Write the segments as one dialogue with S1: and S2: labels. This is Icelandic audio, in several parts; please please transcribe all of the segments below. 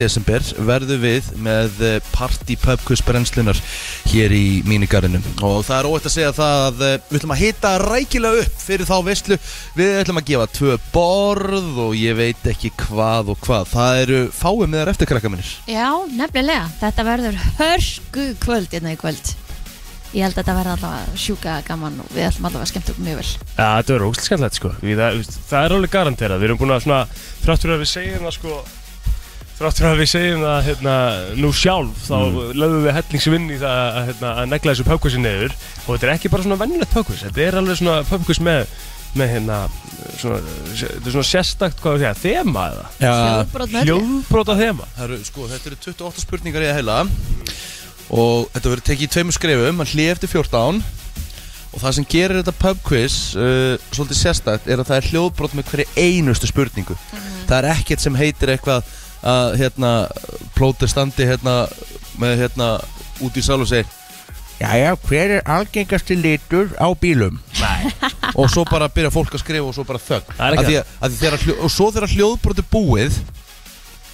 S1: desember verðum við með eh, Party Pub Quiz brennslunar hér í mínigarðinu og það er óætt að segja það að eh, við ætlum að hita rækilega upp fyrir þá veistlu við ætlum að gefa tvö borð og ég veit ekki hvað og hvað það eru fáið með þar eftir krakka minnir
S2: Já, nefnilega. Þetta verður hörsku kvöld hérna í kvöld. Ég held að þetta verður allavega sjúka gaman og við ætlum allavega að skemmta okkur mjög vel.
S3: Já, þetta verður ógstiskallett sko Við- það, veist, það er alveg garanterað Við erum búin að svona Þráttur að við segjum
S4: hérna,
S3: það sko Þráttur að við segjum það hérna Nú sjálf Þá mm. lögðum við hellingsvinn í það að, hérna, að negla þessu pökkvísi niður Og þetta er ekki bara svona vennilegt pökkvís Þetta er alveg svona pökkvís með Með hérna svona, Þetta er svona sérstakt hvað við segja Þema eða
S2: Hljóðbrot með öllu.
S3: Hljóðbróta þema
S1: Það eru, sko, þetta eru 28 spurningar í að heila og þetta verður tekið í tveimur skrefum hann hlið eftir 14 og það sem gerir þetta pub quiz uh, svolítið sérstætt er að það er hljóðbrot með hverju einustu spurningu það er ekkert sem heitir eitthvað að hérna plótið standi hérna með hérna út í sal og segi Jæja, hver er algengasti litur á bílum?
S3: Nei
S1: og svo bara byrja fólk að skrifa og svo bara þögn
S3: Það er ekki
S1: Af því að- af því þegar að hljó- og svo þegar hljóðbrot er búið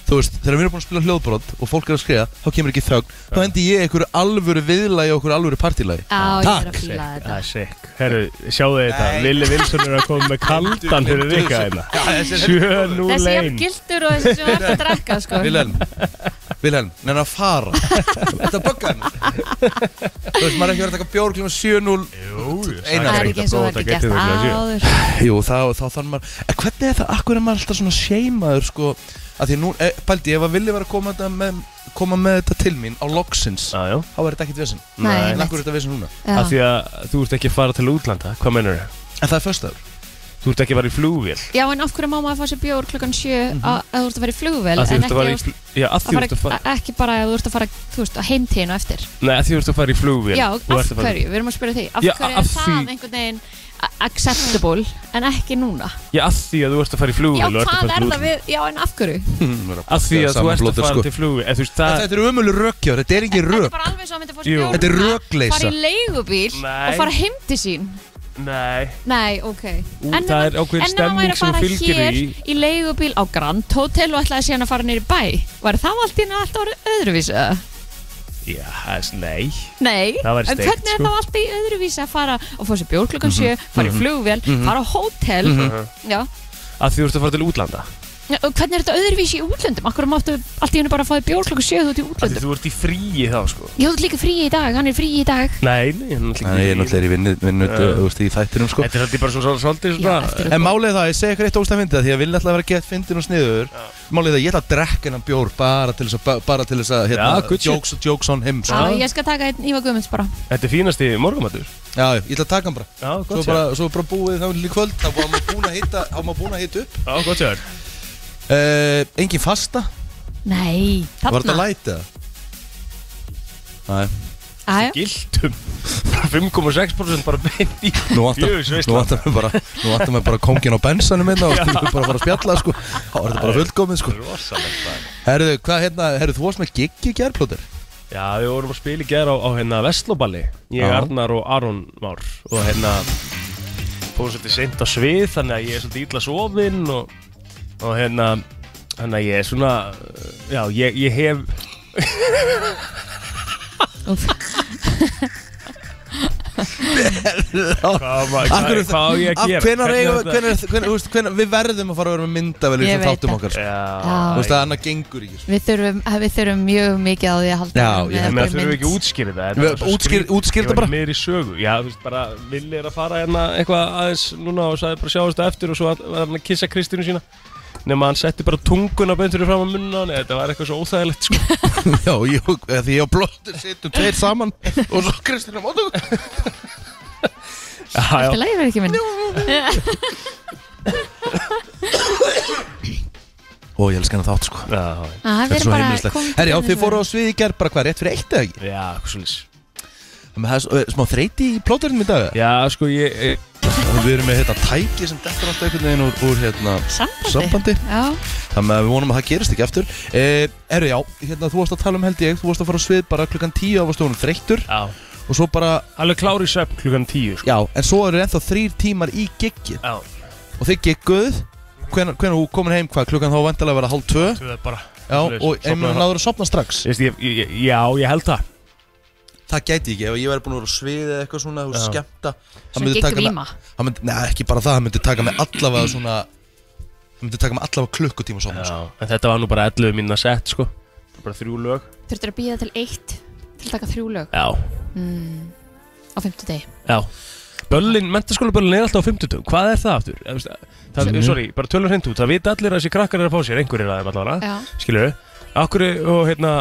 S1: þú veist, þegar við erum búin að spila hljóðbrot og fólk er að skrifa, þá kemur ekki þögn þá endi ég einhverju alvöru viðlagi og einhverju alvöru partilagi
S2: Á, ég er
S1: Takk.
S2: að fýla þetta.
S3: Það er sick Herru, sjáðu þetta Lilli Vilsson er að koma með kaldan Fyrir vika hérna
S2: Þessi jafn
S3: 7-0
S2: gildur og þessi sem var að drakka, sko.
S1: Vilhelm, Vilhelm, neina að fara Þetta buggaði mig Þú veist, maður er ekki verið að taka bjór klíma 7-0
S2: Það er ekki eins og það er ekki gert áður.
S1: Jú, þá, þá þannig maður en Hvernig er það, akkur er maður alltaf svona seimaður sko, að því nú, e, Paldi, ef að villi var að koma, þetta með, koma með þetta til mín á loksins,
S3: Jájá
S1: þá er þetta ekkit vesinn
S2: Nei,
S3: Nei.
S1: En
S2: einmitt.
S1: akkur er þetta vesinn núna
S3: Af
S2: Já.
S3: því að þú ert ekki að fara til útlanda, hvað mennur þau?
S1: En það er föstaður
S3: Þú ert ekki að fara í flugvél
S2: Já, en af hverju má maður að fá sér bjór klukkan sjö að að þú ert að fara í flugvél
S3: Mhm. Af því
S2: en
S3: þú ert að fara í
S2: ekki,
S3: fl- Já, af
S2: að
S3: því þú ert að
S2: fara,
S3: fara
S2: ekki bara að þú ert að fara þú veist, á heimtíðinu eftir
S3: Nei, af því þú ert að fara í flugvél
S2: Já,
S3: Þú
S2: af
S3: ert að fara-
S2: hverju, við erum að spyrja því Af
S3: Já,
S2: hverju
S3: af
S2: er það
S3: því-
S2: einhvern veginn a- acceptable en ekki núna
S3: Já, af því að þú ert að fara í flugvél
S2: Já,
S3: og ert að
S2: hvað
S3: fara
S2: er
S3: til
S2: það við, já en af hverju
S3: útlanda. Af því að þú ert að fara til flugvél eða Þú veist, það
S1: sko. Þetta eru umölu rökkjör, þetta er ekki
S2: Þetta er
S1: rök
S2: bara alveg svo að myndi fórst
S3: Jú.
S2: bjór
S1: Þetta er rökleysa.
S2: Fara í leigubíl
S3: Nei.
S2: og fara heim til sín
S3: Nei,
S2: Nei, ok
S3: Ú,
S2: En ef-
S3: það er ákveðin
S2: en ef maður væri
S3: stemning
S2: að
S3: sem
S2: fara
S3: fylgir
S2: hér
S3: því.
S2: Í leigubíl á Grand Hotel og ætlaði síðan að fara nýri bæ Var það allt í henni alltaf öðruvísu? eða?
S3: já, það er s- nei
S2: Nei,
S3: Það væri
S2: en
S3: steikt,
S2: hvernig er
S3: sko. Mhm,
S2: það alltaf í öðruvísi að fara og fá sér bjór klukkan sjö, fara í flugvél, fara á hótel
S1: Uh-huh.
S2: Já,
S3: Af því þú ert að fara til útlanda
S2: Já, og hvernig er þetta öðruvísi í útlöndum? Akkur máttu allt í henni bara að fá þér bjór klukkan sjö þú ert í
S3: Af því
S2: útlöndum
S3: þú ert í fríi þá, sko
S2: Ég hótt líka frí í dag, hann er frí í dag
S3: Nei, nei, hann
S1: Nei, ég er
S3: ekki
S1: náttúrulega í vinnu, vinnu,
S3: Já.
S1: þú veist, í þættinum sko
S3: Þetta er alltaf bara svona svolítið
S2: Já,
S3: svona
S2: eftir að-
S1: En málið er það, ég segi ykkur eitt ógstæð fyndið af Því að ég vil alltaf vera gett fyndin og sniður Málið er það, ég ætla að drekka hennan bjór Bara til þess að, bara til þess að, hérna,
S3: Já, good shit.
S1: jokes, jokes on him sko.
S2: Já, ég skal taka einn Ívar Guðmunds bara
S3: Þetta er fínasti morgumatur
S1: Já, ég ætla að taka hann bara
S3: Já,
S1: Svo
S3: gott sér
S1: bara, svo bara búið þá í kvöld Þá var maður búin að hitta, þá var maður búin að hitta upp
S3: Já, gott sér
S1: uh, Engin fasta,
S2: Nei,
S1: var þetta
S2: þarna
S1: lætið það? Nei,
S2: Æ,
S3: Gildum Bara 5,6% bara beint í
S1: nú vantar,
S3: Jöfisveisla.
S1: nú vantar mig bara Nú vantar mig bara kongin á bensanum einna Og skulum bara fara að spjalla, sko Þá er þetta bara fullkomið, sko
S3: Rosalegt það
S1: Herðu, hvað, hérna, herðu, þú varst með gig í gærplótir
S3: Já, við vorum að spila í gera á, á hérna Vestloballi Ég,
S1: Já.
S3: Arnar og Aron Már Og hérna Fórum svolítið seint á svið Þannig að ég er svolítið illa sofinn og, og hérna Þannig að ég er svona Já, ég, ég hef
S2: úff.
S3: Hvað á maður-
S1: Akkur,
S3: hvað- hvað á ég að gera?
S1: Hvenar,
S3: Hvernig þetta-
S1: eigum, hvenar, hvenar, hvenar, hvenar, við verðum að fara að vera með myndavel í
S2: Ég
S1: þessum
S2: veit
S1: þáttum
S2: það.
S1: okkar sko.
S2: Já.
S3: Já
S1: Þú veist að annað gengur ekki sko.
S2: Við þurfum, við þurfum mjög mikið á því að halda
S1: Já,
S2: áfram
S1: ég
S2: með
S3: Þannig
S2: okkur
S3: að þurfum við
S2: mynd.
S3: ekki að útskýra þetta
S1: Við-
S3: Þetta var svo
S1: útskýr-
S3: skrýt-
S1: útskýr
S3: ég
S1: þetta
S3: var
S1: bara.
S3: meira í sögu Já, þú veist bara Villi er að fara hérna eitthvað aðeins núna og sagði bara sjáast það eftir og svo all- var hann að kissa Kristínu sína Nefn hann setti bara tunguna beintur í fram á munna hann Þetta var eitthvað svo óþægilegt sko
S1: Já, ég, eða því ég og blóttur sittum tveir saman Og svo Kristina Móttu
S3: Já,
S2: Þetta lægir ekki minn
S1: Ó, ég elska hennar þátt sko
S3: já, já.
S2: Það
S1: Þetta er
S2: er
S1: svo
S2: bara
S1: heimilislegt Herri, já, þið fóru á svið í gerð bara hvað, rétt fyrir eitt eða ekki?
S3: Já, eitthvað svoleiðis.
S1: Þannig að Það er s- eh, smá þreyti í plóturinnum í dag eða?
S3: Já, sko, ég, ég
S1: Og við erum með hérna tæki sem dettur alltaf einhvern veginn úr, úr hérna
S2: Sambandi
S1: sambandi
S2: Já,
S1: Þannig að við vonum að það gerist ekki aftur eh, Herri, já, hérna, þú varst að tala um held ég Þú varst að fara á svið bara klukkan 10 á varst þú þreyttur
S3: Já
S1: Og svo bara,
S3: Alveg klári söp klukkan tíu, sko
S1: já, en svo eru ennþá þrýr tímar í giggi
S3: Já,
S1: og þið gigguð hvenar, hvenar þú komin heim hvað klukkan þá vantilega að vera hálf tvö
S3: þú veist bara
S1: Já, og einmitt náður að sopna strax
S3: Veist, ég, ég, ég- já, ég held það
S1: Það gæti ég ekki, ef ég væri búin að vera á sviði eða eitthvað svona, þú veist,
S3: Já.
S1: skemmta
S2: Svona gegn rýma
S1: Það myndi, neða, ekki bara það, það myndi taka mig allavega svona Það myndi taka mig allavega klukkutíma að sopna sko.
S3: já. En þetta var nú bara 11 mínna sett sko Bara þrjú lög
S2: Þurftur að býða til eitt til að taka þrjú lög
S3: Já,
S2: mm, á fimmtudegi
S3: já Böllin, mentaskóla böllin er alltaf á 50 Hvað er það aftur? Eða, þú veist, Það,
S2: Mhm.
S1: Sem-
S3: sorry, bara tölur hreint út Það vita allir að þessi krakkar er að fá sér Einhverjir að þeim allavega
S2: Já,
S3: Skilur við? Akkur, og hérna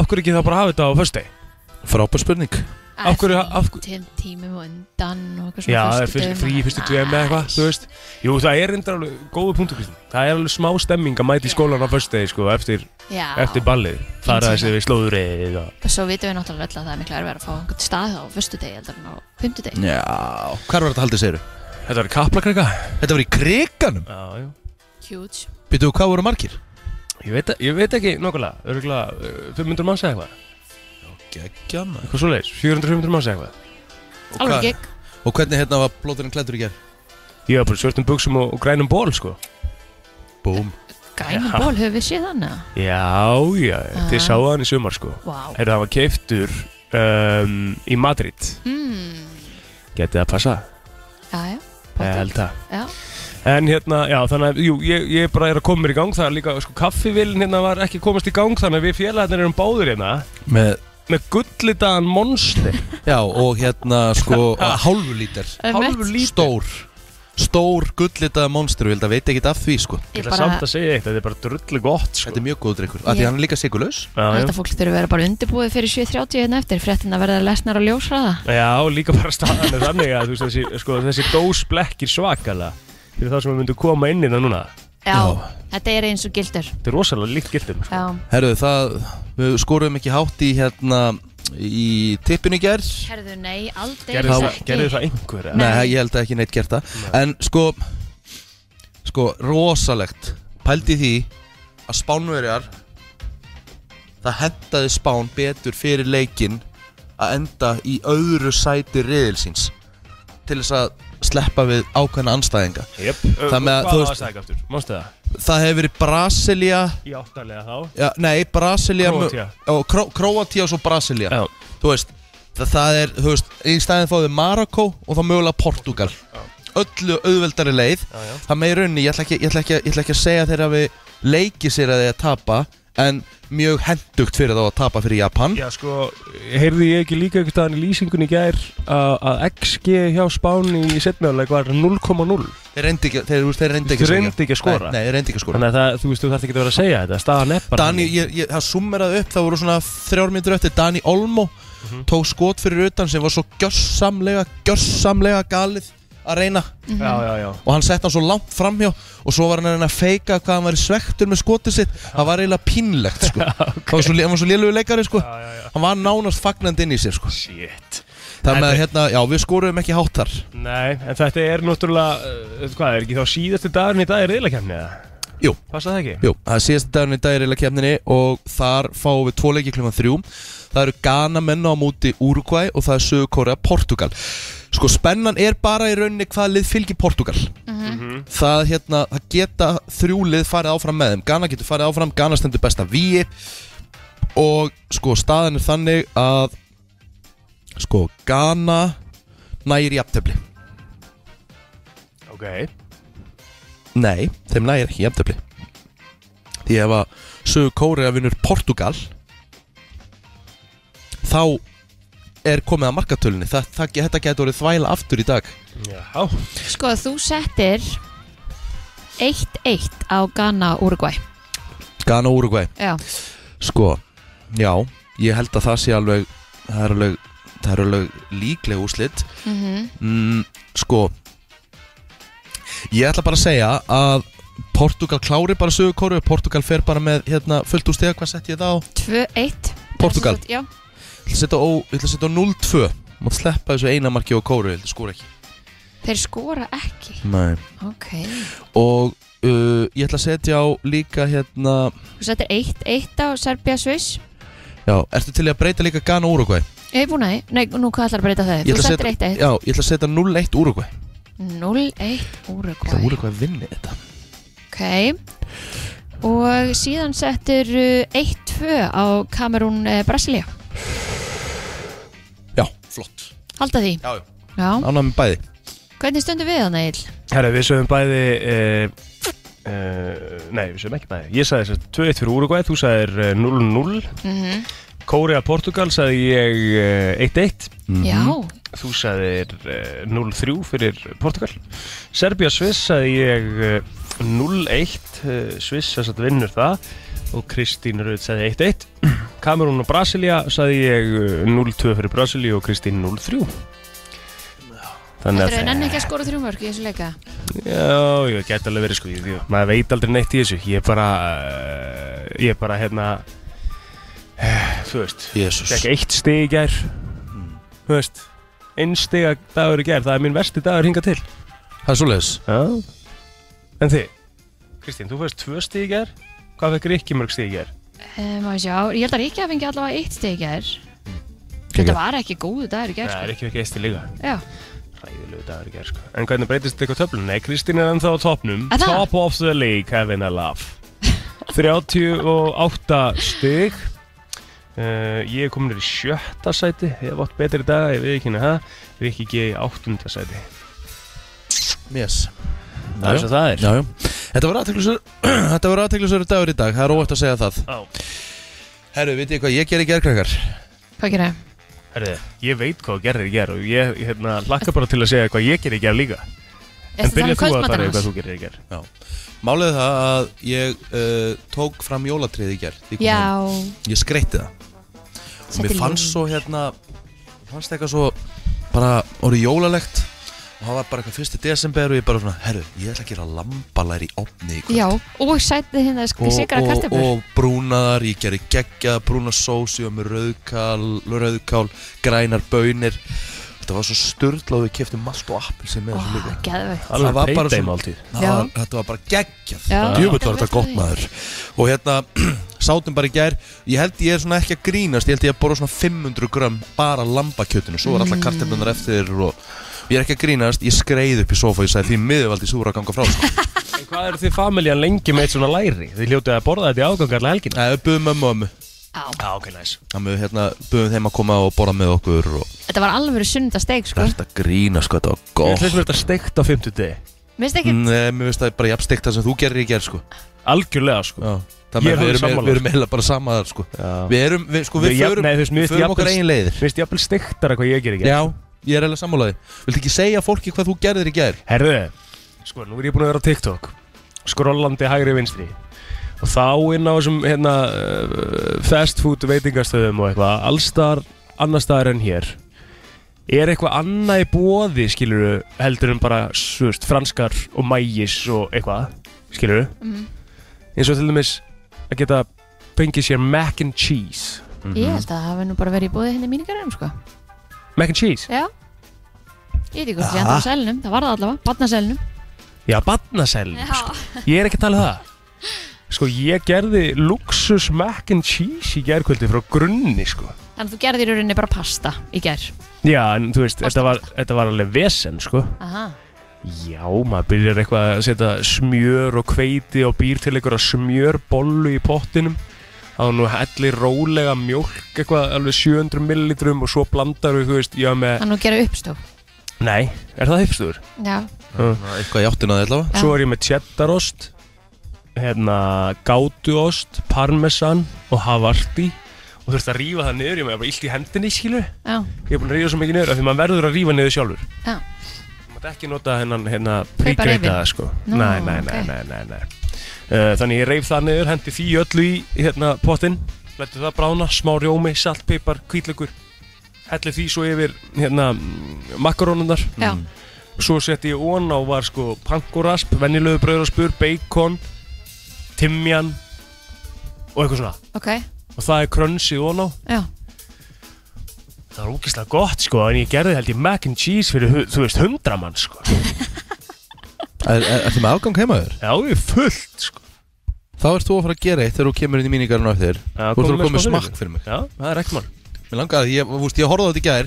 S3: Akkur ekki þá bara hafa þetta á föstudegi
S1: Frábær spurning
S3: Af hverju- af hverju-
S2: Tím, tímum og undan og eitthvað
S3: Já,
S2: svona
S3: það er fyrst, frí í fyrstu dvemi eða eitthvað, þú veist Jú, það er reyndar alveg góðu punktu, Kristinn Það er alveg smá stemming að mæti skólan á föstudegi, sko, eftir,
S2: Já, hérna.
S3: eftir ballið Fara þessi við slóðrið og
S2: og svo vitum við náttúrulega öll að það er mikla erfið að fá einhvern stað á fyrstu degi heldur en á fymtu degi
S1: Já Hvar var þetta haldið segir
S3: Þetta var kaplakraka
S1: Þetta var í kriganum
S3: Já, jú
S2: Huge
S1: Býtu, hvað voru margir?
S3: Ég veit, ég veit ekki nokkulega, örgulega 500 manns eða eitthvað,
S1: Gekkja maður
S3: eitthvað svoleiðis, 400-500 manns eða eitthvað
S2: Alveg gegn
S1: Og hvernig hérna var blóturinn klættur í gerð?
S3: Ég var bara í svörtum buksum og, og grænum ból, sko
S1: Búm
S2: Grænum
S3: Já.
S2: ból höfum við séð hann eða?
S3: Já, já, þið
S2: Ah.
S3: sáu hann í sumar, sko
S2: Vá
S3: Heyrðu, það var keiftur um, í Madrid Hmm.
S2: mm,
S3: Getið að passa,
S2: Já, já
S3: ég
S2: pottur.
S3: held það
S2: Já,
S3: En hérna, já, þannig að, jú, ég, ég bara er að koma mér í gang Það er líka, sko, kaffivillin hérna var ekki komast í gang Þannig að við félagarnir erum báður hérna
S1: Með
S3: Með gullitaðan monster
S1: Já, og hérna sko hálfu lítir
S2: Einmitt.
S3: Hálfur lítur
S1: Stór Stór gullitaða monster Vilda veit ekki af því sko
S2: ég
S3: Ég ætla
S2: bara
S3: samt að segja eitt, þetta er bara drullu gott, sko
S1: Þetta er mjög góð drikkur Af því
S2: Já.
S1: hann er líka sigurlaus
S2: Ég
S3: já,
S2: held að
S3: já.
S2: fólk þurfi að vera bara undirbúið fyrir 7.30 hérna eftir fréttina verða lesnar og ljósraða
S3: já, líka bara staðan er þannig að þú veist, þessi, sko, þessi dós blekkir svakala Fyrir það sem við myndum koma inn í það núna
S2: Já,
S1: Já.
S2: þetta er eins og gildur
S3: Þetta er rosalega líkt gildum, sko
S2: Já,
S1: Herðu það Við skorum ekki hátt í hérna Í tippinu í gerð
S2: herðu nei, aldrei
S3: Gerðu
S1: Þá-
S3: það, gerðu það einhver, eða?
S1: Nei, ég held að ekki neitt gert það En sko Sko, rosalegt Pældi því að spánverjar Það hendaði spán betur fyrir leikinn Að enda í öðru sæti riðilsins Til þess að sleppa við ákveðna anstæðinga
S3: Jöp,
S1: Það með að,
S3: hvað
S1: þú
S3: var
S1: veist-
S3: það aftur? Mástu það?
S1: Það hefur verið Brasilia
S3: Í áttalega þá
S1: já, Nei, Brasilia
S3: Króatía.
S1: og Kró, Króatía og svo Brasilia
S3: Já,
S1: Þú veist, það, það er, þú veist Í stæðin fáðu Marokko og þá mögulega Portugal Öllu auðveldari leið
S3: já, já
S1: Það með í rauninni, ég ætla ekki, ég ætla ekki, ég ætla ekki að segja þeir hafi leikið sér að þeir að tapa En mjög hendugt fyrir þá að tapa fyrir Japan
S3: Já sko, heyrði ég ekki líka einhvern veginn í lýsingunni í gær að að XG hjá Spán í setmjöðuleik var 0,0
S1: Þeir reyndi ekki, þeir, þú veist, þeir reyndi ekki
S3: Þeir
S1: að segja.
S3: reyndu ekki að skora.
S1: Nei, nei, þeir reyndi ekki að skora
S3: Þannig að það, þú veist, þú þarf ekki að vera að segja þetta staðan er bara
S1: Dani, ég, ég, það summeraði upp, það voru svona þrjár mínútur eftir Dani Olmo
S3: Mhm.
S1: tók skot fyrir utan sem var svo gjörsamlega, gjörsamlega galið að reyna
S3: Mhm. Já, já, já
S1: og hann sett hann svo langt framhjá og svo var hann að reyna að feika hvað hann var í svektur með skotið sitt það var eiginlega pínlegt sko. hann var svo, lé- hann var svo lélögu leikari sko.
S3: Já, já, já
S1: hann var nánast fagnandi inn í sér sko.
S3: Shit
S1: Það með
S3: En-
S1: að hérna, já við skorum ekki hátt þar
S3: Nei, en þetta er náttúrulega, uh, hvað er ekki þá síðasti dagurinn í dag er reyðlakefni eða?
S1: Jú.
S3: Passa það ekki?
S1: Jú, það er síðast dagurinn í dag er eiginlega kemninni og þar fáum við tvo leiki klukkan þrjú Það eru Ghana menna á móti Uruguay og það er Sögur Korea Portugal Sko spennan er bara í rauninni hvað lið fylgir Portugal Það hérna, það geta þrjú lið farið áfram með þeim Ghana getur farið áfram, Ghana stendur besta víi Og sko staðan er þannig að Sko Ghana nægir í aftefli
S3: Ok
S1: Nei, þeim nægir ekki jafntöfli Því ef að Sögur Kórea vinnur Portugal Þá er komið að markatölunni Þa, það, Þetta getur orðið þvæla aftur í dag
S3: Já
S2: Sko, þú settir 1-1 á Ghana Uruguay
S1: Ghana og Uruguay
S2: Já,
S1: Sko, já, ég held að það sé alveg Það er alveg, það er alveg líkleg úrslit
S2: mm
S1: mm, Sko Ég ætla bara að segja að Portugal klári bara Sögur Kórea Portugal fer bara með hérna, fullt úr stega Hvað sett ég það á?
S2: 2-1
S1: Portugal.
S2: Já,
S1: Ég ætla að setja á, ég ætla að setja á 0-2 Mátt sleppa þessu eina marki á kóru Ég ætla að skóra ekki
S2: þeir skora ekki
S1: Nei.
S2: Ok
S1: Og uh, ég ætla að setja á líka hérna
S2: Þú settir 1-1 á Serbia Swiss
S1: Já, ertu til í að breyta líka Ghana Uruguay?
S2: Ég hef búin að því Nei, nú hvað ætlar að breyta það
S1: Ég
S2: Þú
S1: ætla að
S2: settir 1-1
S1: Já, ég ætla að setja 0-1 Uruguay
S2: 0-1
S1: Það
S2: Uruguay
S1: Uruguay vinni þetta
S2: Ok og síðan settur uh, 1-2 á Kamerún uh, Brasilia
S1: Já, flott
S2: Halda því,
S1: Já, já
S2: já
S1: Ánægð með bæði
S2: Hvernig stöndum við þannig Egil?
S3: Herra, við sögum bæði uh, uh, Nei, við sögum ekki bæði Ég sagði þess að 2-1 fyrir Uruguay, þú sagðir eh, 0-0
S2: Mm
S3: Kórea Portugal sagði ég eh, 1-1
S2: Já,
S3: Þú sagðir eh, 0-3 fyrir Portugal Serbia Sviss sagði ég eh, 0-1 eh, Sviss þess að vinnur það og Kristín Röð sagði 1-1 Kamerún og Brasilia sagði ég eh, 0-2 fyrir Brasilia og Kristín 0-3 Þannig
S2: þetta er
S3: að
S2: enn ekki að skora þrjú mörg í þessu leika
S3: Já, ég gæti alveg verið sko ég, ég, maður veit aldrei neitt í þessu ég er bara uh, ég er bara hérna uh, þú veist,
S1: Jésús
S3: fekk eitt stig í gær
S1: Mm.
S3: þú veist einn stig að dagur í gær, það er minn versti dagur hinga til
S1: Það er svoleiðis
S3: Já En þið, Kristín, þú fyrst tvö stig í gær hvað fekk Rikki mörg stig í gær?
S2: Um, að sjá, ég held að Ríkja fengi allavega eitt steg í gær
S1: Geggjað.
S2: Þetta var ekki góðu dagur í gær
S3: Það
S2: sko.
S3: er ekki fekk eitt stig líka
S2: Já,
S3: ræðilegu dagur í gær sko En hvernig breytist þetta eitthvað töflun? Nei, Kristín er ennþá á topnum
S2: Er það?
S3: Top of the league, Kevin I love 38 stig uh, Ég er komin í sjötta sæti Ég hef átt betri daga, ég veit ekki hérna það Rikki G í áttunda sæti
S1: Yes
S3: Það er svo það er
S1: Já, já Þetta var aðteklisverður Þetta var aðteklisverður dagur í dag Það er óvægt að segja það
S3: Já.
S1: Herru, vitið þið hvað ég gerði gerðkrakkar?
S2: hvað gerir
S3: Herði, ég veit hvað þú gerðir í gær og ég ég, hérna, lakka bara til að segja hvað ég gerði í gær líka En
S2: það?
S3: byrja þú að fara í hvað
S2: hans?
S3: þú gerir í gær
S1: Málið er það að ég uh, tók fram jólatrið í gerð
S2: Já,
S1: Ég skreitti það og mér
S2: Settir
S1: fannst
S2: ljós.
S1: svo hérna mér fannst eitthvað svo bara orðið jólalegt og það var bara eitthvað fyrsti desember og ég bara svona herru, ég ætla að gera lambalæri í opni í kvöld
S2: já, og sætti hérna
S1: og,
S2: sikra
S1: og,
S2: kartöflur
S1: og brúnaðar, ég gerði geggjaða brúna sósi og með rauðkál, rauðkál grænar baunir þetta var svo sturdla og við keftum malt og appil sem
S2: Ó,
S1: með þessu líka
S2: geðveikt
S1: Það var
S3: Alveg
S1: bara
S3: payday
S1: svo-
S3: máltíð
S1: Það
S2: Já.
S1: var, þetta var bara geggjað
S2: Já.
S1: djúvill var
S2: Já.
S1: þetta gott maður og hérna sátum bara í gær ég held ég er svona ekki að grínast ég held ég að borða svona 500 gram bara lambakjötinu svo var alltaf karteflunar eftir og ég er ekki að grínast ég skreið upp í sofa og ég sagði því miðurvaldi svo voru að ganga frá sko.
S3: En Hvað eru þið familjan lengi með eitt svona læri? Þið hljótið að borða þetta í ágangarlega helgina
S1: Nei, við buðum mömmu og ömmu
S2: Já,
S3: Já, ok, næs
S1: þannig við hérna buðum þeim að koma og borða með okkur og
S2: þetta var alveg sunnudasteg sko
S1: þetta grína sko þetta var
S3: Við
S1: gott
S3: hljóttum þetta steikt á 50 degi
S2: Minnst ekki,
S1: Nei, Mm, eh, mér veist það er bara jafn steikt það sem þú gerir í gær sko
S3: Algjörlega, sko
S1: Já. Það með
S3: Ég er
S1: við
S3: alveg
S1: erum,
S3: sammála.
S1: við erum eiginlega bara sama þar sko
S3: Já.
S1: Við erum, við, sko við
S3: Ég-
S1: förum,
S3: nei, þú veist, mér finnst
S1: við förum
S3: jafnvel-
S1: okkar eigin leiðir
S3: Mér finnst jafnvel steiktara hvað ég ger ekki
S1: Já, ég er eiginlega sammálaði Viltu ekki segja fólki hvað þú gerðir í gær?
S3: Herðu, sko, nú er ég búin að vera á TikTok Skrollandi hægri vinstri Og þá inn á þessum, hérna uh, Fast food veitingastöðum og eitthvað Allstar, annar staðar en hér Er eitthvað annað í bóði, skiluru Heldur en bara, svo veist, franskar og mægis og eitthvað Skiluru
S2: Mhm.
S3: Eins og til dæmis að geta fengið sér mac and cheese
S1: Mhm.
S2: ég held að það hafi nú bara verið í búið henni míningarum sko
S3: Mac and cheese?
S2: Já Ég veit ekki hvort ég endur á selnum, það var það allavega, barnaselnum
S3: Já, badnasælum sko. Ég er ekki að tala um það Sko, ég gerði luxus mac and cheese í gærkvöldi frá grunni, sko
S2: Þannig að þú gerðir í rauninni bara pasta í gær
S3: Já, en þú veist, þetta var, þetta var alveg vesen, sko
S2: Aha,
S3: Já, maður byrjar eitthvað að setja smjör og hveiti og býr til einhverja smjörbollu í pottinum þá nú hellir rólega mjólk eitthvað alveg 700 millilitrum og svo blandar við, þú veist, já með
S2: þannig að gera uppstó
S3: Nei, er það hypstur?
S2: Já,
S1: Eitthvað í áttina þig allavega
S3: Svo er ég með cheddarost hérna, gátuost, parmesan og havarti og þurft að rífa það niður, ég með bara illt í hendinni skilu ég
S2: já,
S3: er búin að rífa svo mikið niður af því maður verður að rífa niður sjálfur
S2: Já.
S3: maður ekki nota hennan hérna
S2: Kaupa
S3: príkreita
S2: rifin.
S3: sko
S2: Nú,
S3: nei, nei, nei,
S2: ok.
S3: nei, nei, nei. Uh, þannig ég reif það niður, hendi því öllu í hérna pottinn, letur það brána smá rjómi, salt, pipar, kvítlökur hellir því svo yfir hérna makarónunar
S2: já,
S3: Svo setti ég ón á var sko pankurasp, venjulegu brauðraspur, bacon, timjan og eitthvað svona.
S2: ok,
S3: Og það er krönsið ón á.
S2: já
S3: Það var ógeðslega gott sko, en ég gerði held ég mac and cheese fyrir, hu- þú veist, hundra mann sko.
S1: Er, er, Ertu með afgang heima þér?
S3: Já, ég er fullt sko.
S1: Þá ert þú að fara að gera eitt þegar þú kemur inn í míningarinn á eftir
S3: Já,
S1: Þú ert
S3: komum
S1: að koma með
S3: smá fyrir
S1: smakk fyrir mig
S3: Já, það er ekki mann.
S1: Mér langaði, ég, þú veist, ég horfði á þetta í gær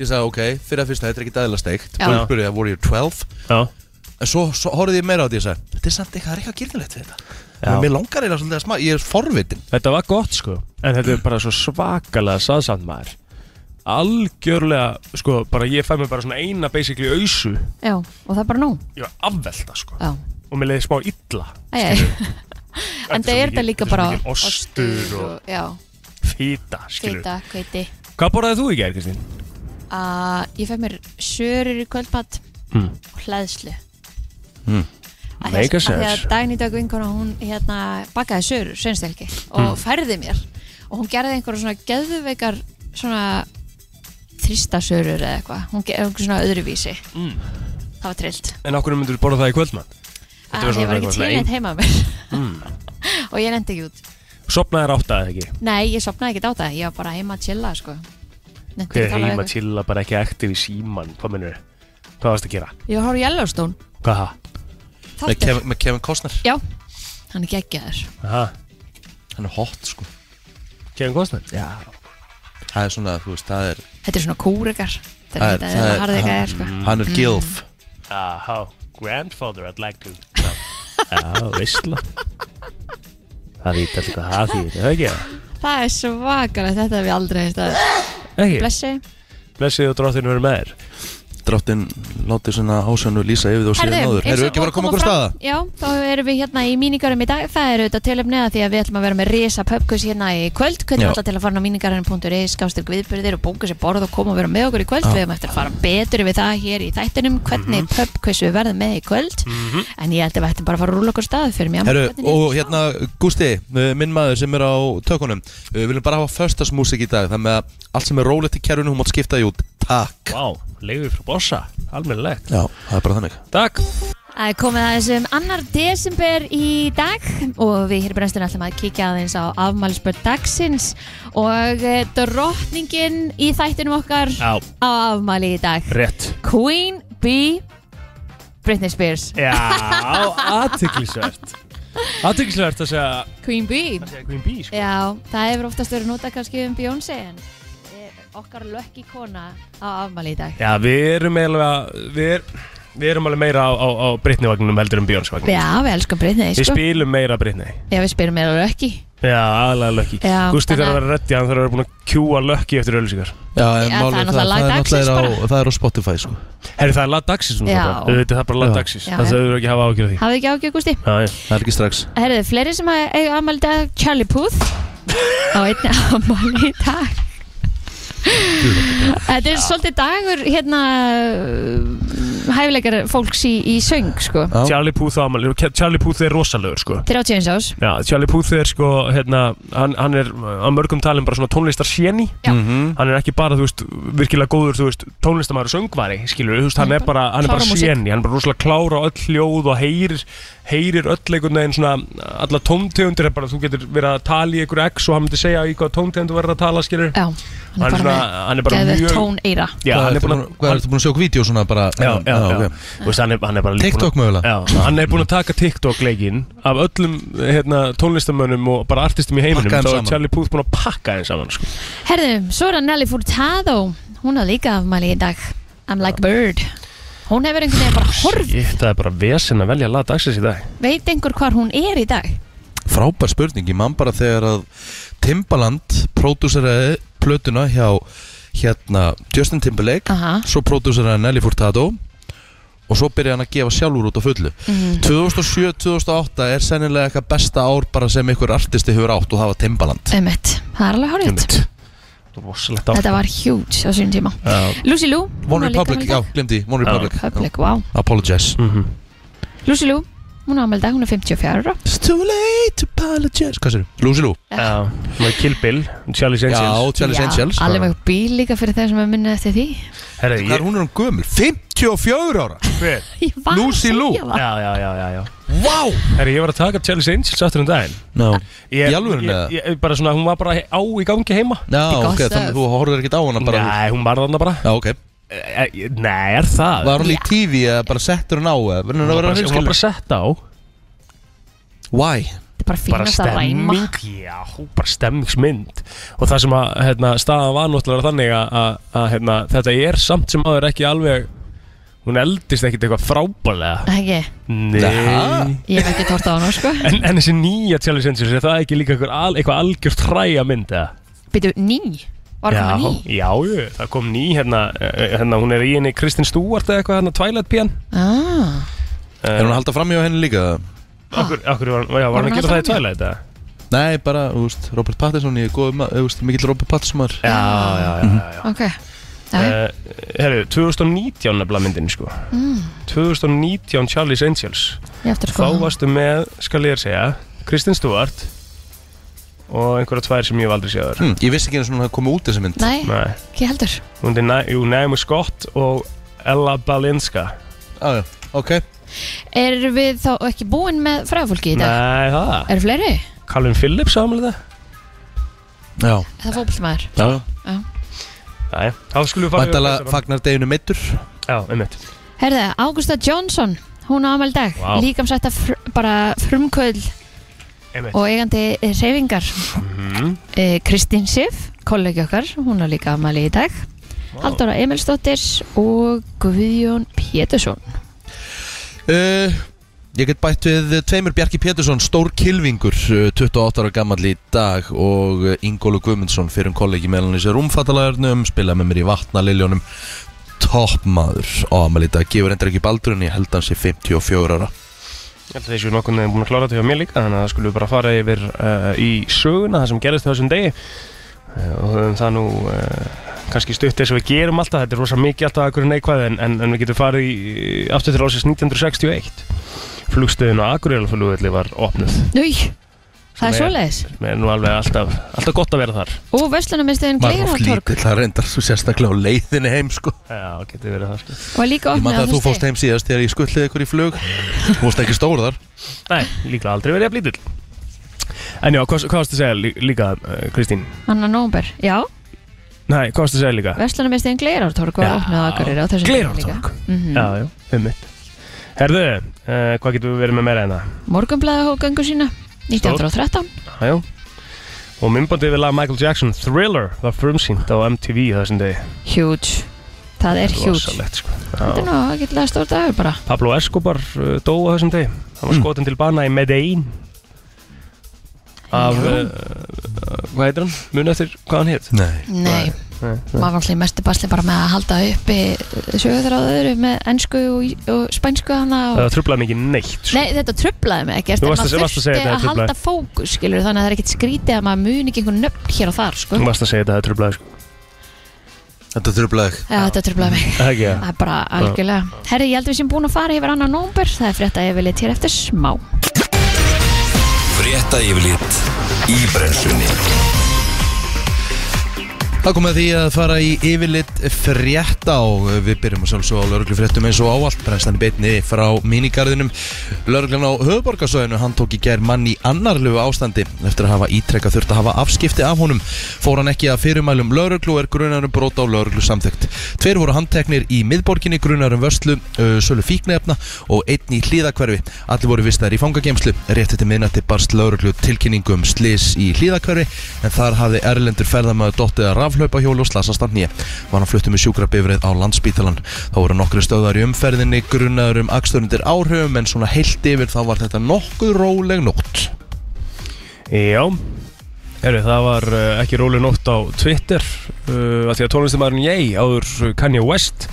S1: Ég sagði, ok, fyrir að fyrsta, þetta er ekki dæðilega steikt
S2: Já.
S1: Og ég spurði, voru ég 12?
S3: Já.
S1: En svo, svo horfði ég meira á þetta og ég sagði Þetta er samt eitthvað, það er eitthvað girðilegt við þetta
S3: Já.
S1: Mér langar eða svolítið að smaka, ég er forvitin
S3: Þetta var gott sko En þetta er bara svo svakalega saðsamt maður Algjörlega sko bara ég fæ mér bara svona eina basically ausu
S2: Já, og það er bara nú
S3: Ég var afvelta sko
S2: Já,
S3: Og mér leiði smá illa
S2: æj, æj En það er þetta líka bara
S3: Ostur og
S2: Já,
S3: fýta skilur
S2: hveita, hveiti
S3: Hvað borðaði þú í gær Kristín?
S2: að Ég fæ mér sörur í kvöldmatt
S3: Hmm.
S2: og hlæðslu
S1: Hmm.
S2: Af því að-
S3: Make a
S2: af því að
S3: sense.
S2: Dagný Dögg vinkona hún hérna, bakaði sörur sveinstelgi
S3: Hmm.
S2: og færði mér og hún gerði einhverja svona geðveikar svona þrista sörur eða eitthvað hún gerði einhverja svona öðruvísi
S3: Mm.
S2: það var trillt
S3: En okkur myndur þú borða það í kvöldmann? Þetta
S2: að
S3: var svona
S2: Ah, ég var ekki til
S3: eitthvað svona ein- Hmm.
S2: neitt heima á mér og ég nefndi ekki út
S3: Sopnaði rátt að ekki
S2: nei, ég sopnaði ekki á það, ég var bara heima að chilla sko. Nennti
S3: Hver
S2: ekki að
S3: er
S2: tala við
S3: heima
S2: einhvern.
S3: chilla bara ekki aktiv í síman Hvað minnur Hvað varst að gera?
S2: ég var að horfa á Yellowstone
S3: Hvað það?
S1: með
S2: Þáttur.
S1: Kevin, með Kevin Costner
S2: já, hann er geggjaður
S3: Aha,
S1: Hann er hot sko
S3: Kevin Costner? Já
S1: Það er svona, þú veist, það er
S2: þetta er svona kúrikar þetta er
S1: Það er-
S2: þetta, þetta
S1: það er- Ah.
S2: er harðið
S1: það-
S2: eitthvað er sko.
S1: Hann er gilf
S3: Aha, grandfather I'd like to Já, veistla Það veit allir hvað það þýðir, er það ekki?
S2: Það er svakalegt, þetta hef ég aldrei heist að
S3: Ekki,
S2: Blessi
S3: blessið og dróttinu verið með þér
S1: Dráttin látið svona ásönu lýsa yfir þú síðan áður
S2: eins
S1: Erum við
S2: og
S1: ekki bara að koma okkur af
S2: fram-
S1: staða?
S2: Já, þá erum við hérna í míningarum í dag Það er auðvitað tilöfnið að því að við ætlum að vera með Risa pubquiz hérna í kvöld Hvernig
S1: Já.
S2: er alltaf til að fara á míningarinn.is Skástir gviðbyrðir og bóka sér borð og koma og vera með okkur í kvöld Við höfum eftir að fara betur við það hér í þættinum
S1: Mhm.
S2: Hvernig mm pubquiz við verðum með í kvöld Mm. En ég held að við ættum bara að fara að rúla okkur stað fyrir mér
S1: Herru, og hérna Gústi, uh, minn maður sem er á tökunum uh, Við viljum bara hafa föstasmúsik í dag Þannig að allt sem er rólegt í kerfinu, hún mátt skipta því út Takk
S3: Vá, leiður frá bossa, almennilegt
S1: Já, það er bara þannig
S3: Takk
S2: Það er komið aðeins um annar desember í dag og við hér brenstum ætlum að kíkja aðeins á afmælisbörn dagsins og eh, drottningin í þættinum okkar
S3: Já,
S2: á afmæli í dag
S3: rétt
S2: Queen B Britney Spears
S3: Já, aðtiklisvert Aðtiklisvert að segja
S2: Queen B
S3: að segja Queen Bee, sko
S2: Já, það hefur oftast verið notað kannski um Beyoncé en eh, okkar lökki kona á afmæli í dag
S3: Já, við erum eiginlega, við, er, við erum alveg meira á, á, á Britney-vagnum heldur en Björnsvagnum
S2: Já, við elskum Britney
S3: Við
S2: sko.
S3: spilum meira Britney
S2: Já, við spilum meira lökki
S3: Já, aðalega Lucky
S2: Já,
S3: Gústi þarf
S2: þannig að-
S3: að vera reddi, hann þarf að vera búin að kjúa Lucky eftir öllisíkar
S1: Já, en
S2: Já, það er
S1: málið er
S2: náttúrulega
S1: það-
S2: lag
S1: það er
S2: dagsins
S1: náttúrulega á- það er á Spotify sko
S3: Herri, það er lag dagsins núna
S2: Já.
S3: bara. Þau veitir, það er bara lag
S1: Já.
S3: dagsins
S2: Já,
S3: Það
S2: já.
S3: þau ekki að hafa ágjörði því
S2: Hafið ekki ágjör Gústi?
S3: Já, já.
S1: Það er ekki strax
S2: Herðu, fleiri sem að eiga afmæli í dag Charlie Puth á einni afmæli í dag Þetta er svolítið dagur hérna uh, hæfileikar fólks í, í söng sko
S1: Já.
S3: Charlie Puth ámæli Charlie Puth er rosalögur sko
S2: 31 ás
S3: Já, Charlie Puth er sko hérna, hann, hann er uh, á mörgum talin bara svona tónlistar
S2: Já.
S1: Mhm.
S3: Hann er ekki bara, þú veist, virkilega góður þú veist, tónlistamæður og söngvari, skilur við, þú veist, hann er bara, hann er bara
S2: Klára músík.
S3: séni, hann er bara rosalega klára á öll hljóð og heyrir, heyrir öll einhvern veginn svona, alla tóntegundir er bara, þú getur verið að tala í einhverju X og hann myndi segja í hvað tóntegundu verður að tala, skilur
S2: Já, hann
S3: Hann er
S2: er bara
S3: svona- hann er bara
S2: með
S3: mjög-
S2: geðveikt tón eira
S3: Já,
S1: Hvað
S3: hann er
S1: ertu
S3: búin
S1: búin
S3: að
S1: að- hvað ertu búin að sjá vídeo svona bara
S3: já, já, já.
S1: ok.
S3: Þú Veist, hann, er, hann er bara líka
S1: TikTok
S3: búin
S1: mögulega
S3: að, já, hann er búin að taka TikTok leikinn af öllum hérna, tónlistamönnum og bara artistum í heiminum
S1: Pakka þeim
S3: þá er
S1: saman.
S3: Charlie Puth búin að pakka þeim saman sko.
S2: Herðu, svo er að Nelly Furtado hún á líka afmæli í dag I'm like a bird Hún hefur einhvern veginn bara horf
S3: Shit, það er bara vesen að velja að laða dagsins í dag
S2: Veit einhver hvar hún er í dag?
S1: Frábær spurning, ég man bara þegar að Timbaland pródúseraði plötuna hjá hérna Justin Timberlake
S2: Aha.
S1: svo pródúseraði Nelly Furtado og svo byrjaði hann að gefa sjálfur út á fullu
S2: Mm.
S1: 2007-2008 er sennilega eitthvað besta ár bara sem einhver artisti hefur átt og það var Timbaland
S2: Emmett, það er alveg hárið
S3: Einmitt. Rosalegt á
S2: Þetta var huge á sínum tíma
S3: Já.
S2: Lucy Liu hún
S1: One
S2: á líka afmæli í
S1: Republic,
S2: dag.
S1: já, glemdi, One
S3: Já.
S1: Republic
S2: Public, wow
S1: Apologize
S3: Mhm.
S2: Lucy Liu, hún er ámæli dag, hún er 54 ára
S1: It's too late to apologize Hvað sér? Lucy Lou
S3: Já, hún var Kill Bill, Charlie
S1: Já,
S3: Angels
S1: Charlie's Angels
S2: Alveg með bíl líka fyrir þeir sem er minnið eftir því
S3: Herra,
S1: Hvað er
S3: ég,
S1: hún er um gömul? 54 ára
S3: hver?
S2: Ég var að
S1: Lucy
S2: segja
S1: Liu.
S2: það.
S3: Já, já, já, já, já.
S1: Vá
S3: Herra, ég var að taka Charlie Angels aftur um daginn
S1: no.
S3: ég,
S1: Í alvörunni,
S3: ég-
S1: eða?
S3: ég- Bara svona, hún var bara á í gangi heima
S1: Já,
S2: Þetta er gott
S1: ok,
S2: stöf.
S1: þannig að þú horfður ekkert á hana bara
S3: Nei, hún var þarna bara
S1: Já, ok
S3: Eh, eh, Nei, er það?
S1: Var hún í
S2: Já.
S1: TV eða bara settur hún á eða verður hún
S3: hún
S1: að
S3: var
S1: vera
S3: bara, hún var bara
S1: hreinskilin?
S3: sett á
S1: Why?
S2: Þetta er bara fínast að ræma
S3: stemming, já, bara stemmingsmynd og það sem að hérna, staðan var náttúrulega þannig að- að að, hérna, þetta er samt sem aður ekki alveg Hún eldist ekkit eitthvað frábælega
S2: Ekki,
S1: Jaha.
S3: Nei
S2: ég hef ekki tórt á hana sko
S3: En, en þessi nýja Challenge Angels, er það ekki líka eitthvað, al, eitthvað algjört hræja mynd eða?
S2: Býtu, ný, var
S3: já,
S2: hún ný
S3: Já, jú, það kom ný hérna, eh, hérna hún er í henni Kristinn Stúart eða eitthvað hérna Twilight Pian
S2: ah,
S1: Er hún að halda fram hjá henni líka?
S3: Akkur, akkur Eh, var, já, var
S2: Var hún
S3: hann að gera
S2: alltaf
S3: það í
S2: með?
S3: Twilight eða?
S1: Nei, bara, þú veist, Robert Pattinson, ég er góð um að, þú veist, mikill Robert Pattinson var
S3: Já, já, já, já, já.
S2: ok Já,
S3: Uh, herru, 2019 nefnilega myndin sko
S2: Mm.
S3: 2019 Charlie's Angels
S2: ég eftir
S3: Þá
S2: sko
S3: varstu með, skal ég þér segja Kristinn Stúart og einhverja tvær sem ég hef aldrei séð þar
S1: hm, Ég vissi ekki eins og hún hafði komið út þessi mynd
S2: Nei,
S3: Nei,
S2: ekki heldur
S3: hún er Ni- jú, Naomi Scott og Ella Balinska
S1: ah, já, Ok,
S2: Erum við þá ekki búin með fræðafólki í dag?
S3: Nei, það
S2: Eru fleiri?
S3: Calvin Phillips ámlega
S1: já,
S2: Er Það fókbaltmaður
S1: já
S3: það Nei, þá skulum við fara
S1: Vantala
S3: yfir-
S1: fagnar deginu meittur
S3: Já, einmitt
S2: Herðu, Águsta Johnson, hún á amal dag
S3: Vá.
S2: Líkamsætta fr bara frumkvöld
S3: Einmitt. Mhm.
S2: og eigandi reyfingar Eh, Kristín Sif, kollegi okkar hún á líka amali í dag Halldóra Emilsdóttir og Guðjón Pétursson
S1: uh, Ég get bætt við tveimur Bjarki Pétursson, stór kilvingur, uh, 28 ára gammal í dag og uh, Ingólu Guðmundsson, fyrir um kollegi meðlan í sér umfattalagarnum, spilaði með mér í vatnaliljónum, toppmaður á amal í dag, gefur endur ekki baldur en ég held hans í 54 ára
S3: Ég held að þessu nokkurn veginn búin að klára þetta hjá mér líka þannig að það skulum við bara fara yfir uh, í söguna það sem gerist á þessum degi uh, og höfum það nú uh, kannski stutt eins og við gerum alltaf þetta er rosa mikið alltaf akkur neikvæð en, en, en við getum farið í, aftur til ásins 1961 flugstöðin á Akureyjarflugvelli var opnuð
S2: Núi, það er
S3: Sem er-
S2: svoleiðis
S3: sem er nú alveg alltaf, alltaf gott að vera þar
S2: og Vestlunarmiðstöðin
S1: Maður er oft
S2: Gleirartorg
S1: lítill, það reyndar svo sérstaklega á leiðinni heim sko
S3: Já, getur verið það sko.
S2: og líka
S1: Ég man
S2: opnað
S1: það að þú fórst heim síðast þegar ég skulliði ykkur í flug Þú fórst ekki stór þar
S3: Nei, líklega aldrei verið að blítill En já, hvað, hvað varstu að segja lí, líka, uh, Kristín?
S2: annan nómber, já,
S3: Nei, hvað varstu að segja líka?
S2: Vestlunarmiðstöðin Gleirartorg var
S3: Já.
S2: opnað akkurir á þessum
S3: Glerártorg.
S2: mm
S3: Já, já, ummitt Herðu, uh, hvað getum við verið með meira en það?
S2: Morgunblæða hóf göngu sína 1913
S3: Já, já Og myndbandið við laga Michael Jackson Thriller var frumsýnt á MTV þessum degi
S2: huge, það er huge
S3: Rosalegt, sko.
S2: þetta er
S3: Já.
S2: nú ágætlega stór dagur bara
S3: Pablo Escobar uh, dói á þessum degi Hann var
S1: Mm.
S3: skotin til bana í Medellín Af,
S2: Já.
S3: uh, uh, hvað heitir hann? Muna eftir hvað hann hétt?
S1: Nei
S2: Nei,
S3: Nei, nei.
S2: maður var alltaf í mestu basli bara með að halda uppi sögurþráður með ennsku og, og spænsku hana og...
S3: Það trublaði mikið neitt sko.
S2: Nei, þetta trublaði mig ekkert
S3: Þú
S2: en
S3: varst að-
S2: maður
S3: varst að segja
S2: þurfti
S3: þetta,
S2: að
S3: þetta
S2: halda fókus skilur þannig að það er ekkert skrítið að maður muni ekki einhvern nöfn hér og þar sko.
S3: Þú varst að segja þetta, það trublaði sko.
S1: Þetta þurrblöð
S2: Já, þetta trublaði mig
S3: Það ekki,
S2: Það er bara algjörlega Herri, ég held að við séum búin að fara yfir annan nómber Það er frétta yfirleitt hér eftir smá
S5: Frétta yfirlit í brennslunni
S1: Það kom að því að fara í yfirlit frétta og við byrjum að sjálfsög á lauruglufréttum eins og áallt brennslan í beitni frá mínigarðinum. Lauruglan á höfuborgarsöðinu, hann tók í gær mann í annarlegu ástandi eftir að hafa ítrekka þurft að hafa afskipti af honum. Fór hann ekki að fyrirmælum lauruglu og er grunarum brota á lauruglu samþygt. Tveir voru handteknir í miðborginni grunarum vörslu, uh, sölu fíknefna og einn í hlíðakverfi. Allir voru vistaðir í fangagemslu. Réttið til miðnætti barst lauruglu tilkynningu um slis í hlíðakverfi en þar hafði erlendur ferðamöðu dottið að raflaupa hjól og slasast hann nýja. Var hann fluttu með sjúkrabifrið á landsbítalan. Þá voru nokkri stöðar í umferðinni, grunnaður um aksturundir áhrifum en svona heilt yfir þá var þetta nokkuð róleg nótt.
S3: Já Heru, það var uh, ekki róli nótt á Twitter uh, að því að tónlistamæðurinn ég áður eh, Kanye West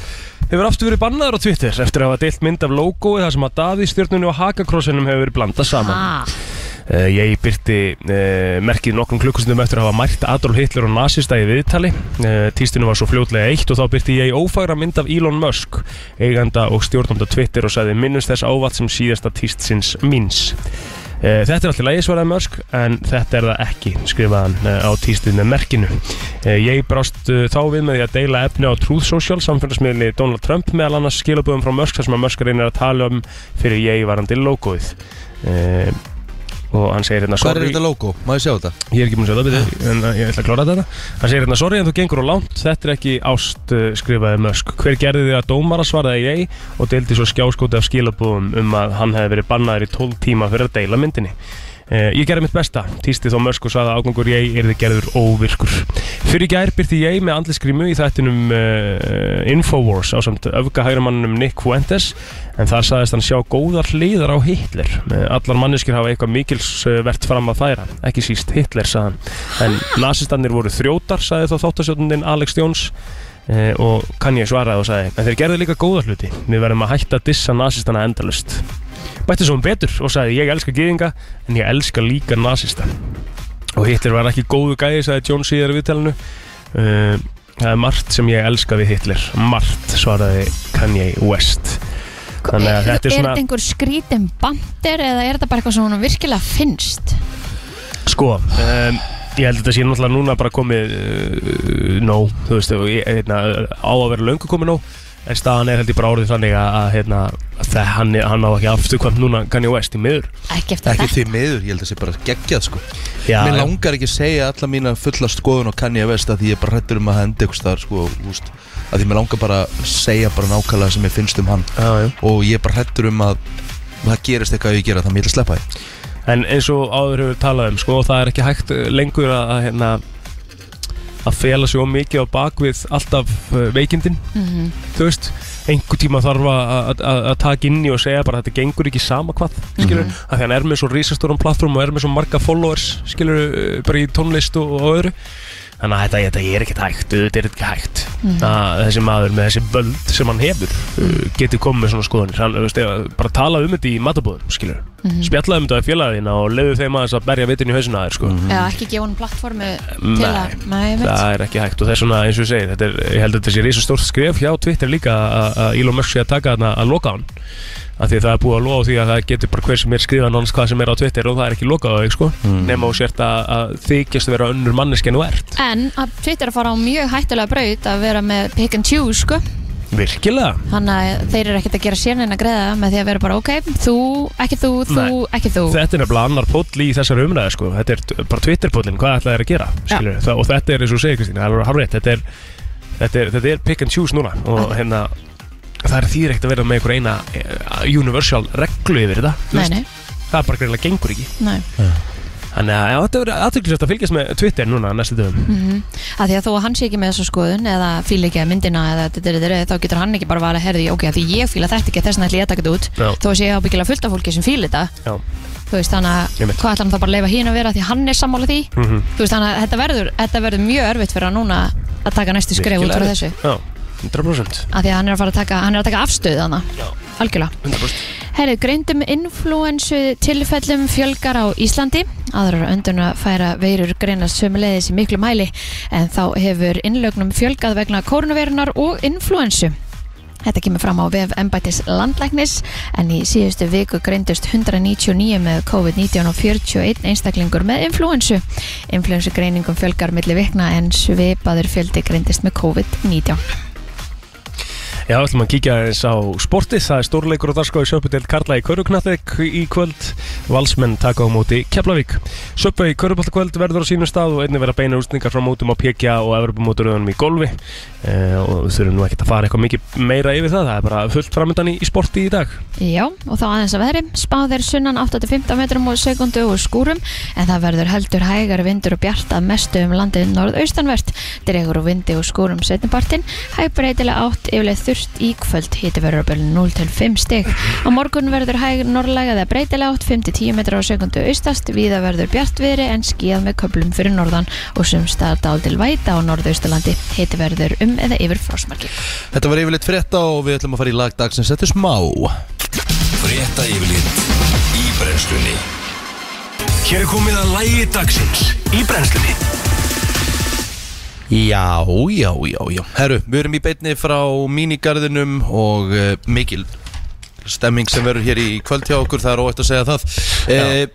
S3: hefur aftur verið bannaður á Twitter eftir að hafa deilt mynd af logoið þar sem að daði stjórnunni og hakakrossinum hefur verið blandað saman
S2: Ah,
S3: uh, Ég byrti uh, merkið nokkrum klukkustundum eftir að hafa mært Adolf Hitler og nazista í viðtali uh, Tístinu var svo fljótlega eitt og þá byrti ég ófagra mynd af Elon Musk eiganda og stjórnumda Twitter og sagði minnust þess ávatt sem síðasta tístsins minns Eh, Þetta er alltaf lægi svaraði Mörsk en þetta er það ekki, skrifaðan eh, á tístið með merkinu. Eh, Ég brást eh, þá við með því að deila efni á Truth Social, samfélagsmiðli Donald Trump meðal annars skilaböðum frá Mörsk þar sem að Mörsk reynir að tala um fyrir ég varandi logoið. Eh, Og hann segir hérna,
S1: Hvað er
S3: sorry,
S1: þetta logo? Má ég sjá þetta?
S3: ég er ekki búin að segja það, byrju, en eh, ég ætla að klára þetta. Hann segir hérna, sorry en þú gengur á langt, þetta er ekki ást, eh, skrifaði Mörsk. Hver gerði því að dómara svaraði ég og deildi svo skjáskóti af skilaböðum um að hann hefði verið bannaður í 12 tíma fyrir að deila myndinni. Eh, Ég gerði mitt besta, týsti þó mörsk og sagði að ágangur ég er þið gerður óvirkur. Fyrir gær byrti ég með andliskrimu í þættinum uh, Infowars á samt öfgahægramannum Nick Fuentes en þar sagðist hann sjá góðar hliðar á Hitler. Eh, Allar manneskir hafa eitthvað mikilsvert fram að færa, ekki síst Hitler, sagði hann. En nasistannir voru þrjótar, sagði þá þáttasjóttundin Alex Jones eh, og kann ég svaraði og sagði en þeir gerðu líka góða hluti, við verðum að hætta að dissa nasistana endalust bætti svo um betur og sagði ég elska gyðinga en ég elska líka nasista og Hitler var ekki góðu gæði sagði John síðar í viðtælinu uh, það er margt sem ég elska við Hitler margt svaraði Kanye West þannig að þetta er svona
S2: þetta einhver skrítin bandir eða er þetta bara eitthvað sem hún virkilega finnst?
S3: Sko um, Ég held að þetta sé náttúrulega núna bara komið uh, nóg, þú veist, og ég, hérna, á að vera löngu komið nóg en staðan er held ég bara orðið þannig að, að hérna, það, hann, hann á ekki afturkvæmt núna Kanye West í miður
S2: Ekki eftir
S1: Ekki
S2: þetta
S1: því miður, ég held að sé bara geggjað sko
S3: Já,
S1: Mér
S3: já.
S1: langar ekki að segja alla mína fulla skoðun og kann ég veist að því ég er bara hrættur um að henda ykkur staðar sko, úst, að því mér langar bara að segja bara nákvæmlega sem ég finnst um hann
S3: Já, já.
S1: og ég er bara hrættur um að það gerist eitthvað að ég gera þannig að ég ætla að sleppa því
S3: En eins og áður hefur talað um sko, það er ekki hægt eh, lengur að, að, hérna, að fela sig of mikið á bakvið alltaf uh, veikindin þú veist, einhver tíma þarf að- að að- að taka inn í og segja bara þetta gengur ekki sama hvað, skilur mm -hmm. að hann er með svo rísastórum plattform og er með svo marga followers, skilur, eh, bara í tónlist og, og öðru þannig að þetta, þetta er ekkert hægt, þetta er ekkert hægt að þessi maður með þessi völd sem hann hefur uh, getur komið með svona skoðanir hann, þú veist, ef- bara tala um þetta í matabóðum skilur, mm
S2: Mhm.
S3: -hmm. spjallaði um þetta í félagina og leiðu þeim aðeins að berja vitin í hausina þér sko. Mm,
S2: Já, ekki gefa hún plattformu til að Nei, ég veit
S3: það er ekki hægt og það er svona eins og ég segi þetta er, ég held að þetta sé reysa stórt skref hjá Twitter líka að- að Elon Musk sé að taka þarna að loka hann af því að það er búið að loka á því að það getur bara hver sem er skrifað nánast hvað sem er á Twitter og það er ekki lokað á þig sko, nema og sért að, að þykjast að vera önnur manneski en þú ert
S2: En að Twitter er að fara á mjög hættulega braut að vera með pick and choose sko
S3: virkilega
S2: Þannig að þeir eru ekkert að gera sérneina greiða með því að vera bara ok, þú, ekki þú, þú,
S3: Nei.
S2: ekki þú
S3: Þetta er nefnilega annar póll í þessar umræði sko. Þetta er t- bara Twitter-póllin, hvað ætlaði þér að gera skilur, það, Og þetta er eins og þú segir Kristín, það er alveg harrétt þetta, er- þetta, er- þetta er pick and choose núna Og hérna, það er þýr ekkert að vera með einhver eina eh, universal reglu yfir þetta þú
S2: Nei,
S3: veist.
S2: nei,
S3: Það er bara greinlega gengur ekki
S2: nei
S3: Þannig að já, þetta verður aðtöklisvægt að fylgjast með Twitter núna næstu dögum
S2: að Mhm. því að þó að hann sé ekki með þessu skoðun eða fíla ekki að myndina eða dyrir, dyrir, þá getur hann ekki bara valið að herði, ok, að því ég fíla þetta ekki þess vegna ætla ég að taka þetta út,
S3: Já.
S2: þó að sé ábyggilega fullt af fólki sem fíla þetta,
S3: Já,
S2: þú veist þannig að
S3: Einmitt.
S2: hvað ætlar hann þá bara að leifa hín að vera því að hann er sammála því,
S3: Mhm.
S2: þú veist þannig að þetta verður, þetta verður mjög örfitt fyrir hann núna að taka næstu skref út frá
S3: Virkilega
S2: þessu,
S3: já 100%
S2: að því að hann er að fara að taka, hann er að taka afstöð þannig,
S3: Já.
S2: algjörlega.
S3: 100%
S2: Herðu, greindum influensu tilfellum fjölgar á Íslandi. Aðrar önduna færa veirur greinast sömuleiðis í miklu mæli en þá hefur innlögnum fjölgað vegna koronavirunar og influensu. Þetta kemur fram á vef embættis landlæknis en í síðustu viku greindust 199 með COVID-19 og 41 einstaklingur með influensu. Influensu greiningum fjölgar milli vikna en svipaður fjöldi greindist með COVID-19.
S3: Já, ætlum að kíkja aðeins á sportið. Það er stórleikur og darskói Söpudeld Karla í Körugnatek í kvöld. Valsmenn taka á móti Keflavík. Söpau í Köruboltakvöld verður á sínum stað og einnig verða beina úrstningar frá mótum á PGA og Evropamóturöðunum í golfi. Eh, og við þurfum nú ekkert að fara eitthvað mikið meira yfir það. Það er bara fullt framöndan í, í sporti í dag.
S2: Já, og þá aðeins að veðri. Spáð er sunnan 8-15 metrum og sekundu og skúrum en það verður heldur hægar vindur og bjart að mestu um landið norðaustanvert. Dregur og vindi og skúrum setnipartin. Hæg breytilega átt yfirleið þurft í kvöld. Hiti verður að byrja 0-5 stig. Á morgun verður hæg norðlega eða breytilega átt 5-10 metrar og sekundu austast. Víða verður bjart viðri en skíðað með köplum fyrir norðan og sumstaðar dál til væta á norðaustalandi. Hiti verður um eða yfir frásmarki.
S1: Þetta var yfirleitt frétta og við ætlum að fara í lagdag sem settir smá
S5: Frétta yfirlit í brennslunni Hér er komið að lægi dagsins í brennslunni
S1: Já, já, já, já Herru, við erum í beinni frá mínigarðinum og uh, mikil stemming sem verður hér í kvöld hjá okkur það er óætt að segja það uh,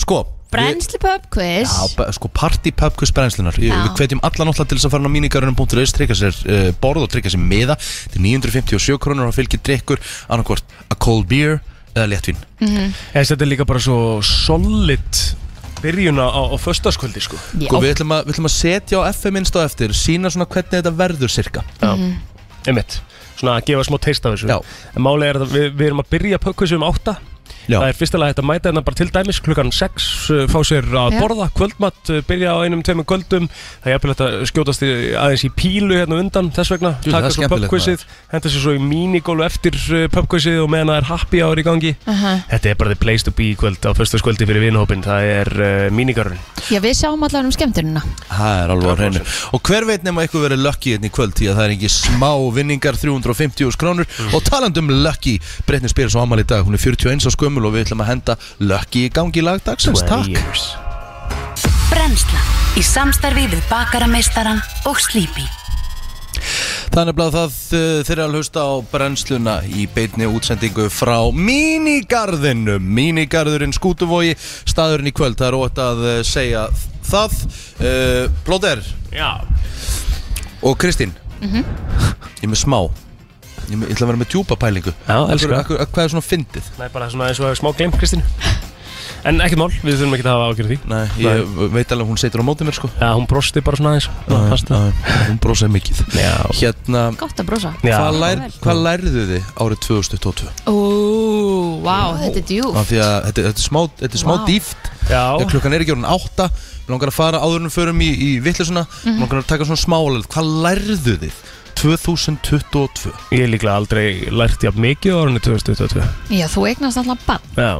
S1: Sko við-
S2: Brennsli pub quiz.
S1: Já, be- sko party pub quiz brennslunar Ég-
S2: Já.
S1: Við hvetjum alla náttúrulega til þess að fara inn á mínigarunum.is tryggja sér uh, borð og tryggja sér miða til 957 krónur og fylgir drikkur annarkvort a cold beer eða léttvín
S3: Ég, Eh, þetta er líka bara svo solid byrjun á, á föstaskvöldi sko.
S1: Sko, við, ætlum að, við ætlum að setja á FM minnst á eftir sína svona hvernig þetta verður sirka
S3: Já, einmitt Svona að gefa smá teist af þessu
S1: Já.
S3: En máli er að við, við erum að byrja pökkvísu um átta
S1: Já.
S3: Það er fyrstilega hægt að mæta hérna bara til dæmis klukkan 6 uh, fá sér að
S2: Já.
S3: borða kvöldmatt, uh, byrja á einum, tveimum kvöldum það er jafnvel hægt að skjótast í, aðeins í pílu hérna undan þess vegna,
S1: Jú, það
S3: taka
S1: er
S3: svo
S1: skemmtilegt,
S3: pubquizið henda sér svo í minigólu eftir uh, pubquizið og meðan það er happy hour í gangi
S2: Aha.
S3: Þetta er bara the place to be í kvöld á föstaskvöldi fyrir vinhópin, það er uh, mínigarun
S2: Já, við sjáum allar um skemmtununa
S1: Það er alveg á hreinu Og hver veit nema eitthvað verið lucky hérna í kvöld Því að það er ekki smá vinningar 350 úr skrónur Og talandi um lucky Breytni spyrir svo amal í dag Hún er 41 á skömmul og við ætlum að henda lucky í gangi í lagdagsins Takk
S3: years
S6: Brennslan í samstarfi við bakarameistaran og Sleepy
S1: Þannig að það uh, þeirra að hlusta á brennsluna í beitni útsendingu frá mínigarðinu Mínigarðurinn skútuvogi staðurinn í kvöld Það er ótt að uh, segja það uh, Plóter
S3: Já,
S1: og Kristín
S2: Mhm.
S1: Ég er með smá Ég, er með, ég ætla að vera með djúpa pælingu
S3: Já, elsku.
S1: Akkur- akkur- Hvað er svona fyndið?
S3: það er bara svona eins og að hafa smá glemt Kristín En ekkert mál, við þurfum ekki að hafa ágjörð því
S1: Nei, ég veit alveg að hún setur á móti mér sko
S3: Já, hún brosti bara svona aðeins Ná, fast.
S1: Æ, æ, Hún brósaði mikið
S3: Já.
S1: Hérna,
S2: Gott að brosa
S3: Já.
S1: hvað, lær, hvað lærðu þið árið 2022?
S2: Ó, vá, þetta er djúf
S1: Af því að þetta, þetta er smá, þetta er smá
S2: Vá.
S1: dýft
S3: Já,
S1: Þegar klukkan er ekki orðin átta Við langar að fara áður en við förum í, í vitlisuna Við
S2: Mhm.
S1: langar að taka svona smálega Hvað lærðu þið 2022?
S3: ég er líklega aldrei lært jafn mikið á árunni 2022
S2: Já, þú eignast alltaf bann
S3: Já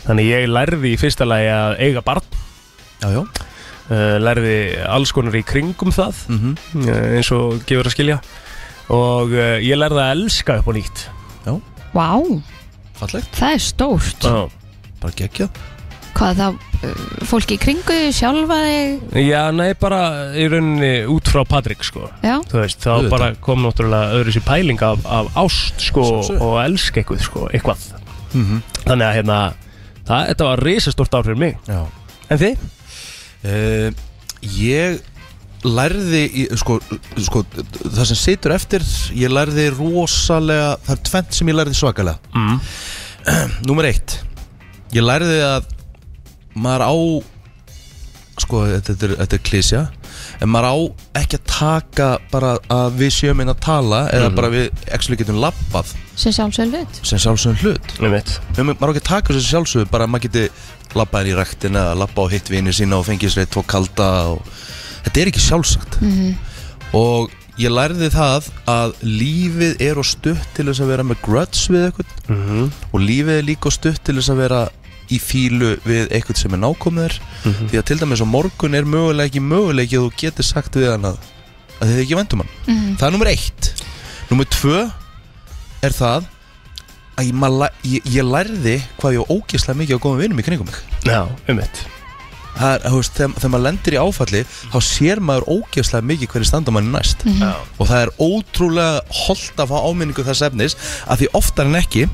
S3: Þannig ég lærði í fyrsta lagi að eiga barn
S1: Já, já
S3: uh, Lærði alls konar í kringum það
S1: mm -hmm.
S3: uh, eins og gefur að skilja Og uh, ég lærði að elska upp á nýtt
S2: Vá,
S1: Fallegt,
S2: það er stórt
S3: Já,
S1: bara gekkja
S2: Hvað þá, uh, fólki í kringu, sjálfa þig
S3: Já nei, bara í rauninni út frá Patrik sko
S2: Já,
S3: þú veist, þá
S1: Auðvitað.
S3: bara kom náttúrulega öðru sér pæling af, af ást sko
S1: Sjálfsögðu.
S3: og elska eitthvað sko, eitthvað
S1: mm -hmm.
S3: þannig að hérna, það, þetta var risastort ár fyrir mig
S1: Já
S3: en þið?
S1: Eh, ég lærði í, sko, sko, það sem situr eftir ég lærði rosalega það er tvent sem ég lærði svakalega
S3: Mm.
S1: Númer eitt ég lærði að maður á sko þetta, þetta, er, þetta er klísja en maður á ekki að taka bara að við séum inn að tala eða bara við actually getum labbað
S2: sem sjálfsögð hlut
S1: sem sjálfsögum hlut
S3: Einmitt.
S1: Mér- maður á ekki að taka þessu sjálfsögðu bara að maður geti labbað inn í rektina eða labba á hitt vini sína og fengið sér eitt tvo kalda og þetta er ekki sjálfsagt -hmm. og ég lærði það að lífið er og stutt til þess að vera með grudge við eitthvað
S3: Mhm.
S1: og lífið er líka of stutt til þess að vera í fílu við eitthvað sem er nákomður mm
S3: Mhm.
S1: því að til dæmis á morgun er mögulega ekki möguleiki að þú getur sagt við hann að, að þið ekki vendum hann það er nummer eitt nummer tvö er það að ég, maður læ- ég, ég lærði hvað ég á ógeðslega mikið á góðum vinum í kringum mig
S3: já, einmitt
S1: það er, þú veist, þegar, þegar maður lendir í áfalli þá sér maður ógeðslega mikið hverju standa manni næst
S3: já.
S1: og það er ótrúlega holdt að fá áminningu þess efnis að því oftar en ekki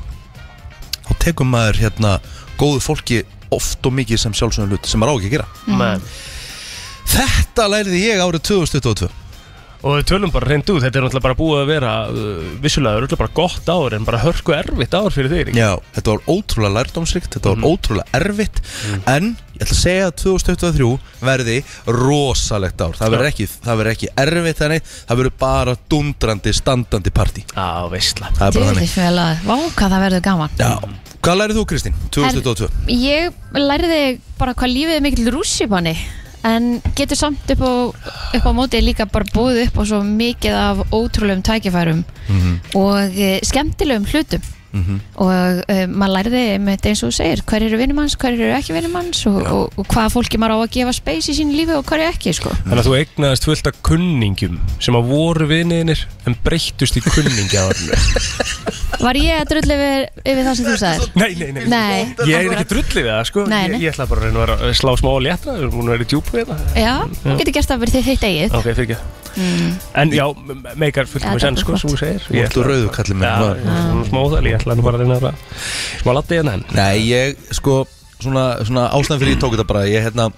S1: þá tekur maður hérna góðu fólki oft og mikið sem sjálfsögum hlut sem maður á ekki að gera
S3: Mm.
S1: þetta lærði ég árið 2022
S3: og við tölum bara reynd út, þetta er náttúrulega bara búið að vera uh, vissulega örugglega bara gott ár en bara hörku erfitt ár fyrir þig ekki?
S1: Já, þetta var ótrúlega lærdómsrikt, þetta
S3: Mhm.
S1: var ótrúlega erfitt En ég ætla að segja að 2023 verði rosalegt ár Það verður
S3: Já.
S1: ekki, það verður ekki erfitt þannig Það verður bara dundrandi, standandi partí
S3: á veistla Mhm.
S1: Það er bara þannig
S2: Dýrlíf vel að, vá, hvað það verður gaman
S1: Já, hvað lærið þú Kristín? 2022
S2: Ég lærði bara hvað lífið er mikill rússipanni en getur samt upp á, upp á móti líka bara búið upp á svo mikið af ótrúlegum tækifærum og e, skemmtilegum hlutum og e, maður lærði með eins og þú segir, hver eru vinnum hans, hver eru ekki vinnum hans og, og, og hvaða fólki maður á að gefa space í sínu lífi og hverju ekki sko.
S3: þannig að þú eignaðist fullt af kunningjum sem að voru viniðinir en breyttust í kunningja árinu
S2: Var ég að drulli yfir, yfir það sem þú sagðir?
S3: nei, nei, nei,
S2: Nei,
S3: Ég er ekki drullið við það sko
S2: Nei, nei.
S3: Ég, ég ætla bara að reyna að vera- slá smá og léttra Við erum búin að vera í djúpu við það
S2: já, getur gert það fyrir þitt þitt eigið
S3: Ok, fyrir ekki En já, m- m- meikar fullt
S2: Ja,
S3: með senn
S2: þetta er
S3: sko,
S2: gott.
S3: sem þú segir
S1: Þú ert úr rauðu kallið minn
S3: Já,
S1: maður.
S3: svona smá þar, ég ætla nú bara að reyna að vera Smá laddi en enn
S1: Nei, ég sko Svona, svona ástæðan fyrir ég tók þetta bara Ég hérna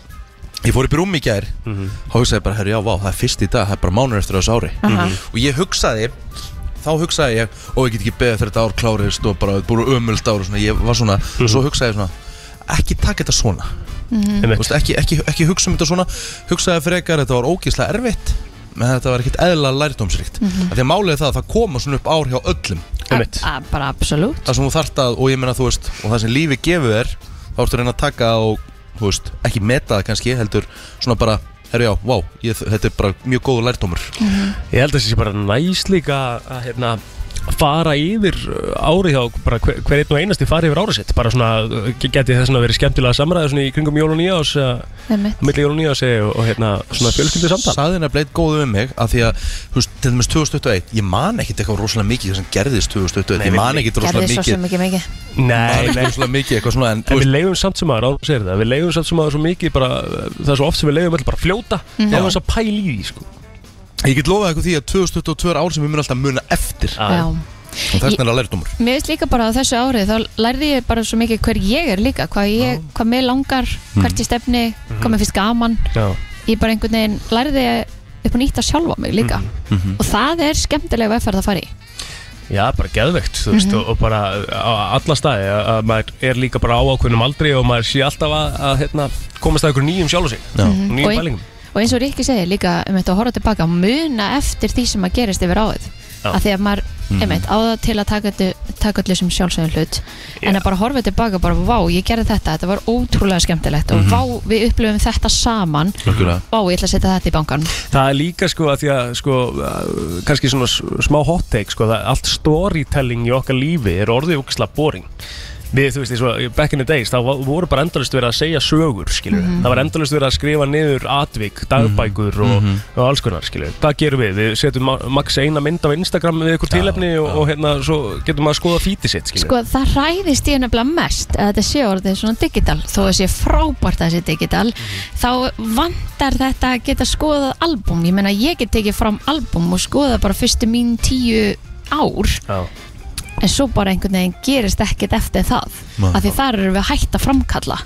S1: Ég fór upp í rúm í gær mm
S3: Mhm.
S1: -hmm. og hugsaði bara, herru, já, vá, það er fyrst í dag, það er bara mánuður eftir þessu ári Mhm.
S2: Aha.
S1: og ég hugsaði, þá hugsaði ég og ég get ekki beðið þegar þetta ár klárist og bara búið ömult ár og svona, ég var svona
S3: Mhm.
S1: svo hugsaði ég svona, ekki taka þetta svona
S2: Mhm.
S3: Einmitt.
S1: Mm. Þú veist, ekki, ekki, ekki hugsa um þetta svona hugsaði frekar, þetta var ógeðslega
S2: Mhm.
S1: erfitt menn þetta var ekkert eðla lærdómsrikt mm -hmm. að því að málið er það að það koma svona upp ár hjá öllum
S3: Einmitt.
S2: A- Ah, bara absolutt
S1: það sem þú þarft að, og ég meina þú veist og það sem lífi gefur þér, þá ertu að reyna að taka og, þú veist, ekki meta það kannski heldur svona bara, herru já, vá ég, þetta er bara mjög góðu lærdómur
S2: Mhm.
S3: Ég held að það sé bara næs líka að hérna, fara yfir uh, árið hjá bara hver, hver einn og einasti fara yfir árið sitt bara svona, uh, geti það svona verið skemmtilega samræði svona í kringum jól og nýjás
S2: Einmitt.
S3: milli jól og nýjás og, og hérna svona fjölskyldu samtal
S1: Saðin er bleitt góðu um mig af því að, þú veist, til dæmis 2021 ég man ekkit eitthvað rosalega mikið sem gerðist 2021, ég man ekkit rosalega
S2: gerði svo sem ekki
S1: mikið
S2: mikið
S1: man
S3: Nei,
S1: ekkit
S3: nei
S1: rosalega mikið eitthvað svona en,
S3: En
S1: þú
S3: við
S1: veist,
S3: leiðum samt sem aður, án segir það, við leiðum samt sem aður svo mikið bara, uh, það er svo oft sem við leiðum alltaf bara að fljóta,
S2: Mhm.
S3: þá er þess að pæla í því, sko.
S1: ég get lofað eitthvað því að 2022 er ár sem við munum alltaf muna eftir
S2: Já.
S1: og þess vegna er að lærdómur
S2: Mér veist líka bara á þessu árið þá lærði ég bara svo mikið hver ég er líka hvað, ég, hvað mér langar,
S3: Mm.
S2: hvert ég stefni
S3: Mhm.
S2: hvað mér finnst gaman
S3: Já.
S2: ég bara einhvern veginn lærði upp og nýtt að sjálfa mig líka
S3: Mhm.
S2: og það er skemmtileg vegferð að fara í
S3: Já, bara geðveikt, þú veist,
S2: Mhm.
S3: og, og bara uh, á alla staði, að- að maður er líka bara á ákveðnum aldri og maður sé alltaf að, að hérna, komast að ykkur nýjum sjálf og sig, nýjum
S2: Mhm. Og ein-
S3: pælingum.
S2: og eins og Ríkki segir líka um þetta að horfa tilbaka muna eftir því sem að gerist yfir áið
S3: Já.
S2: að því að maður einmitt, á það til að taka, þetta- taka allir sem sjálfsögum hlut en að bara horfa tilbaka bara vá, ég gerði þetta, þetta var ótrúlega skemmtilegt og vá, við upplifum þetta saman
S3: Mhm.
S1: Algjörlega.
S2: vá, ég ætla að setja þetta í bankan
S3: Það er líka sko að því að sko að, kannski svona s- smá hot take sko það allt storytelling í okkar lífi er orðið ógislega boring Við, þú veist, eins og back in the days, þá va- voru bara endalist verið að segja sögur, skilur Það var endalist verið að skrifa niður atvik, dagbækur og, og alls konar, skilur Hvað gerum við? Við setjum ma max eina mynd á Instagram við ykkur tilefni og, og hérna, svo getum maður að skoða fítið sitt, skilur
S2: Sko það ræðist ég nefnilega mest að þetta sé orðið svona digital þó að sé frábært að það sé digital þá vantar þetta að geta skoðað album, ég meina ég get tekið fram album og skoðað bara fyrstu mín tíu ár
S3: Já,
S2: en svo bara einhvern veginn gerist ekkert eftir það
S1: Nei.
S2: af því þar eru við hægt að framkalla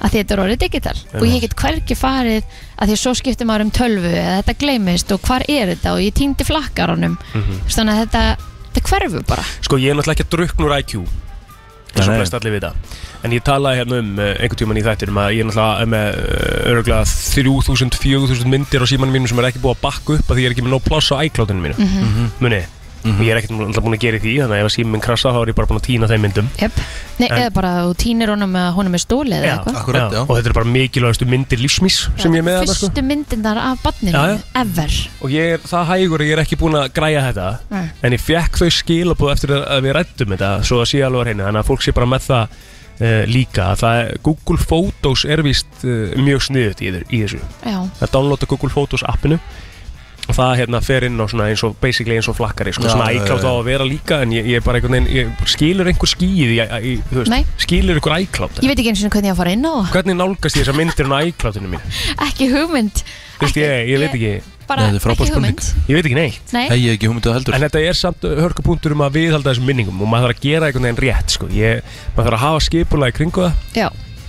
S2: af því þetta er orðið digital og ég get hvergi farið að því svo skiptir maður um tölvu eða þetta gleymist og hvar er þetta og ég týndi flakkaranum mm
S3: Mhm.
S2: -hmm. þannig að þetta, þetta hverfur bara
S3: Sko ég er náttúrulega ekki að drukknur IQ eins og
S1: Nei, nei.
S3: flest allir vita en ég talaði hérna um eh, einhvern tíman í þættinum að ég er náttúrulega með eh, öruglega 3000-4000 myndir á símanum mínum sem er ekki búið að bakka upp að því ég er ekki með nóg pláss á iCloudinu mínu
S2: Mhm.
S3: mm muni,
S1: Mhm.
S3: ég er ekkert náttúrulega búin að gera í því þannig að ef að síminn krasa þá er ég bara búin að týna þeim myndum
S2: Jöp. Nei,
S3: En-
S2: eða bara þú tínir honum að honum er stólið eða eitthvað
S1: Akkurat, já.
S3: og þetta er bara mikilvægastu myndir lífsmís sem ég er með þarna, sko.
S2: Fyrstu myndirnar af banninu,
S3: Já, já.
S2: ever
S3: og ég er það hægur að ég er ekki búin að græja þetta
S2: Nei.
S3: en ég fekk þau skilabóð eftir að- að við rættum þetta svo að sé alveg að reyna þannig að fólk sé bara með það uh, líka það er, Google Photos er vist uh, mjög sniðut í, þeir- í þessu
S2: Já,
S3: að downloada Google Photos appinu og það hérna fer inn á svona eins og basically eins og flakkari sko,
S1: Já,
S3: svona
S1: já, já,
S3: iCloud á
S1: já.
S3: að vera líka en ég, ég er bara einhvern veginn, ég skilur einhver skýð í, í, þú
S2: Nei.
S3: veist, skilur einhver iCloud
S2: ég veit ekki eins og hvernig ég á að fara inn á það.
S3: hvernig nálgast ég þessar myndir á iCloudinu mín
S2: Ekki hugmynd
S3: Vist,
S2: Ekki-
S3: ég, ég veit ekki,
S2: Bara
S1: Nei, þetta er frábær
S2: ekki
S1: spurning.
S2: hugmynd
S3: ég veit ekki neitt
S2: Nei,
S1: hei ég hef ekki hugmyndið heldur
S3: En þetta er samt hörkupunktur um að viðhalda þessum minningum og maður þarf að gera einhvern veginn rétt sko. ég, maður þarf að hafa skipulega í kringu það
S2: já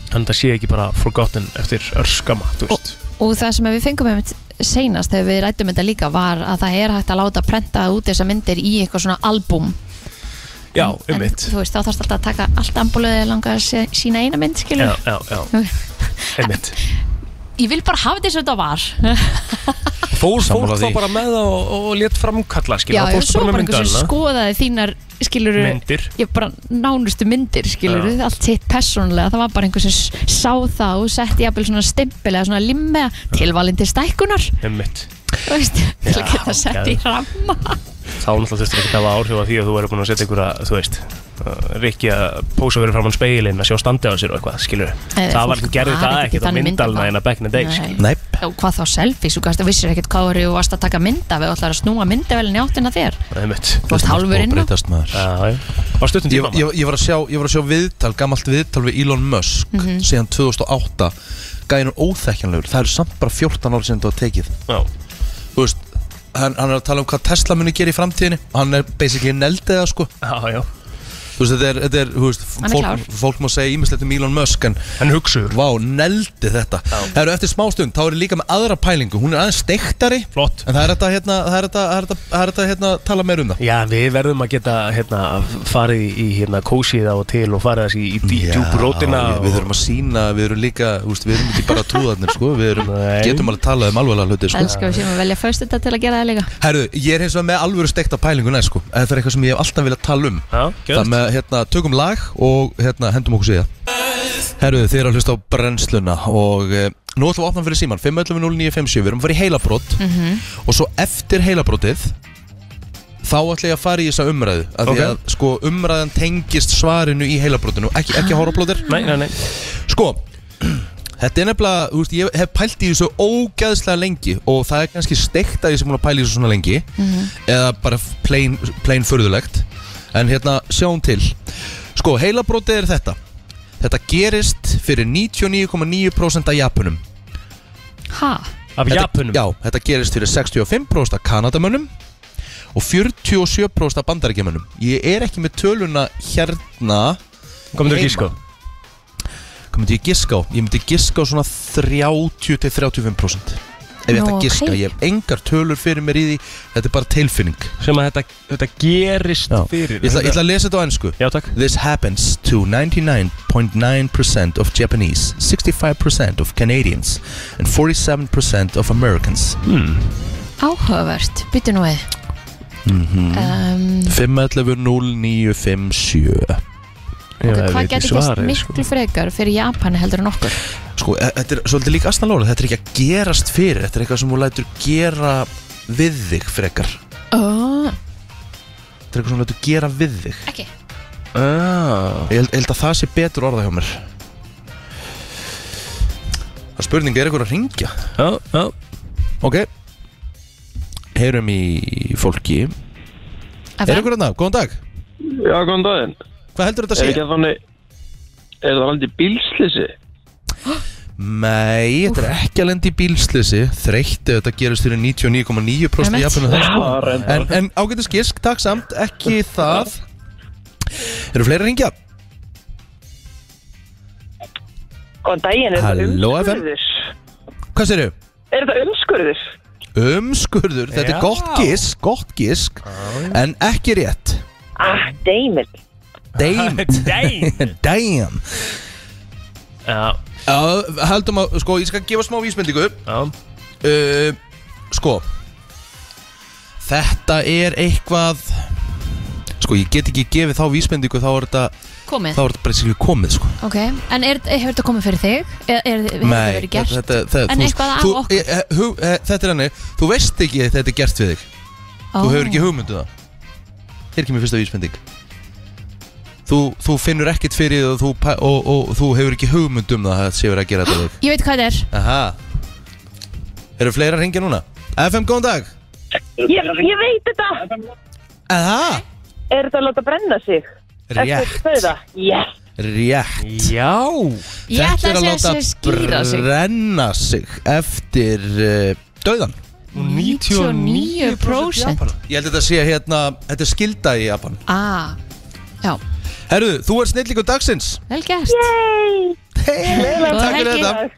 S3: þannig að það sé ekki bara forgotten eftir örskama þú veist.
S2: Og það sem við fengum einmitt seinast þegar við rættum þetta líka var að það er hægt að láta prenta út þessa myndir í eitthvað svona album
S3: Já,
S2: En,
S3: um mitt
S2: Þú veist, þá þarfst alltaf að taka allt ambúlið eða langa að sé- sína eina mynd, skilur
S3: Já, já, já, um mitt
S2: Ég vil bara hafa þess að þetta var
S3: Fór fólk
S1: Sammála
S3: þá
S1: því.
S3: bara með það og, og létt framkalla skilur,
S2: Já,
S3: það
S2: ég
S3: fórstu
S2: svo
S3: með
S2: bara einhvers sem
S3: myndavélina.
S2: skoðaði þínar skilur
S3: Myndir.
S2: Ég bara nánustu myndir skilur Allt hitt persónulega Það var bara einhvers sem s- sá það og setti jafnvel svona stimpil eða svona limmiða tilvalin til stækkunar
S3: Einmitt.
S2: Þú veist, til að geta sett í
S3: geðveikt.
S2: ramma
S3: Þá náttúrulega þurftur ekki að hafa áhrif á því að þú verður búin að setja einhverja, þú veist uh, Rikki að pósa verið fram án speilin að sjá standið á sér og eitthvað, skilur
S2: Eh,
S3: Það
S2: fólk
S3: var gerði
S2: var
S3: það
S2: ekki
S3: ekkert á
S2: þannig
S3: myndalna
S2: myndavélina.
S3: en að back in the day
S2: Nei.
S3: skilur.
S1: Nei,
S2: Og hvað þá selfies, þú gæst að vissir ekkert hvað voru og varst að taka mynda við ætlar að snúa myndavælin í áttina að þér
S3: Einmitt.
S2: Þú varst hálfur inn á
S1: breytast maður
S3: Já, já. Á stuttum
S1: ég,
S3: tíma
S1: ég, ég, var að sjá, ég var að sjá viðtal, gammalt viðtal við Elon Musk
S2: Mhm.
S1: síðan 2008 gæðin er óþekkjanlegur, það er samt bara 14 ára sem þú hafa tekið
S3: Já.
S1: Þú veist, hann, hann er að tala um hvað Tesla muni gera í framtíðinni hann er basically neldið það sko
S3: Já, já,
S1: Þú Þú veist, þetta er, þetta er, þú veist,
S2: Hann er klár.
S1: fólk, fólk má segja ímislegt um Elon Musk en
S3: Hann hugsuður
S1: Vá, neldi þetta Það eru eftir smástund, þá er ég líka með aðra pælingu Hún er aðeins steiktari
S3: Flott.
S1: En það er þetta, hérna, það er þetta, það er þetta, það er þetta, hérna, tala meir um það
S7: Já, við verðum að geta hérna, farið í hérna, kósið á og til og farið þessi í dý-
S1: Já,
S7: djúp rótina
S1: ég- Við þurfum að sína, við erum líka, þú veist, við erum ekki bara trúðarnir, sko Við erum,
S7: Nei.
S1: getum alveg talað um alveglega hluti, sko
S2: Elskar við séum að velja föstu þetta til að gera það líka
S1: Herru, ég er hins vegar með alvöru steikta pælingu næst, sko Það er eitthvað sem ég hef alltaf viljað tala um
S7: Já,
S1: Það með, hérna, tökum lag og, hérna, hendum okkur síðan Herru, þið eru að hlusta á brennsluna og e, nú ætlum við að opna fyrir síman 511-0957, við erum að fara í heilabrót
S8: Mhm.
S1: og svo eftir heilabrótið þá ætlum ég að fara í þessa umræðu af því
S3: Ok.
S1: að sko, umræðan tengist svarinu í heilabrótinu ekki, ekki horrorblóðir
S3: Ah. Nei, nei, nei
S1: Sko, þetta er nefnilega, þú veist, ég hef pælt í þessu ógæðslega lengi og það er kannski steikt að ég sem múin að pæla í þessu svona lengi eða bara plain, plain förðulegt en hérna, sjáum til Sko, heilabrótið er þetta Þetta gerist fyrir 99,9% af Japunum
S2: Ha?
S3: Af
S1: Þetta-
S3: Japunum
S1: Já, þetta gerist fyrir 65% af Kanadamönnum og 47% af bandarækjamönnum Ég er ekki með töluna hérna
S3: Komum þér
S1: Heima.
S3: ekki sko
S1: Hvað myndi ég giska á? Ég myndi giska á svona 30-35% Ef ég
S2: Nú,
S1: ætti að giska,
S2: ok.
S1: ég hef engar tölur fyrir mér í því Þetta er bara tilfinning
S3: Sem að þetta, þetta gerist fyrir
S1: Ég ætla, ég ætla að lesa þetta á ennsku
S3: Já, takk
S1: This happens to 99.9% of Japanese 65% of Canadians and 47% of Americans
S3: Hmm.
S2: Áhugavert, byttu nú við
S1: Mhm.
S2: mm -hmm.
S1: 511-0957
S2: um, ok,
S3: Já, ég
S2: Hvað
S3: veit
S2: getur
S3: ekki
S2: gæst
S3: svarið,
S2: miklu frekar fyrir Japani heldur en okkur?
S1: Sko, e- þetta er svolítið líka astanlóla Þetta er ekki að gerast fyrir Þetta er eitthvað sem þú lætur gera við þig frekar Þetta
S2: Oh,
S1: er eitthvað sem þú lætur gera við þig
S2: ekki
S3: ah.
S1: Ég held, ég held að það sé betur orða hjá mér Það er spurning, er eitthvað að ringja?
S3: Já, já
S1: Ok Heyrum í fólki Er
S2: FM?
S1: eitthvað að Góðan dag
S9: Já, góðan daginn.
S1: Hvað heldur þetta
S9: Er
S1: að
S9: ekki
S1: segja?
S9: að þannig, er það aldrei bílslýsi?
S1: Nei, þetta er ekki að lendi í bílslisi Þreytti þetta gerist fyrir 99,9% í
S2: Einmitt.
S1: jafnum það sko.
S9: Já, reyndar.
S1: En, en ágætis gisk, takk samt Ekki það Eru fleiri að ringja?
S10: Góðan daginn, er það
S1: Halló, FM.
S10: umskurður?
S1: Hvað sérðu?
S10: Er það umskurður?
S1: Umskurður, þetta er gott gisk, gott gisk En ekki rétt
S10: Ah, deymil.
S1: Damn
S3: Dæn
S1: Damn
S3: Já,
S1: Já, heldum að, sko, ég skal gefa smá vísmyndingu
S3: já
S1: uh, Sko Þetta er eitthvað Sko, ég get ekki gefið þá vísmyndingu Þá er þetta,
S2: Komið,
S1: þá er þetta bara sikri komið, sko
S2: ok En er, hefur þetta komið fyrir þig? Er, er, hefur þetta verið
S1: þetta,
S2: gert?
S1: þetta, þetta,
S2: En
S1: þú veist,
S2: eitthvað af
S1: þú,
S2: okkur?
S1: e, e, hug, e, Þetta er hannig, þú veist ekki að þetta er gert við þig
S2: Ó.
S1: Þú hefur ekki hugmyndu það Hér kemur fyrsta vísmynding Þú, þú finnur ekkert fyrir það og þú, pæ- og, og, og þú hefur ekki hugmynd um það að þetta sé verið að gera þetta við þig
S2: Ég veit hvað þetta er
S1: Aha Eru fleira að ringja núna? FM, góðan dag
S10: Ég, ég veit þetta.
S1: Aha
S10: Er það að láta brenna sig?
S1: Rétt,
S10: Eftir þauða? Yes.
S1: rétt
S3: Já
S2: Ég ætla
S1: Þetta er
S2: að segja að skýra sig
S1: brenna sig eftir uh, döðan
S2: 99%
S1: Ég held að þetta sé hérna, þetta er skilda í Japan
S2: Ah, já,
S1: Herru, þú er snillíkur dagsins
S2: vel gert
S1: Hei,
S2: Góða
S1: takk fyrir
S2: helgi.
S1: þetta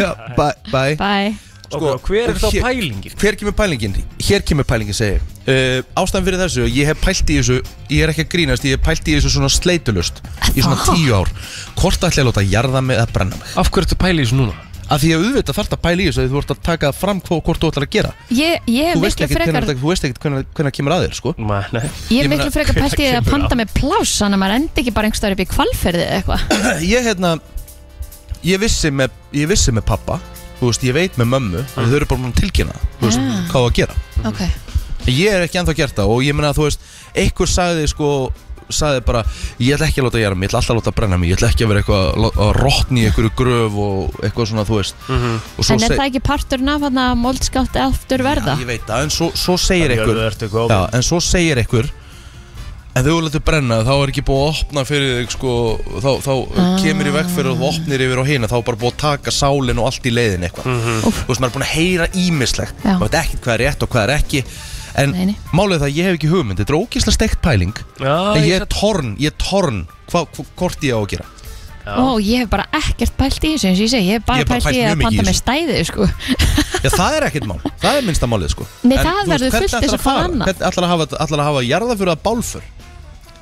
S1: Já, Bæ, bæ
S2: Bye
S1: Sko,
S3: Ok, hver er þá
S1: hér-
S3: pælingin?
S1: Hver kemur pælingin? Hér kemur pælingin, segi ég. uh, Ástæðan fyrir þessu, ég hef pælt í þessu Ég er ekki að grínast, ég hef pælt í þessu svona sleitulust Í svona tíu ár Hvort ætla ég að láta jarða mig eða brenna mig?
S3: Af hverju ertu pæli í þessu núna?
S1: Af því að auðvitað þarf að pæla í þessu af því Þú ert að taka fram hvað, hvort þú ætlar að gera
S2: Ég, ég er
S1: Þú veist
S2: miklu
S1: ekkert
S2: frekar
S1: hvenær þetta- þú veist ekkert hvenær hvenær kemur að þér, sko
S3: Nei, nei
S2: Ég
S1: Ég
S2: er
S1: meina,
S2: miklu frekar pælt í því að
S3: kemur
S2: panta með pláss Þannig að maður endi ekki bara einhverstaður upp í kvalferði eða eitthvað
S1: ég hérna ég vissi með, ég vissi með pappa þú veist, ég veit með mömmu þau eru bara búin að tilkynna það, þú veist,
S2: Ah.
S1: hvað á að gera
S2: Ok,
S1: ég er ekki ennþá gert það og ég meina þú veist einhver sagði sko sagði bara, ég ætla ekki að láta gera mig, ég ætla alltaf að láta brenna mig ég ætla ekki að vera eitthvað að lá- að rotni í einhverju gröf og eitthvað svona, þú veist og svo
S2: Mhm. en er
S1: seg-
S2: það ekki parturinn af hann að moldskátt eftir verða?
S1: ég veit það, en svo, svo segir einhver
S7: Ertu góð
S1: Já, en svo segir einhver En þegar þú letur brenna þá er ekki búið að opna fyrir þig sko, þá, þá kemur í veg fyrir og þú opnir yfir á hina þá er bara búið að taka sálinn
S7: Mhm.
S1: og allt í leiðin eitthvað Þú veist, maður er búin að heyra ímislegt
S2: Já.
S1: maður veit ekkert hvað er rétt og hvað er ekki En
S2: Nei, nei.
S1: málið er það að ég hef ekki hugmynd Þetta er ógislega steikt pæling
S7: Já,
S1: En ég
S7: ég
S1: er torn, ég er torn hva, hva, Hvort ég á að gera
S2: Ó, ég hef bara ekkert pælt í þessu eins og ég segi, ég hef bara
S1: Ég hef bara
S2: pælt í
S1: pælt mjög
S2: að
S1: mikið í
S2: panta með
S1: þessu.
S2: stæði sko.
S1: Já, það er ekkert mál, það er minnsta málið sko
S2: Nei,
S1: En,
S2: það
S1: þú veist,
S2: verður
S1: hvernig
S2: fullt
S1: ætlarðu
S2: þess að fara annað.
S1: Hvernig ætlar að hafa, ætlar að hafa jarðafjörða bálfur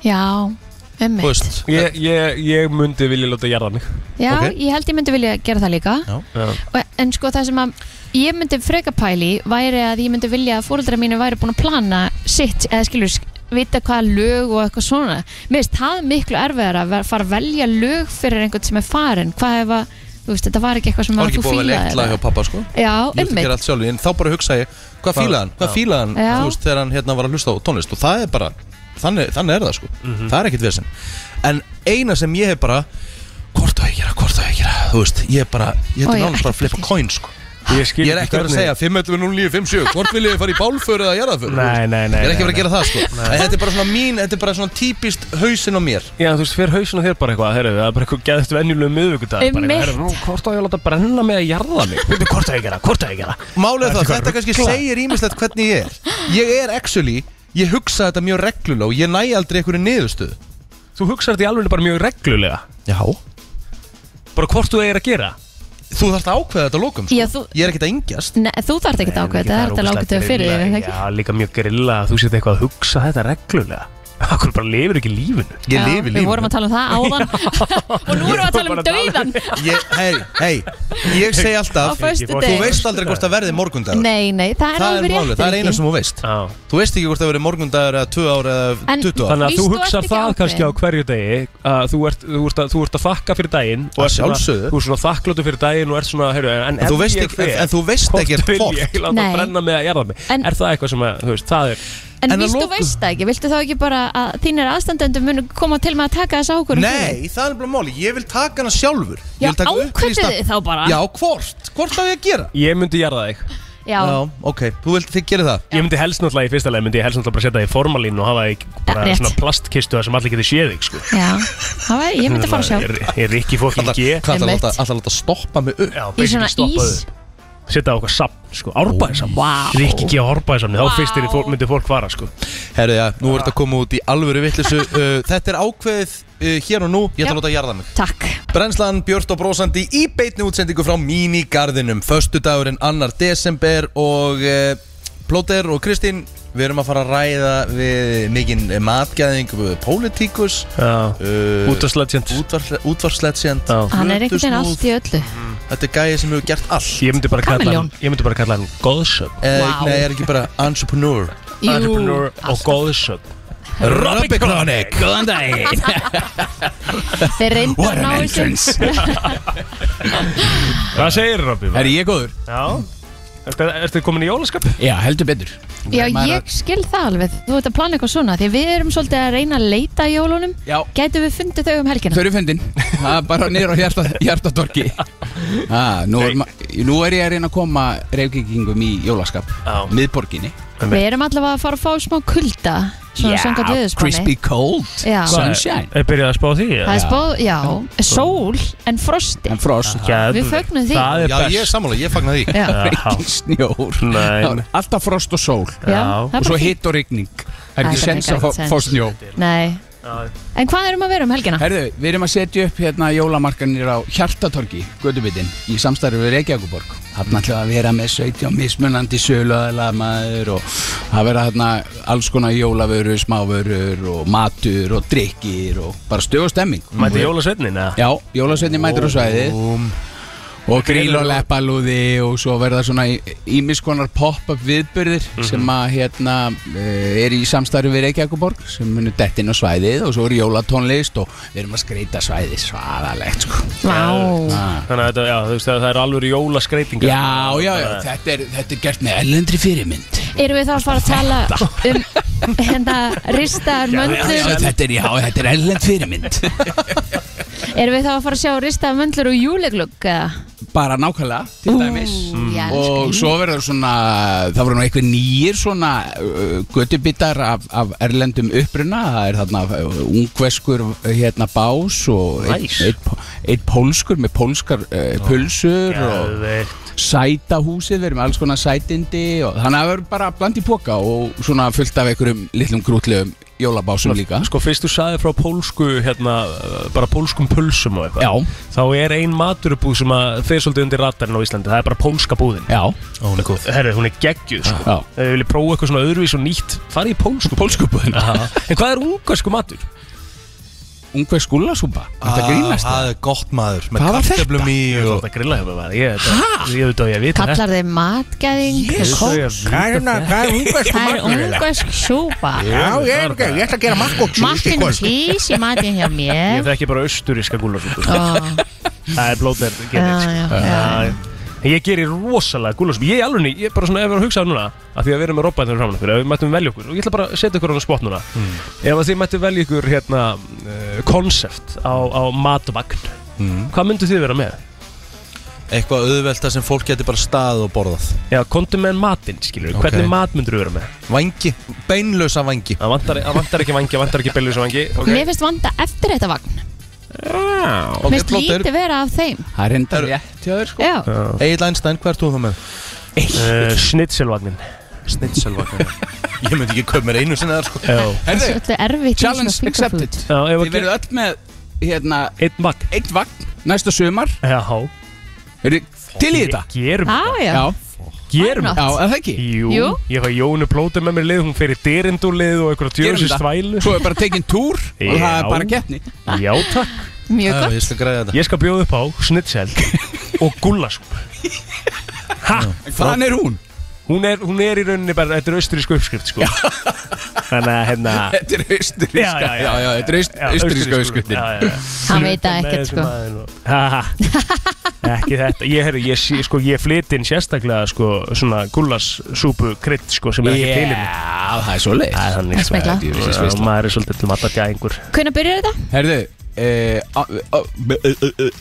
S2: Já, um
S1: Þú veist,
S3: Ég, ég, ég myndi vilja láta jarða mig
S2: Já,
S1: ok.
S2: ég held ég myndi vilja gera það líka
S1: Já.
S3: Já.
S2: Og, En sko það sem að ég myndi freka pæli væri að ég myndi vilja að fóreldra mínu væri búin að plana sitt eða skilur sk- vita hvaða lög og eitthvað svona Mér finnst það miklu erfiðar að ver- fara að velja lög fyrir einhvern sem er farin Hvað ef að, þú veist, þetta var ekki eitthvað sem
S1: það
S2: að
S1: var ekki
S2: þú
S1: búið að
S2: fílaðir
S1: vera eitt lag hjá pappa sko
S2: Já,
S1: Ég ætla að
S2: einmitt
S1: gera allt sjálf En þá bara hugsa ég, hvað fílaði hann, hvað fílaði hann
S2: Já.
S1: Þú veist, þegar hann hérna var að hlusta á tónlist Og það er bara, þannig, þannig er það sko
S7: Mhm.
S1: Það er ekkert vesen En eina sem ég hef bara, hvort á ég að gera, hvort á ég að gera Þú veist, ég er bara, ég
S2: Ó,
S1: hefði
S2: ég er
S1: nánast bara að
S2: ekki
S1: flippa
S2: til.
S1: coin sko
S3: Ég skil
S1: Ég er ekki verið að segja 5.11.09.57 Hvort vil ég fara í bálför eða jarðaför
S7: Nei, nei, nei,
S1: Ég er ekki verið að
S7: nei,
S1: gera það sko En þetta er bara svona mín, þetta er bara svona típist hausinn á mér
S7: Já, þú veist, fyrir hausinu þér bara eitthvað, heyrðu, það er bara eitthvað geðast venjulegu miðvikudag bara eitthvað,
S2: Einmitt.
S7: heyrðu, nú, hvort á ég að láta brenna mig að jarða mig? Bíddu, hvort á ég að gera, hvort á ég að gera?
S1: Málið er það, þetta kannski
S7: ruglað?
S1: segir ímislegt hvernig ég er Ég er actually, ég hugsa þetta mjög reglulega Og ég næ aldrei einhverju niðurstöðu
S7: Þú hugsar þetta í alveg bara mjög reglulega
S1: Já
S7: bara hvort þú eigir að gera
S1: Þú þarft að ákveða þetta að lokum
S2: Já,
S1: sko.
S2: þú-
S1: Ég er ekkert að engjast
S2: Nei, þú þarft ekki að ákveða þetta, það er þetta lágt að fyrir þig, er það ekki?
S7: Já, líka mjög grilla að þú sétt eitthvað að hugsa þetta reglulega Akkur bara lifir ekki lífinu
S1: Ég
S2: Já,
S1: lifi
S2: Við vorum
S1: lífinu
S2: að tala um það áðan og nú erum við að tala um
S7: Bara tala um-
S2: dauðan
S1: Ég, hei, hei, ég segi
S2: á
S1: alltaf
S2: föstu
S7: fór-
S1: Þú
S7: Nei.
S1: veist aldrei hvort það verði morgundagur
S2: Nei, nei, það er
S1: Það er
S2: alveg rétt
S1: málið, það er
S2: Helgi.
S1: eina sem þú veist
S7: Já
S1: Þú veist ekki hvort það verði morgundagur eða 2 ára eða
S2: En-
S1: 20 ára
S7: Þannig að
S2: Víst,
S7: þú
S2: þú
S7: hugsar
S2: ert ekki
S7: það
S2: ákveðin.
S7: kannski á hverju degi að þú ert, þú ert, að, þú ert að þakka fyrir daginn og
S1: Að
S7: ert svona-
S1: sjálfsögðu.
S7: Þú ert svona þakkláttu fyrir daginn og ert svona, heyrðu, en,
S1: En
S7: ef
S1: þú veist
S7: ég
S1: ekki-
S7: fer,
S1: en- en þú veist ekkert
S7: Hvort vil ég láta
S2: Nei.
S7: brenna mig að jarða mig?
S2: En-
S7: Er það eitthvað sem að, þú veist, það er
S2: En,
S1: En að
S2: víst þú
S1: lokum-
S2: veist það ekki, viltu þá ekki bara að þínir aðstandendum munu koma til með að taka þessu ákvörðum fyrir?
S1: Nei, það er bara máli, ég vil taka hana sjálfur Ég
S2: Já,
S1: vil taka
S2: ákvörðu
S1: upplýsta-
S2: þið þá bara
S1: Já, hvort, hvort á ég að gera
S7: Ég myndi jarða þig
S2: Já.
S1: ok, þú vilt þið gera það
S7: Ég myndi helst náttúrulega í fyrsta leið myndi ég helst náttúrulega bara setja það í formalín og hafa það í bara
S2: Ja, rétt.
S7: svona plastkistu þar sem allir getur séð þig sko.
S2: Já, það væri, ég myndi fara að sjá
S7: Er, er ekki fokkin G
S1: Hvað ætlar að
S2: Einmitt.
S1: láta- ætlar að láta stoppa mig upp
S7: Já,
S2: Í
S7: basically
S2: svona
S7: stoppa
S2: ís
S7: þig. Setja það á okkar samn, sko, árbæðisamn
S2: Vá.
S7: Rikki G á árbæðisamni, þá
S2: Vá. Ah.
S7: fyrst er fólk, myndi fólk fara sko.
S1: Herðu, já, nú er þetta að koma út í alvöru vittlisu uh, Þetta er ákveðið uh, hér og nú
S2: Já.
S1: Ég ætla að láta að jarða mig
S2: Takk
S1: Brennslan Björt og Brósandi í beitni útsendingu frá Mínigarðinum Föstudagurinn annar desember og uh, Plóter og Kristín Við erum að fara að ræða við mikinn matgæðing, pólitíkus
S7: Já,
S1: uh,
S7: út af slegend
S1: útvarsleitsjönd
S7: Já.
S2: Hann er einhvern veginn allt í öllu
S1: Þetta er gæði sem hefur gert allt
S7: Ég myndi bara kalla
S2: Kameljón.
S7: hann, ég myndi bara kalla hann góðsögn
S1: Eh,
S2: Vá.
S1: Nei, er ekki bara entrepreneur
S7: Entrepreneur og góðsögn
S1: Robby Chronic
S7: Góðan daginn
S2: Þeir reyndu að ná þessu
S7: Hvað segir Robby?
S11: Er ég góður?
S7: Já Ertu, ertu komin í jólaskap?
S11: Já, heldur betur
S2: Já,
S11: Maður-
S2: ég skil það alveg Þú ert að plana eitthvað svona Því við erum svolítið að reyna að leita í jólunum
S11: Já.
S2: Gætu við fundið þau um
S11: Þau
S2: helgina?
S11: eru fundin Það er bara niður á hjarta, hjartatorki ah, nú, er ma- nú er ég að reyna að koma reykingum í jólaskap
S7: Já.
S11: Miðborginni
S2: Við erum allavega að fara að fá smá kulda Svona sangat viðuspanni
S11: crispy cold
S2: Já.
S11: Sunshine
S7: Er byrjað að spá því?
S2: Það er spáð, já, sól en frosti
S11: En frost
S7: Geðveikt.
S2: Við fögnum því.
S7: Það er
S1: Já,
S7: best
S1: ég er sammála, ég fagna því
S2: Já, já,
S7: Já,
S11: Snjór
S7: Nei.
S11: Það er Alltaf frost og sól
S7: Já.
S2: það er bara
S11: Og svo
S2: fínt.
S11: hitt og rigning Það er
S2: Æ,
S11: ekki
S2: það
S11: sens
S2: er
S11: að fá-
S2: ekki
S11: fá
S2: sens.
S11: snjó
S2: Nei,
S7: Já.
S2: en hvað erum að vera um helgina?
S11: Herðu, við erum að setja upp hérna jólamarkanir á Hjartatorgi, Götubitin, í samstarfi við Reykjavíkuborg. Þarna ætlum við að vera með 17 mismunandi söluðalamaður og það vera hérna alls konar jólavörur, smávörur og matur og drikkir og bara stöð og stemming.
S7: Mæti jólasveitnin eða?
S11: Já, jólasveitin mætir á svæðið og gríl og leppalúði og svo verða svona ímiskonar pop-up viðbyrðir sem að hérna eh, er í samstarfi við Reykjavíkuborg sem munir dett inn á svæðið og svo er jólatónlist og við erum að skreita svæðið svaðalegt sko.
S2: Vá,
S11: Ah.
S7: Þannig að þetta, já, þú veist að það er alveg jólaskreitingar
S11: Já, já, já, þetta er, þetta er gert með ellendri fyrirmynd
S2: erum við þá að fara að tala um hérna ristaðar
S11: Já,
S2: möndlur
S11: þetta er, já, þetta er ellend fyrirmynd
S2: Erum við þá að fara að sjá ristaðar möndlur og júleglugg eða?
S11: bara nákvæmlega til dæmis
S2: ég elska
S11: og
S2: nýr.
S11: svo verður svona það voru nú eitthvað nýjir svona uh, göttubitar af, af erlendum uppruna það er þarna uh, ungveskur hérna bás og einn
S3: Nice.
S11: ein, pólskur með pólskar uh, pulsur og
S3: Geðveikt.
S11: sætahúsið, við erum alls konar sætindi og þannig að það verður bara bland í póka og svona fullt af einhverjum litlum grútlegum jólabásum líka
S3: Sko fyrst þú sagði frá pólsku hérna, uh, bara pólskum pulsum og
S11: Já,
S3: eitthvað Þá er ein maturubúð sem að fer svolítið undir ratarinn á Íslandi Það er bara pólska búðin
S11: já,
S1: Ó, hún er góð
S3: Herru, hún er geggjuð sko
S11: já
S3: Ef þið viljið prófa eitthvað svona öðruvís og nýtt Farið í pólsku
S11: Pólskubúðin
S3: Aha. En hvað er ungarsku matur?
S11: Ungveð skúlasúpa, þetta grínast það
S1: Það er gott maður Ah, Með
S11: Hvað var
S1: kartöflum í
S3: Ég er
S1: og
S3: þetta grilla hefur bara Ég þetta- ég veit að ég veit
S2: Kallar þið matgæðing?
S11: er ungveð
S2: Það er ungvesk súpa
S11: Já, ég, ég, ég ætla að gera makkóks
S2: Makkinn pís í matinn hjá
S11: Eh?
S3: Ég
S2: mér
S3: þekki bara austuríska gúlasúpu
S2: Ó,
S11: Ah.
S3: Það er blóðverð
S2: já, já, já.
S3: sko. Ég gerir rosalega gúlasúpu Ég er alveg, ég er bara svona ef við erum að hugsa núna að Því að við erum með robbaðin þegar framan okkur Ef við mættum velja okkur Og ég ætla bara að setja okkur á spott núna
S11: Hmm.
S3: Ef að þið mættum velja ykkur hérna eh, Konsept á, á matvagn
S11: Hmm.
S3: Hvað myndu þið vera með?
S1: eitthvað auðvelta sem fólk getur bara staðið og borðað
S3: Já, kontum með matinn, skilur
S1: Ok.
S3: Hvernig mat myndur vera með?
S1: Vangi, beinlösa vangi
S3: Það vantar, það vantar ekki vangi, það vantar ekki belgjus vangi
S2: Mér finnst vanda eftir þetta vagn
S1: Ok,
S2: Mér finnst
S1: flottur.
S2: lítið vera af þeim
S11: Það er enda rétt hjá þér sko
S2: Já,
S1: Egil Einstein, hvað ert þú þá með?
S3: uh, Snitselvagnin
S1: Snitselvagn Ég myndi ekki kaup mér einu sinni þar sko
S3: Já,
S2: það er
S11: Herðu,
S2: svolítið erfitt í svona
S11: challenge
S2: fingerfood.
S11: accepted
S3: ef
S11: Þið
S3: ekki
S11: verðu öll með, hérna,
S3: Einn vagn
S11: eitt vagn næsta sumar
S3: Já,
S11: Eru til í þetta?
S3: Gerum,
S2: Á, Ah, já,
S11: Já,
S3: gerum
S2: why not?
S11: já, er það ekki
S3: Jú,
S2: Jú.
S3: ég fæ Jónu plóta með mér lið Hún fer í derindúlið og einhverja
S11: Gerum
S3: djöðsins
S11: þetta.
S3: þvælu
S11: Svo er bara tekin túr og það
S3: Já.
S11: er bara getni
S3: Já, takk
S2: mjög
S1: Já,
S2: gott
S1: Ég skal græða þetta
S3: Ég skal bjóða upp á snitsel og gullasúpu Ha,
S11: Hvaðan er hún?
S3: hún er, hún er í rauninni bara Þetta er austurísku uppskrift, sko Þannig að, hérna
S11: Þetta er
S3: Já,
S11: austuríska
S3: já, já.
S11: Já, já, þetta er aust- austuríska auskutin
S2: Hann veit það ekkert, sko.
S3: sko Ekki þetta Ég, herri, ég, sé- sko, ég flyt inn sérstaklega sko, svona gullassúpu krydd sko, sem er ekki til í mér
S11: Já, það er svo leið
S3: Það er þannig,
S2: Það
S3: sko.
S2: smekla.
S3: Ég vissi, vissi, Maður er svolítið til matta djæðingur
S2: Hvernig byrjar þetta?
S11: Herðu, eh, á á-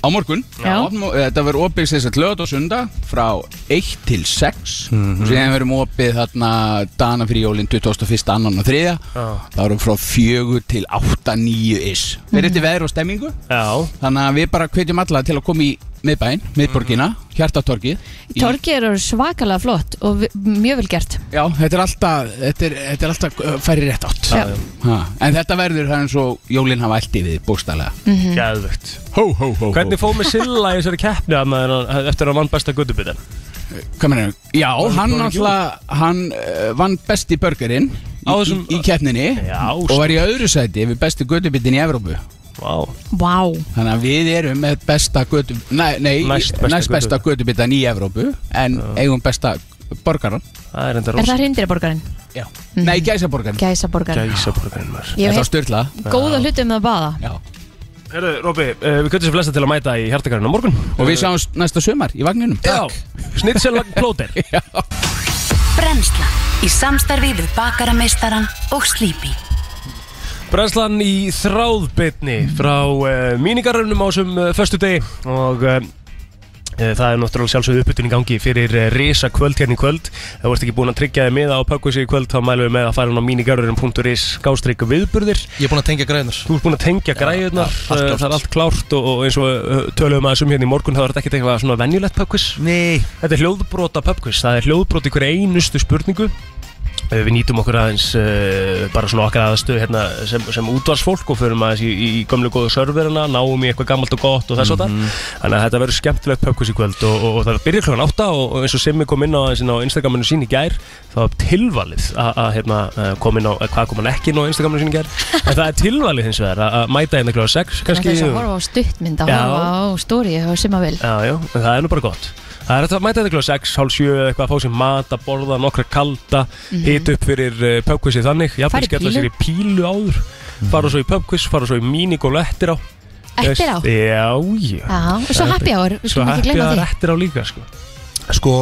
S11: á morgun
S2: Já.
S11: Opnum- eh, Þetta verður opið þess að lögat og sunda frá 1 til 6
S3: Mhm.
S11: og síðan verðum opið þarna dana fyrir jólinn 21. annan og 3 Það verðum frá 4 til 8, 9 is Verður þetta veður og stemmingu
S3: Já,
S11: Þannig að við bara hvetjum alla til að koma í miðbæinn, miðborgina,
S3: Mhm.
S11: hjartatorkið í-
S2: Torgið eru svakalega flott og vi- mjög vel gert
S11: Já, þetta er alltaf, þetta er, þetta er alltaf uh, færi rétt átt
S2: Já.
S11: ha, En þetta verður það er eins og jólinn hafa allt yfir bókstælega
S3: gæðvögt
S11: Hó, hó, hó, hó
S3: Hvernig fóð með Silla í þessari keppni að maður- eftir að vann besta guttubitin?
S11: Hvað meina, já, hann
S3: hann ekki
S11: náttúrulega, hann uh, vann besti börgarinn í,
S3: Á þessum-
S11: í, í keppninni
S3: Já, sko.
S11: og var í öðru sæti við bestu gödubitin í Evrópu
S3: Vá,
S2: Vá,
S11: Þannig að við erum með besta gödu, nei, nei
S3: Næst besta
S11: næst besta gödubitan í Evrópu en eigum besta borgaran
S3: það er enda
S2: er það
S3: rosa
S2: hrindirborgarinn?
S11: Já, nei, gæsaborgarin
S2: Mhm. Gæsaborgarinn?
S3: Gæsaborgarinn maður
S2: Ég hef
S11: Þetta var styrla
S2: heilt góða hluti um það báða
S11: Já.
S3: Herru, Róbi, uh, við köttum sem flesta til að mæta í hjartakarinn á morgun Eh.
S11: Og við sjáum næsta sumar í vagninum
S3: Já, snitselvagn plóter
S6: Brennslan í samstarfi við bakarameistaran og Sleepy
S3: Brænslan í þráðbytni frá uh, míningaröfnum á þessum uh, föstu degi og uh, það er náttúrulega sjálfsögðu uppbytun í gangi fyrir uh, risa kvöld hérna í kvöld ef þú ert ekki búin að tryggja þig miða á pökkvísi í kvöld þá mælum við með að fara hann á míningaröfnum.is skástrík viðburðir
S1: Ég er búinn að tengja græðunar
S3: Þú ert búin að tengja græðunar,
S1: allt
S3: uh,
S1: klárt.
S3: það er allt klárt og, og eins og uh, töluðum aðeins um hérna í morgun þá er þetta ekkert eitthvað svona venjulegt pökkvís
S1: Nei
S3: Þetta er hljóðbrota pubquiz, það er hljóðbrot í hverja einustu spurningu Eh, Við nýtum okkur aðeins uh, bara svona okkar aðstöð hérna, sem, sem útvarsfólk og förum aðeins í, í, í gömlu góðu serverina, náum í eitthvað gammalt og gott og þess og það Þannig að þetta verður skemmtilegt pubquiz í kvöld og, og, og það byrjar klugan átta og, og eins og Simmi kom inn á aðeins inn á Instagraminu sín í gær þá er tilvalið að- að hérna, eh, kom inn á, eh, hvað kom hann ekki inn á Instagraminu sín í gær En það er tilvalið hins vegar að- að mæta hérna klugan 6
S2: Það
S3: kannski
S2: er þess að horfa á stuttmynd að
S3: Já.
S2: horfa á stóri og sem að vil
S3: Já, já, en það er nú bara gott Það er þetta að mæta þetta kljóða 6, hálf 7 eða eitthvað að fá sér mat að borða, nokkra kalda hita upp fyrir uh, pubquizi þannig
S2: Mhm. Fara í
S3: jafnvel skella sér í pílu áður
S1: Mhm.
S3: fara svo í pubquiz, fara svo í minigól eftir á
S2: Eftir á?
S3: Já, já
S2: Já, og svo happy hour, við
S3: Svo
S2: skulum ekki
S3: happy
S2: glemma
S3: að
S2: því
S3: eftir á líka sko.
S1: Sko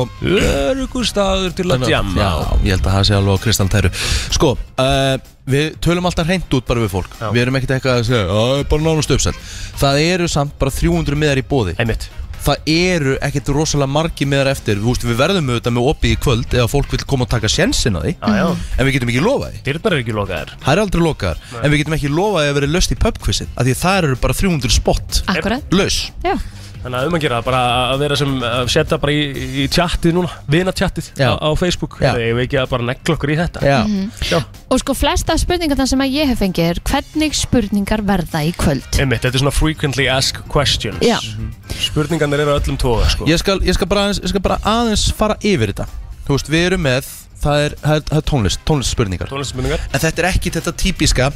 S3: Örugur staður til að djama
S1: Já, ég held að það sé alveg á kristaltæru Sko, uh, við tölum alltaf hreint út bara við fólk
S3: Já.
S1: Við erum ekkert eitthvað að segja, "Já, það er bara nánast uppsett Það eru samt bara 300 miðar í bóði
S3: Einmitt,
S1: það eru ekkert rosalega margi meðar eftir Þú veist, við verðum auðvitað með opið í kvöld eða fólk vil koma og taka sjensin á því
S3: Já, já.
S1: en við getum ekki lofað því
S3: Dyrnar eru ekki lokaðar
S1: það er aldrei lokaðar, en við getum ekki lofað því að vera löst í pubquizin, af því að það eru bara 300 spott
S2: Akkurat,
S1: laus
S2: já
S3: Þannig að um að gera bara að vera sem að setja bara í, í tjattið núna, vina tjattið
S1: Já.
S3: á, á Facebook
S1: Já.
S3: Það eigum við ekki að bara negla okkur í þetta
S1: Já,
S3: Já.
S2: Og sko flesta spurningarna sem að ég hef fengið er hvernig spurningar verða í kvöld
S3: Einmitt, þetta er svona frequently asked questions
S2: Já.
S3: Spurningarnir eru á öllum tóða sko.
S1: ég skal, ég, skal bara aðeins, ég skal bara aðeins fara yfir þetta Þú veist, við erum með, það er, það er, það er tónlist, tónlistspurningar
S3: Tónlistspurningar
S1: En þetta er ekki þetta típiska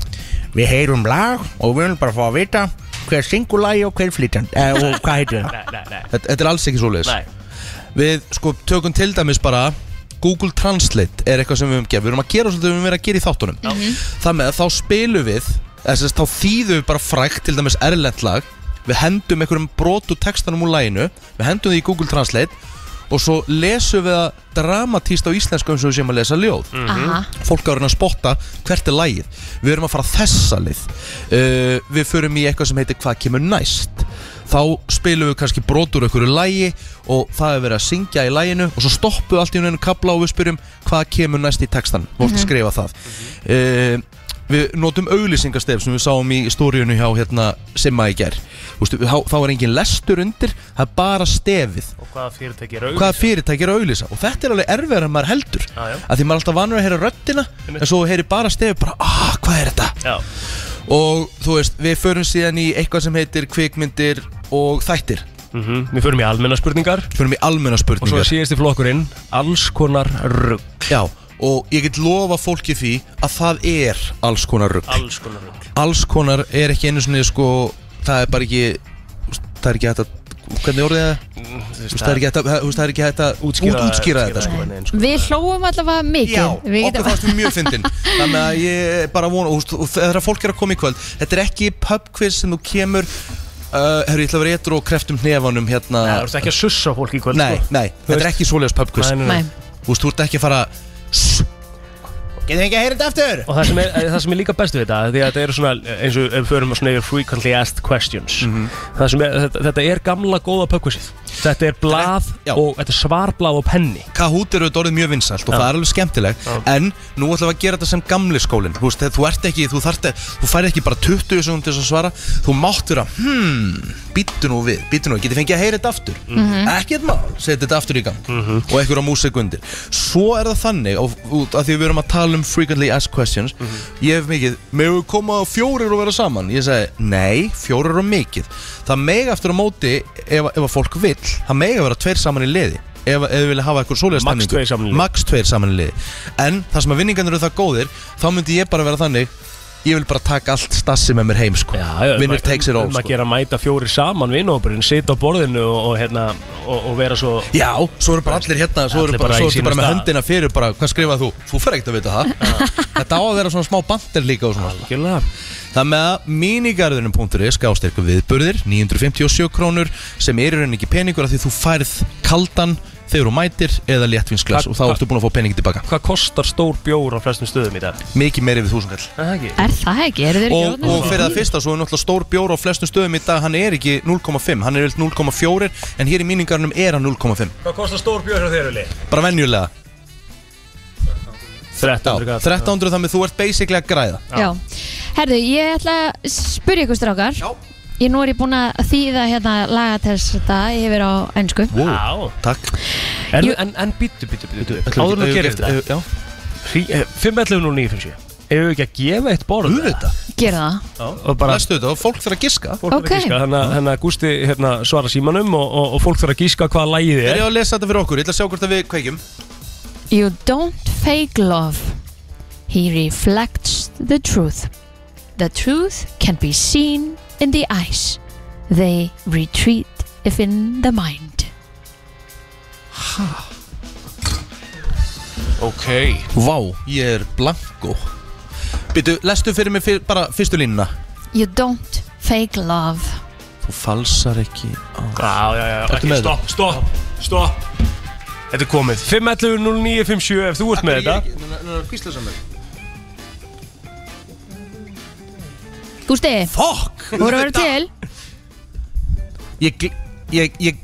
S11: Við heyrum lag og við viljum bara fá að vita hver syngur lagi og hver flytjand eh, og hvað heitir það
S3: Nei, nei, nei
S1: Þetta, þetta er alls ekki svoleiðis
S3: Nei.
S1: Við sko tökum til dæmis bara Google Translate er eitthvað sem við höfum gert Við erum að gera svolítið við höfum verið að gera í þáttunum Já. Þannig að þá spilum við eða sem sagt, Þá þýðum við bara frækt til dæmis erlend lag Við hendum einhverjum brotu textanum úr laginu Við hendum því í Google Translate Og svo lesum við það dramatíst á íslensku eins og við séum að lesa ljóð
S2: Aha,
S1: fólk á að reyna að spotta hvert er lægið við erum að fara þessa lið uh, við förum í eitthvað sem heitir hvað kemur næst þá spilum við kannski brotur okkur í lægi og það er verið að syngja í læginu og svo stoppum við allt í einu kapla og við spyrjum hvað kemur næst í textan við vorum að skrifa það uh, við notum auglýsingastef sem við sáum í stóriunu hjá hérna Simma í ger Vistu, þá, þá er engin lestur undir það er bara stefið
S3: Og hvaða fyrirtæki eru
S1: hvaða fyrirtæki er að auglýsa og þetta er alveg erfiðar en maður heldur
S3: Já, já.
S1: að því maður er alltaf vanur að heyra röddina
S3: Einmitt.
S1: en svo heyri bara stefið bara ah, hvað er þetta
S3: Já,
S1: og þú veist, við förum síðan í eitthvað sem heitir kvikmyndir og þættir
S3: mm við förum í almenna spurningar
S1: förum í almenna
S3: Og svo
S1: spurningar
S3: er síðasti flokkurinn, alls konar rugg
S1: Já, og ég get lofa fólki því að það er alls konar rugg
S3: Alls konar rugg
S1: alls konar er ekki einu svona sko, það er bara ekki það er ekki hægt að hvernig orðið er það? Það er ekki hægt að, þú veist, það er ekki hægt að útskýra, útskýra þetta sko.
S3: nein,
S2: við hlóum allavega mikið
S1: Já,
S2: Við
S1: okkur
S2: getum-
S1: fannst við mjög fyndin Þannig að ég bara vona og, og þegar fólk er að koma í kvöld Þetta er ekki pub quiz sem þú kemur uh, Herru, ég ætla að vera eitthvað og kreftum hnefanum hérna
S3: Nei, þú ert ekki að sussa á fólk í kvöld
S1: Nei,
S3: sko.
S1: nei, þetta er ekki svoleiðs pub quiz
S3: Nei, nei, nei.
S2: Nei.
S1: Þú veist, þú ert ekki að fara
S11: Getur ekki að heyra þetta aftur?
S3: Og það sem, er, eh, það sem er líka bestu við þetta Því að þetta eru svona, eh, eins og ef við förum að svona yfir frequently asked questions
S1: Mhm.
S3: það sem er, þetta, þetta er gamla góða pökkusið Þetta er blað
S1: Já.
S3: og þetta er svarblað og penni
S1: Kahoot er auðvitað orðið mjög vinsælt og
S3: Já.
S1: það er alveg skemmtileg En nú ætlum við að gera þetta sem gamli skólinn Þú veist, þú ert ekki, þú þarft að Þú færð ekki bara 20 sekund til þess að svara Þú mátt vera, hmm, býttu nú við Býttu nú, getið fengið að heyra þetta aftur mm
S12: Mhm.
S3: Mhm.
S1: -hmm. Ekkert mál, setið þetta aftur í gang Og einhverja músikundir Svo er það þannig, og, út, að því við erum að tala um Frequently asked questions
S3: Mhm.
S1: Ég hef mikið, meðu koma á fjórir og vera saman Ég segi, nei, fjórir og mikið Það mega aftur á móti Ef, ef að fólk vill, það mega vera tveir saman í liði Ef, ef við vilja hafa eitthvað svoleiðast
S3: Max tveir saman í liði.
S1: max tveir samanliði en það sem að vinningarnir eru það góðir þá myndi ég bara vera þannig ég vil bara taka allt stassi með mér heim sko. vinnur takes it all
S3: um að
S1: sko.
S3: gera mæta fjóri saman vinnópurinn, sita á borðinu og, og, hérna, og, og vera svo
S1: já, svo eru bara allir hérna svo
S3: Allir
S1: eru bara,
S3: bara í
S1: svo ertu
S3: sínum
S1: bara með
S3: stað.
S1: höndina fyrir bara, hvað skrifað þú, þú fer ekkert að vita það þetta á að vera svona smá bandir líka og svona
S3: Gjöla.
S1: Það með að minigarðunum.is gástyrku viðburðir, 957 krónur sem er í rauninni ekki peningur af því þú færð kaldan þegar þú mætir eða léttvinsglas
S3: Hvað-
S1: og þá
S3: hvað-
S1: ertu búin að fá peningi tilbaka
S3: Hvað kostar stór bjór á flestum stöðum í dag?
S1: mikið meiri við þúsundkall
S3: Er Það ekki
S2: Er það ekki, eru þeir
S1: og,
S2: ekki
S1: og fyrir það fyrsta svo er náttúrulega stór bjór á flestum stöðum í dag, hann er ekki 0,5 hann er vilt 0,4 en hér í míningarnum er hann 0,5,
S3: Hvað kostar stór bjór hjá þér, Vili?
S1: bara venjulega Já,
S3: 13 kall.
S1: 1300 þannig að þú ert basically að græða
S2: Já, herðu, ég ætla að spyrja ykkur strákar Já Ég nú er ég búin að þýða hérna lagatest þetta yfir á ennsku
S3: Wow.
S1: Takk
S3: En,
S2: Jú.
S3: en, en býttu, býttu, býttu Áður en að gera þetta eh,
S1: Já,
S3: 511 og 957 Ef við ekki að gefa eitt borð
S1: auðvitað,
S2: Gera það
S3: Og bara
S1: lestu þetta og fólk þarf að giska
S3: fólk þarf
S2: Ok.
S3: að gíska Þannig að- þannig að Gústi hérna, svara símanum og, og, og fólk þarf að gíska hvað lagið
S1: Er
S3: er
S1: ég að lesa þetta fyrir okkur, ég ætla að sjá hvort að við kveikjum
S2: You don't fake love He reflects the truth The truth can be seen in the eyes They retreat if in the mind
S3: Ok
S1: Vá, ég er blanko Býtu, lestu fyrir mig fyr, bara fyrstu línuna
S2: You don't fake love
S1: Þú falsar ekki
S3: Já, já, já,
S1: Ertu
S3: ekki,
S1: með
S3: stopp, stopp, stopp Þetta er komið 511 0957 ef þú ert með þetta
S2: Gústi,
S1: Fokk
S2: voru að vera til
S1: Ég, gl- ég, ég,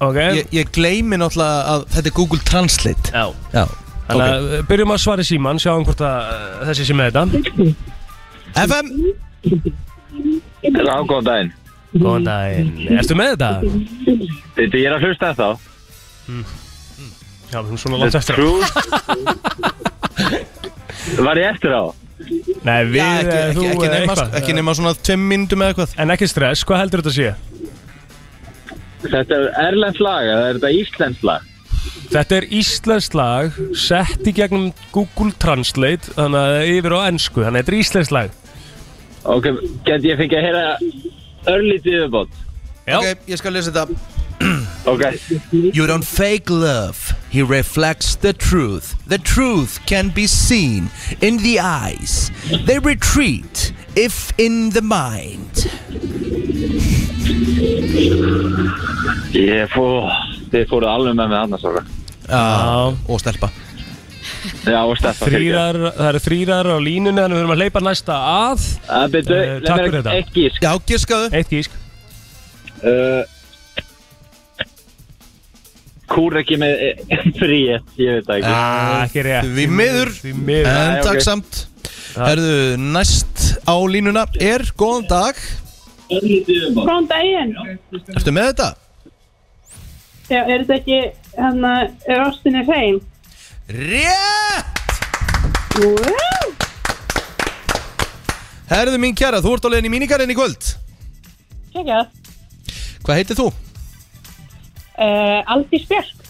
S1: okay. ég, ég gleymi náttúrulega að þetta er Google Translate
S3: Já,
S1: Já.
S3: Þannig að okay. eh, byrjum að svara í síman, sjáum hvort að eh, þessi sé með þetta
S1: FM
S12: Já, góðan daginn
S3: Góðan daginn Ertu með þetta?
S12: Þetta ég er að hlusta þá
S3: Já, við erum svona langt
S12: The
S3: eftir á.
S12: Var ég eftir á?
S3: Nei, við,
S1: Já, ekki-
S3: eh, þú,
S1: ekki- ekki
S3: eh,
S1: nema-
S3: eitthvað.
S1: ekki nema svona tveim myndum eða eitthvað
S3: En ekki stress, hvað heldur þetta sé?
S12: Þetta er erlend lag eða er þetta íslenskt lag?
S3: Þetta er íslensk lag sett í gegnum Google Translate þannig að það er yfir á ennsku, þannig að þetta er íslensk lag
S12: Ok, get ég fengið að heyra örlítið yfirbót?
S3: Já.
S1: Ok, ég skal lesa þetta
S12: Ok
S1: You don't fake love. He reflects the truth. The truth can be seen in the eyes. They retreat if in the mind.
S12: Ég fór, þið fóruð alveg með mig annars ára
S1: Já, Ah, og stelpa
S12: Já, og Stefán
S3: Þrýrar, það eru þrýrar á línunni þannig að við erum að hleypa næsta að
S12: Það byrju,
S3: Eh, Takk fyrir þetta
S12: Eitt gísk
S1: Já, gískaðu
S3: Eitt gísk
S12: uh, Kúr ekki með fríett, ég veit það ekki
S3: Ah, ekki rétt
S1: Því miður,
S3: Því miður
S1: en
S12: Æ, ok.
S1: takk samt. Herðu, næst á línuna er, góðan dag,
S7: Góðan daginn.
S1: ertu með þetta?
S7: Já, er þetta ekki, hérna, er ástinni hrein?
S1: Rétt! Herðu mín kjæra, þú ert á leiðin í mínikarinn í kvöld.
S7: Kekja.
S1: Hvað heitir þú?
S7: Uh, Aldís Björk.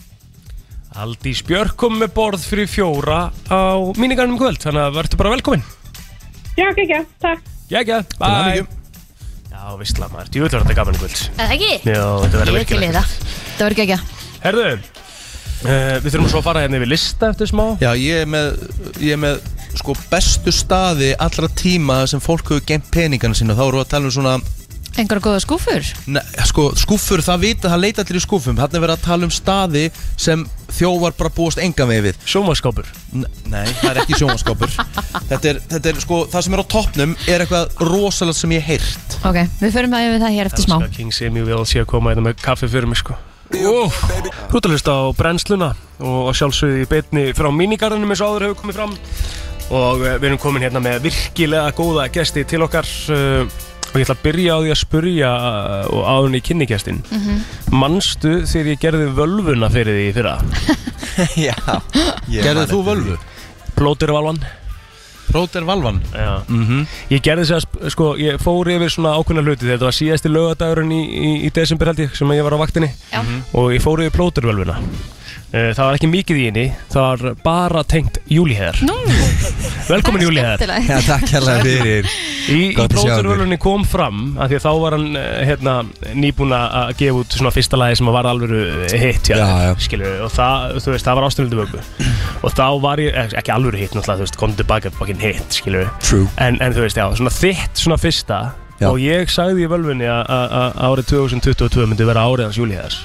S3: Aldís Björk kom með borð fyrir fjóra á mínigarnum kvöld þannig að verður bara velkomin
S7: Já, kekja, takk.
S3: Jækja, bæ Já, vissla maður, djúvill var þetta gaman í kvöld
S2: Eða ekki?
S3: Já,
S2: Ég
S3: þetta verður
S2: er til í
S3: virkilega
S2: það Það verður ekki ekki
S3: Herðu, uh, við þurfum svo að fara hérna yfir lista eftir smá
S1: Já, ég er með, ég er með sko bestu staði allra tíma sem fólk hefur gemt peningana sína þá erum við að tala um svona
S2: Engar góða skúfur
S1: ne, sko, skúffur, það vita, það leita allir í skúffum þarna er verið að tala um staði sem þjóvar bara búast enga með við
S3: Sjómaskápur?
S1: Nei, það er ekki sjómaskápur þetta, er, þetta er sko, það sem er á toppnum er eitthvað rosalegt sem ég hef heyrt
S2: Ok, við förum að yfir það hér eftir smá
S3: Elskar King Simi og við alveg sé að koma hérna með kaffi fyrir mig sko Úf, hlutalist á brennsluna og að sjálfsögðu í betni frá mínigarðinum eins og áður hefur komið fram og eh, við erum komin hérna með virkilega góða gesti til okkar eh, og ég ætla að byrja á því að spurja eh, og áðunni kynnigestin mm
S2: Mhm.
S3: Manstu þegar ég gerði völvuna fyrir því í fyrra?
S1: Já
S3: Gerðið
S1: Gerðið þú völvu?
S3: Plótervalvan
S1: Plótervalvan?
S3: Já
S1: Mhm.
S3: Ég gerði þess að, sko, ég fór yfir svona ákveðna hluti þegar þetta var síðasti lögadagurinn í, í, í desember held ég sem ég var á vaktinni
S2: Já.
S1: Mhm.
S3: og ég fór yfir plótervölvuna Eh, Það var ekki mikið í henni, það var bara tengt júliheðar
S2: Nú,
S3: Velkomin júliheðar
S2: skemmtilegt. Já, takk hérlega
S1: fyrir
S3: Í, í
S1: Gott að sjá ykkur.
S3: plótervölunni kom fram af því að þá var hann eh, hérna, nýbúin að gefa út svona fyrsta lagi sem var alveg hitt já, já. Skilur, hérna, og það, þú veist, það var ástunlundu vöku og þá var ég, eh, ekki alveg hitt náttúrulega, þú veist, kom tilbaka bakinn hitt skilur,
S1: True.
S3: en, en þú veist, já, svona þitt svona fyrsta
S1: Já.
S3: og ég sagði í völvunni að- að að árið 2022 myndi vera árið hans júliheðars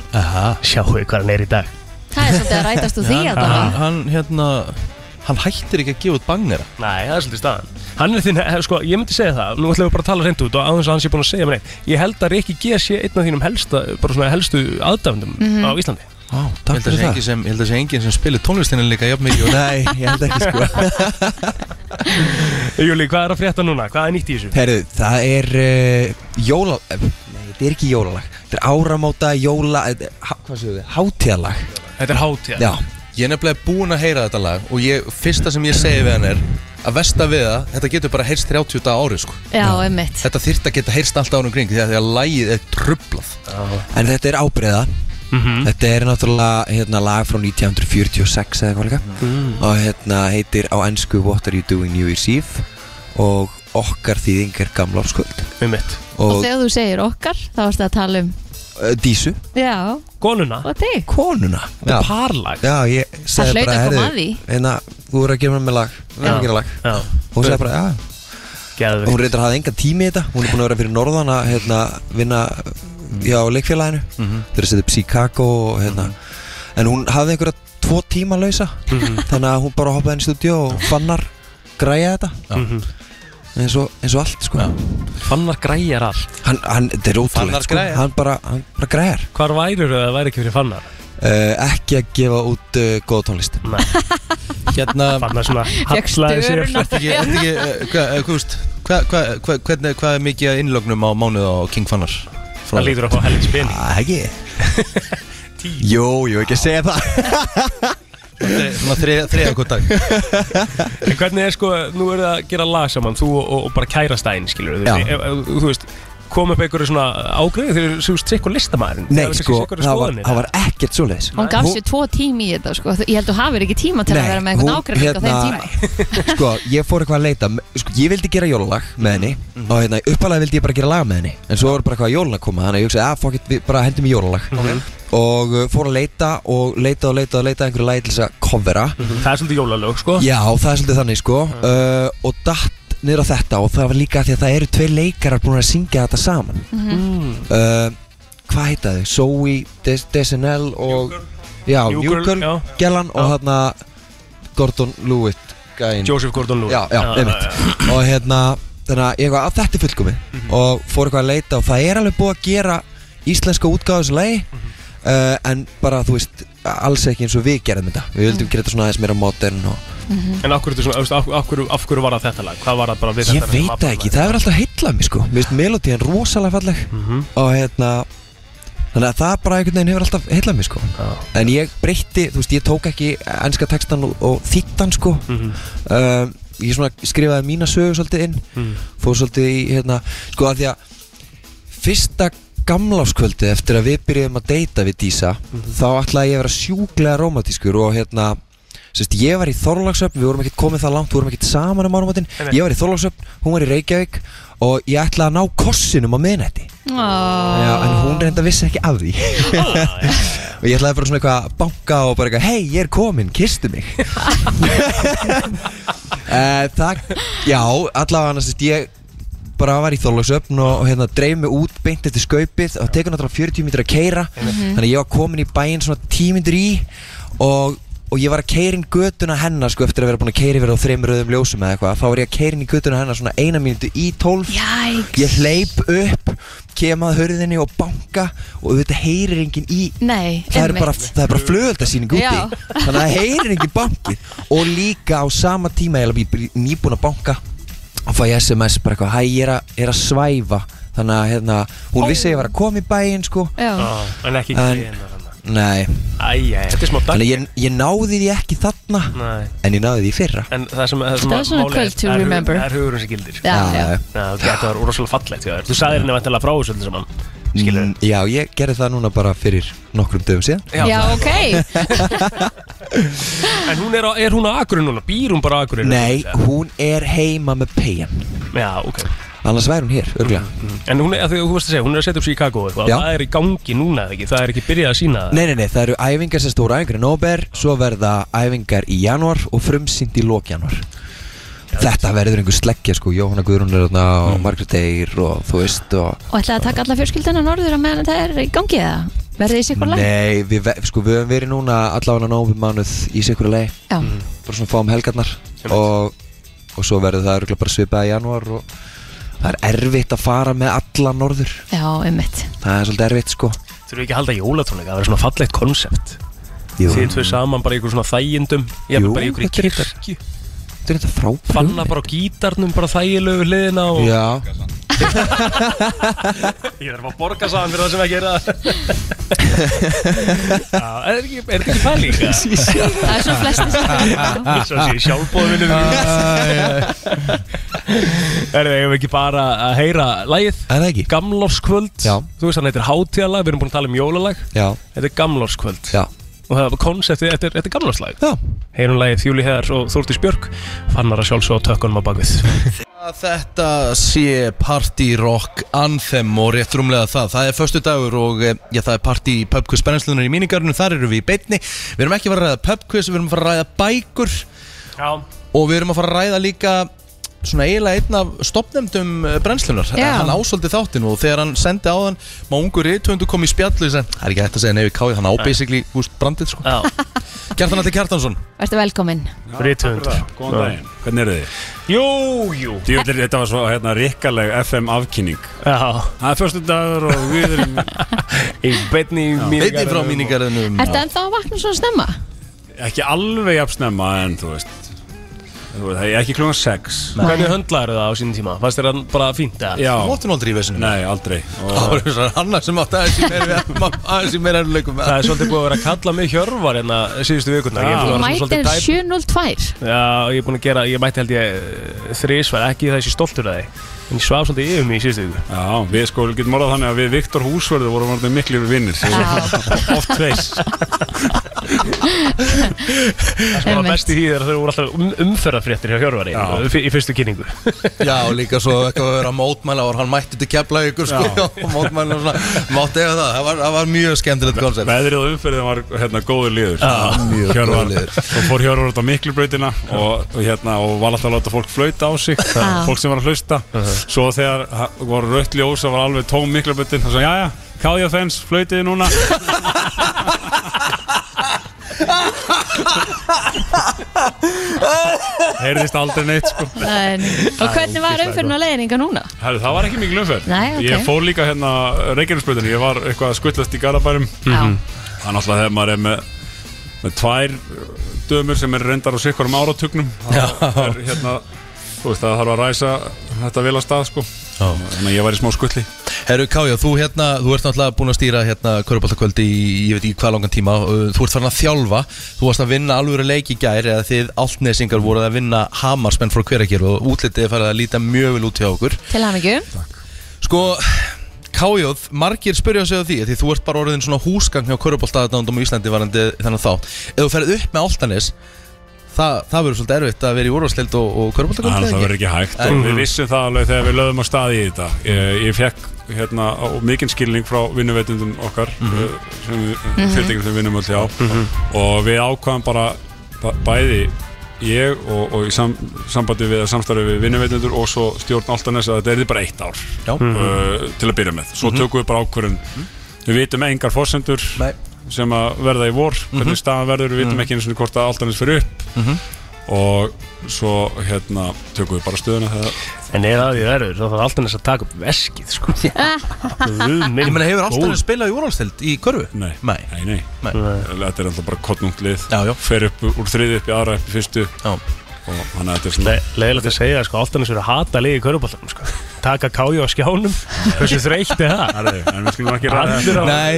S3: sjáu hvað hann er í dag
S2: það er svolítið að rætast úr því
S1: hann,
S2: að það
S1: hann, hann, hérna, hann hættir ekki að gefa út bangnera
S3: Nei, það er svolítið staðan Hann er þinn, hef, sko, ég myndi segja það Nú ætlum við bara að tala reynd út og aðeins að hann sé búin að segja mér neitt Ég held að Rikki G sé einn af þínum helsta bara svona helstu aðdæfndum
S1: Mhm.
S3: á Íslandi
S1: Á,
S3: takk
S1: ég held að
S3: fyrir
S1: sé
S3: það.
S1: enginn sem- Ég held að sé enginn sem spilir tónlistinni líka jafn mikið og- Nei, ég held ekki sko
S3: Júli, hvað er að frétta núna? Hvað er nýtt í þessu?
S8: Herru, það er uh, jóla... eh, Nei, þetta er ekki jólalag. Þetta er áramóta jóla... eh, há- Hvað séu þið? Hátíðalag.
S3: Þetta er hátíð
S8: Já.
S1: Ég er nefnilega búinn að heyra þetta lag og ég, fyrsta sem ég segi við hann er að versta við það, þetta getur bara heyrst 30 daga árið sko.
S2: Já, einmitt
S1: Þetta þyrft að geta heyrst alltaf árum kring því að því að lagið er trublað.
S8: En þetta er ábreyða.
S3: Mhm.
S8: Þetta er náttúrulega hérna, lag frá 1946 eða eitthvað líka.
S3: Mhm.
S8: Og hérna heitir á ennsku What Are You Doing New Year's Eve? Og okkar þýðing er gamla orskvöld.
S3: Með mitt.
S2: Og
S8: Og,
S2: þegar þú segir okkar, þá erstu að tala um
S8: og Dísu.
S2: Já
S3: Konuna
S2: Og þig
S8: Konuna
S3: Þetta er parlag
S8: Já, ég
S2: Það
S8: segi
S2: hlaut
S8: bara
S2: að koma
S8: heyrðu,
S2: að því.
S8: hérna, Þú voru að gera mér með lag Við erum
S3: Já.
S8: að gera lag
S3: Já.
S8: Hún segi bara, já
S3: Geðveikt.
S8: Hún reyndar að hafa engan tími í þetta Hún er búin að vera fyrir norðan að hérna, vinna Já, á leikfélaginu
S1: Mhm.
S8: Þeir eru að setja upp Chicago og, hérna. En hún hafði einhverja tvo tíma lausa
S3: Mhm.
S8: Þannig að hún bara hoppaði inn í stúdíu og fannar græja þetta
S1: Mhm.
S8: eins og, eins og allt sko.
S3: Fannar græjar allt
S8: hann, hann, þetta er ótrúlegt
S3: Fannar
S8: sko.
S3: græjar.
S8: hann, bara, hann bara græjar
S3: Hvar værur það væri ekki fyrir Fannar?
S8: uh, ekki að gefa út uh, góða tónlist
S3: Nei.
S1: hérna
S3: Fannar svona
S1: Fékk
S3: hallaði sér
S1: störuna. Ertu ekki- ertu ekki, eh, hvað- eh, Gúst, hvað- hvað- hvað- hvernig- Hvað er mikið að innlögnum á mánuð á King Fannar? Ah,
S3: Það lítur upp á helvits pening
S8: Það ekki Jú, jú, ekki að segja það
S1: Svona þriða hvort dag
S3: En hvernig er sko, nú eru það að gera lag saman Þú og, og bara kærastæðin, skilur við
S8: Já.
S3: ef, ef, Þú veist, kom upp einhverju svona ágreði Þegar þú veist, sikkur listamæðurinn
S8: Nei, sko, það var, það var ekkert svoleiðis
S2: Hún gaf sér tvo tími í þetta sko. Ég held að þú hafir ekki tíma til
S8: Nei,
S2: að vera með einhvern
S8: hún-
S2: ágræning á þeim
S8: hérna-
S2: tíma
S8: Sko, ég fór eitthvað að leita sko, Ég vildi gera jólalag með henni
S3: Mhm.
S8: Og hérna, uppalega vildi ég bara gera lag með henni En svo var bara eitthvað að jólalag koma Þannig að ég hugsaði, að fuck it, við bara hendum í jólalag
S3: Ok.
S8: Og uh, fór að leita og leita og leita og leita einhverju lagi til þess að covera
S3: Það er svolítið jólalög, sko Mhm.
S8: Já, það er svolítið þannig, sko uh, Og datt niður á þetta Og það var líka af því að það eru tvei leikarar búin að syngja þetta saman
S3: Mhm.
S2: Mm.
S8: uh, Hvað heita þau? Zoe, Des Desenel og Já,
S3: New Girl,
S8: New Girl,
S3: já.
S8: Gellan og hérna Gordon Lewitt gæinn.
S3: Joseph Gordon-Levitt.
S8: Já, já,
S3: Já,
S8: einmitt
S3: já, Mhm.
S8: Og hérna, þannig að ég eitthvað að þetta er fullkomi Og fór eitthvað að leita og það er alveg búið að gera íslenska útgáðu þessu lagi
S3: Mhm.
S8: uh, En bara, þú veist, alls ekki eins og við gerðum þetta Við
S3: Mhm.
S8: vildum gera þetta svona aðeins meira modern og
S3: En af hverju, þetta svona, þú veist, af, af, hverju, af hverju var það þetta lag? Hvað var það bara við
S8: Ég
S3: þetta?
S8: veit það ekki, það hefur alltaf heitlað mér sko Mér finnst melodían rosalega falleg
S3: Mhm.
S8: Og hérna Þannig að það bara einhvern veginn hefur alltaf heitlað mér sko En ég breytti, þú veist, ég tók ekki Ennska textan og, og þýttan sko um, Ég svona skrifaði mína sögu svolítið inn
S3: Mhm.
S8: Fór svolítið í, hérna Sko að því að Fyrsta gamláskvöldi eftir að við byrjuðum að deyta við Dísa Þá ætlaði ég að vera sjúklega rómatískur Og hérna Sest, ég var í Þorlagsöfn, við vorum ekkert komið það langt, við vorum ekkert saman um áramótin
S3: Nei.
S8: Ég var í Þorlagsöfn, hún var í Reykjavík og ég ætlaði að ná kossinum á miðnætti Já, En hún reynda vissi ekki af því Og ég ætlaði bara svona eitthvað að banka og bara eitthvað Hei, ég er komin, kistu mig Eh, Það, já, allavega annars sest, Ég bara var í Þorlagsöfn og, og hérna dreif mig út beint eftir skaupið og tekur náttúrulega 40 mítur að keira
S3: Mhm.
S8: þannig að ég var komin í bæinn svona 10 mítur í og, og ég var að keira inn götuna hennar sko eftir að vera búin að keira yfir á þreim rauðum ljósum eða eitthvað þá var ég að keira inn í götuna hennar svona eina mínútu í 12
S2: Jæks.
S8: ég hleyp upp kem að hörðinni og banka og auðvitað heyrir enginn í
S2: Nei,
S8: það er
S2: einmitt.
S8: bara, það er bara flugöldasýning úti
S2: Já.
S8: þannig að það heyrir ekki bankið og líka á sama tíma ég er nýbúin að banka og fæ ég sms bara eitthvað hæ ég er, að- er að svæfa þannig að hérna, hún vissi að ég var að koma í bæinn sko
S2: Já.
S3: Ah, en ekki í
S8: en,
S3: hliðina
S8: nei
S3: Æja, þetta er smá dag
S8: þannig að ég, ég náði því ekki þarna
S3: Nei.
S8: en ég náði því í fyrra
S3: En það sem, það sem
S2: Það er svona
S3: málið
S2: kvöld to
S3: það er hug-
S2: remember.
S3: Það er hugurinn sem gildir
S2: Já, já.
S3: Þetta var rosalega fallegt hjá þér. Þú sagði henni vantilega frá þessu öllu saman
S8: Mm, já, ég gerði það núna bara fyrir nokkrum dögum síðan
S2: Já, ok
S3: En hún er, á, er hún á Akurinn núna? Býr hún bara á Akurinn?
S8: Nei, hún er heima með peyjan
S3: Já, ok Mm,
S8: Annars væri hún hér, örgulega
S3: En hún er, að því að þú veist að segja, hún er að setja upp Chicago og eitthvað
S8: Já.
S3: Það er í gangi núna eða ekki, það er ekki byrjað að sína það
S8: Nei, nei, nei, það eru æfingar sem stóra æfingar í nóber Svo verða æfingar í janúar og frumsýnd í lók janúar Þetta verður einhver sleggja sko Jóhanna Guðrún er þarna og
S3: Mm.
S8: Margrét Eir og þú veist og
S2: Og ætlaði að taka alla fjörskildina norður á meðan það er í gangi eða? Verðið í sikkur lag?
S8: Nei, við, ve- sko, við höfum verið núna allavega nóber mánuð í sikur lei
S2: Já.
S8: Bara svona fáum helgarnar og, og svo verður það örgulega bara svipað í janúar og það er erfitt að fara með alla norður
S2: Já, einmitt
S8: Það er svolítið erfitt sko
S3: Þurfum við ekki að halda jólatónleika, það verður svona fallegt konsept
S8: Jú.
S3: Þið tvö saman bara í ykkur svona þægindum Ég
S8: Jú,
S3: bara í ykkur í
S8: þetta er-
S3: kirkju
S8: Þetta er þetta frábæð
S3: Fanna bara á gítarnum, bara þægilegu við hliðina og
S8: Já
S3: Ég þarf að borga saman fyrir það sem ekki er að Já, er þetta ekki, er þetta ekki pæling?
S2: Það er svo flestir sem
S8: Ah,
S3: Ég svo sé sjálfbóðvinni Erðu, ég hef ekki bara að heyra lægið
S8: Er það ekki?
S3: Gamlorskvöld
S8: Já.
S3: Þú veist hann heitir hátíðalag, við erum búin að tala um jólalag
S8: Já.
S3: Þetta er gamlorskvöld
S8: Já.
S3: Og það var konseptið, þetta er, þetta er gamlorslag
S8: Já
S3: Heyrum lægið Þjúli Heðar og Þórtís Björk Fannar að sjálfsög á tökkunum á bakvið
S1: Að Þetta sé Party Rock Anthem og rétt rúmlega það. Það er förstu dagur og eh, já, það er Party Pub Quiz brennslunar í míningarinu, þar eru við í beitni. Við erum ekki að fara að ræða Pub Quiz, við erum að fara að ræða bækur
S3: Já
S1: og við erum að fara að ræða líka svona eiginlega einn af stopnefndum eh, brennslunar
S2: Já.
S1: hann ásóldi þáttin og þegar hann sendi á hann má ungur reytvöndu kom í spjallu sem, það er ekki hægt að segja nefið káði hann á
S2: Nei.
S1: basically húst brandið sko Kjartan Alli Kjartansson
S2: Vertu velkominn
S3: Rithöfund
S4: Góðan daginn, hvernig eru þið? Jú, jú Djúlir, þetta var svo hérna ríkaleg FM afkynning Já Það er fyrstu dagur og við erum Í beinni
S1: míningarðinum Beinni frá míningarðinum.
S2: Ertu ennþá að vakna svona snemma?
S4: Ekki alveg jafn snemma en þú veist þú veist, Það er ekki klungan 6
S7: Hvernig höndlaður það á sínum tíma? Fannst þér hann bara fínt eða?
S4: Já
S1: Þú máttu nú aldrei í vesinu
S4: Nei, aldrei
S1: Það var þessar annar sem átti aðeins í meiri aðeins í meiri erfiðleikum.
S7: Það er svolítið búið að vera að kalla mig Hjörvar hérna síðustu vikundar Ég er búinn
S2: Þú
S7: að vera svona
S2: mætir
S7: svolítið dæp-
S2: 7.02
S7: Já, ég er búinn að gera, ég mætti held ég þrísvar, ekki þessi stoltur að þið En ég svaf svolítið yfir mig í síðustu viku
S4: Já, við sko getum orðað þannig að við Viktor Húsvörður vorum orðin miklir vinnir Oft veist
S7: Það sem sko var best í því þegar þau voru alltaf um, umferðarfréttir hjá Hjörvari f- Í fyrstu kynningu
S1: Já, og líka svo eitthvað að vera að mótmæla og hann mætti til kefla ykkur sko
S4: Já.
S1: og mótmæla og svona, mátti ega það það var, það var mjög skemmtilegt koncept
S4: Veðrið og umferðin var hérna góður liður
S1: Já, mjög
S4: Hjörvar-
S1: góður liður.
S4: Svo fór Hjörvar út á miklubrautina og, og hérna og var alltaf að láta fólk flauta á sig
S7: Já.
S4: Fólk sem var að hlusta Svo þegar ha- var rött ljós og var alveg tóm miklubrautin Það svo, jæja, káðja fens, flautiði núna Heyrðist aldrei neitt sko
S2: En, Og hvernig var umfyrin á leiðninga núna?
S4: Herru, það var ekki mikil umferð
S2: Nei, ok.
S4: Ég fór líka hérna Reykjanesbröðinu Ég var eitthvað að skullast í Garabærum
S2: Já.
S4: Það er náttúrulega þegar maður er með með tvær uh, dömur sem er reyndar á sikvarum áratugnum Það er hérna Þú veist það þarf að ræsa þetta vel að stað sko Já. Þannig að ég var í smá skulli
S1: Herru Kája, þú hérna, þú ert náttúrulega búin að stýra hérna Köruboltakvöldi í, ég veit ekki hvað langan tíma uh, Þú ert farin að þjálfa, þú varst að vinna alvöru leik í gær eða þið altnesingar voruð að vinna hamarsmenn frá hverakir og útlitið er farið að líta mjög vel út hjá okkur
S2: Til hann ekki
S1: Sko, Kájóð, margir spyrja sig á því því þú ert bara orðin svona húsgang hjá Köruboltaðandum í Íslandi varandi þannig þá Ef þú ferð upp með altanis Það, það verður svolítið erfitt að vera í úrvarsleild og, og körbóltakvöld
S4: Þannig að það verður ekki hægt og við vissum það alveg þegar við lögum á staði í þetta Ég, ég fekk hérna á- mikinn skilning frá vinnuveitundum okkar mm
S5: Mhm.
S4: -hmm. sem við
S5: Mhm.
S4: fyrirtækjum sem við vinnum alltaf á og við ákvaðum bara bæ- bæði ég og, og í sam, sambandi við samstarfi við vinnuveitundur og svo stjórn Altaness að þetta er bara eitt ár
S1: Já.
S4: uh, til að byrja með svo
S1: Mhm.
S4: tökum við bara ákvörðun við vitum engar forsendur
S1: Nei.
S4: sem að verða í vor hvernig staðan verður, við vitum
S1: Mhm.
S4: ekki eins og hvort að Altaness fyrir upp
S1: Mhm.
S4: og svo hérna tökum við bara stöðuna þegar
S7: En er það því verður, þá þarf alltaf næst að taka upp veskið sko Guð minn
S1: Ég meina, hefur
S7: góður.
S1: altanis spilað í úrvarsleild í körfu?
S4: Nei,
S1: nei,
S4: nei, nei.
S1: Nei.
S4: Þetta er alltaf bara kottnungt lið já, já. Fer upp úr þriði upp í aðra upp í fyrstu
S1: já.
S4: Og hann er þetta er
S7: Le
S4: svona
S7: Leðilegt að segja, sko, alltaf næst verður að hata liði í körubóltanum sko Taka káju á skjánum, hversu þreytt er það?
S4: Herri, En við skulum ekki
S7: Allir á- Nei.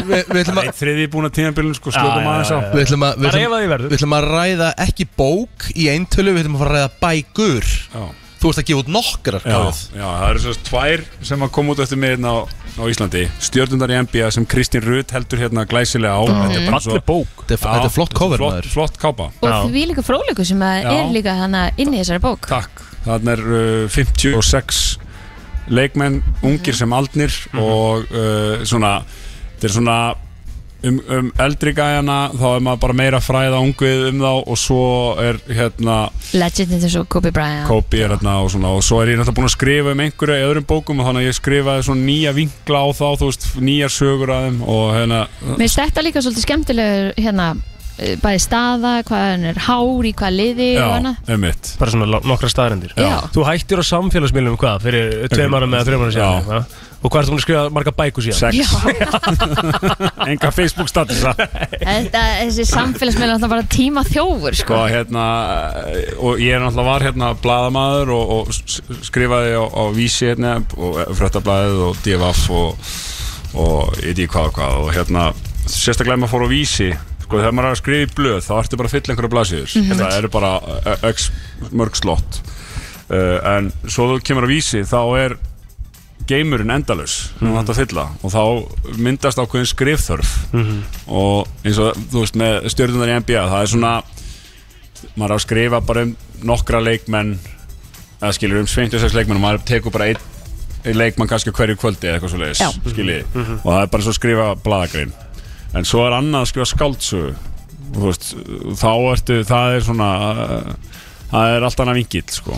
S4: Við ætlum að Þriði búin að tíðanbílun sko slökum aðeins á
S1: Við ætlum að, við
S4: Það er ef
S1: ætlum,
S4: að því verður
S1: við ætlum að ræða ekki bók í eintölu, við ætlum að fara að ræða bækur
S4: Já.
S1: Þú ert að gefa út nokkrar
S4: Já,
S1: Káð.
S4: já, það eru svona tvær sem að koma út eftir mig hérna á, á Íslandi Stjörnundar í NBA sem Kristín Rut heldur hérna glæsilega á
S2: Mhm.
S4: Þetta er bara svo-
S2: Falleg bók.
S1: Þetta er- þetta er flott cover,
S4: Flott, flott kápa
S2: Og því líka fróðleikur sem að
S4: Já.
S2: er líka hana inn í þessari bók
S4: Takk Þannig er uh, 56 leikmenn, ungir sem aldnir og uh, svona þetta er svona um, um eldri gæjana þá er maður bara meira að fræða ungvið um þá og svo er hérna
S2: Legendin þessu Kobe Bryant
S4: Kobe er hérna og svona og svo er ég náttúrulega búinn að skrifa um einhverju í öðrum bókum og þannig að ég skrifaði svona nýja vinkla á þá þú veist, nýjar sögur að þeim og hérna
S2: Mér finnst þetta líka svolítið skemmtilegur hérna eh, bæði staða, hvað hann er hár í hvað liði og hana
S4: einmitt
S7: Bara svona lá- nokkra staðarendir
S2: Já.
S7: Þú hættir á samfélagsmiðlum hvað, fyrir tveim ára með þreim ára síðan eitthvað? Og hvað ertu búin að skrifa marga bækur síðan?
S4: enga Facebook statusa
S2: Þetta, þessi samfélagsmiðl er alltaf bara tíma þjófur
S4: sko,
S2: sko.
S4: hérna, eh, og ég er náttúrulega var hérna bladamaður og, og s- skrifaði á, á vísi hérna og fröttablaðið og divaf og, og ég veit ekki hvað og hvað og hérna, sérstaklega ef maður fór á vísi sko, þegar maður er að skrifa í blöð þá ertu bara að fylla einhverja blaðsíður Hérna,
S5: Mhm.
S4: það eru bara eh, x mörg slott uh, en svo þú kemur á vísi þá er geimurinn endalus mm -hmm. að fylla og þá myndast ákveðin skrifþörf
S5: Mhm.
S4: og eins og þú veist með stjórnundar í NBA það er svona maður er að skrifa bara um nokkra leikmenn eða skilur um 26 leikmenn og maður tekur bara einn einn leikmann kannski á hverju kvöldi eða eitthvað svo leiðis
S5: Já.
S4: skiljiði
S5: Mhm.
S4: og það er bara svo að skrifa bladagrein en svo er annað að skrifa skáldsögu og þú veist þá ertu það er svona uh, það er allt annað vingill sko.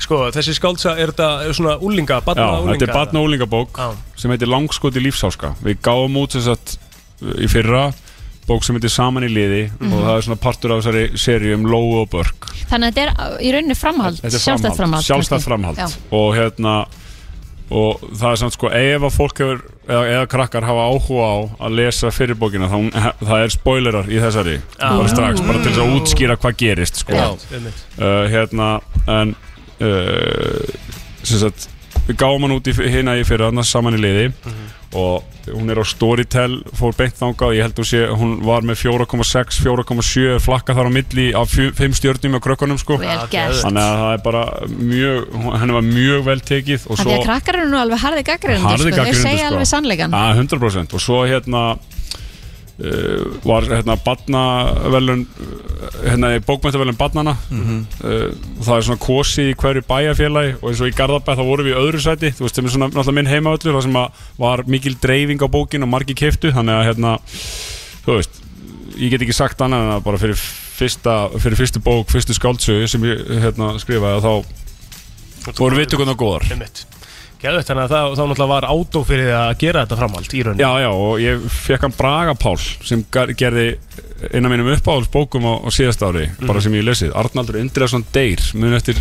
S3: Sko, þessi skáldsa, er þetta svona
S4: Já,
S3: úlinga, batna úlinga?
S4: þetta er batna úlingabók
S3: Já.
S4: sem heitir Langskoti lífsáska Við gáum út þess að í fyrra bók sem heitir Saman í liði og
S2: Mhm.
S4: það er svona partur af þessari seríu um Lóu og Börk
S2: Þannig að þetta er í rauninni framhald,
S4: Þetta er
S2: sjálfstætt framhald.
S4: sjálfstætt
S2: kannski.
S4: framhald.
S2: Já.
S4: og hérna og það er samt sko ef að fólk hefur eða, eða krakkar hafa áhuga á að lesa fyrir bókina þá það er spoilerar í þessari bara strax, bara til þess að útskýra hvað gerist sko.
S3: Já,
S4: uh,
S3: einmitt.
S4: hérna en uh, sem sagt við gáum hann út í hérna í fyrir annars saman í liði
S3: Mhm.
S4: og hún er á Storytel fór beint þangað, ég held að sé hún var með 4,6, 4,7 flakka þar á milli af 5 stjörnum á krökkunum sko
S2: Vel gert.
S4: þannig að það er bara mjög henni var mjög vel tekið og
S2: Af Því
S4: svo
S2: að krakkar eru nú alveg harði gaggrindur,
S4: Harðir
S2: sko.
S4: gagnrýnendur,
S2: Þau segja
S4: sko.
S2: alveg sannleikan.
S4: að 100% og svo hérna uh, var hérna badnavelun hérna í bókmæntavelun badnana
S5: Mhm.
S4: uh, það er svona kosi í hverju bæjarfélagi og eins og í Garðabæð þá vorum við í öðru sæti þú veist sem er svona náttúrulega minn heimavöldur það sem að var mikil dreifing á bókin og margi keftu þannig að hérna þú veist ég get ekki sagt annað en að bara fyrir fyrsta, fyrir fyrstu bók, fyrstu skáldsögu sem ég hérna skrifaði þá voru viðtökunar góðar
S3: Einmitt. Geðveikt, þannig að það, þá náttúrulega var átó fyrir að gera þetta framhald í rauninni.
S4: Já, já, og ég fekk hann Braga Pál sem gar- gerði eina mínum uppáhaldsbókum á, á síðast ári
S3: Mhm.
S4: bara sem ég hef lesið, Arnaldur Indriðarsson Deyr mun eftir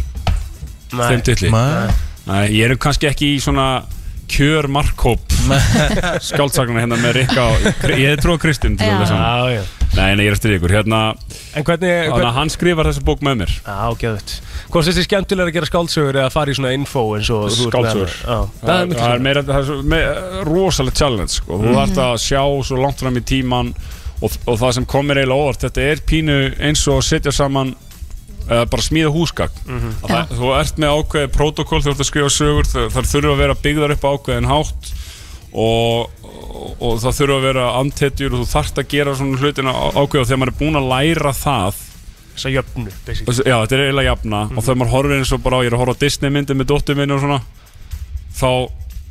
S3: Nei.
S4: þeim titli
S3: Nei.
S4: Nei, ég er kannski ekki í svona kjör markhóp skáldsagnar hérna með Rikka og ég hef trúið Kristinn til
S3: Já.
S4: að lesa hann.
S3: Já, já.
S4: Nei, nei, ég er eftir ykkur hérna,
S3: En hvernig...
S4: þannig að hann skrifar þessa bók með mér
S3: Já, geðvett. Hvort finnst þið skemmtilega að gera skáldsögur eða fara í svona info eins og... þú ert með
S4: skáldsögur
S3: hana? Já.
S4: það er, það er meira það er svo, með, rosalega challenge sko. þú
S3: Mhm.
S4: þarfst að sjá svo langt fram í tíman og, og það sem komir eiginlega óvart þetta er pínu eins og að setja saman eða bara smíða húsgagn
S5: Mhm.
S4: Að það, þú ert með ákveðið protokoll þú ert að skrifa sögur, þar, þar þurfa að vera byggðar upp á ákveðin hátt og, og, og það þurfa að vera antetjur og þú þarft að gera svona hlutina á- ákveðið og þegar maður er búinn að læra það
S3: Þessa jöfnu, basically.
S4: Þessi- Já, þetta er eiginlega jafna og þegar maður horfir eins og bara á, ég er að horfa á Disney myndi með dóttur minni og svona þá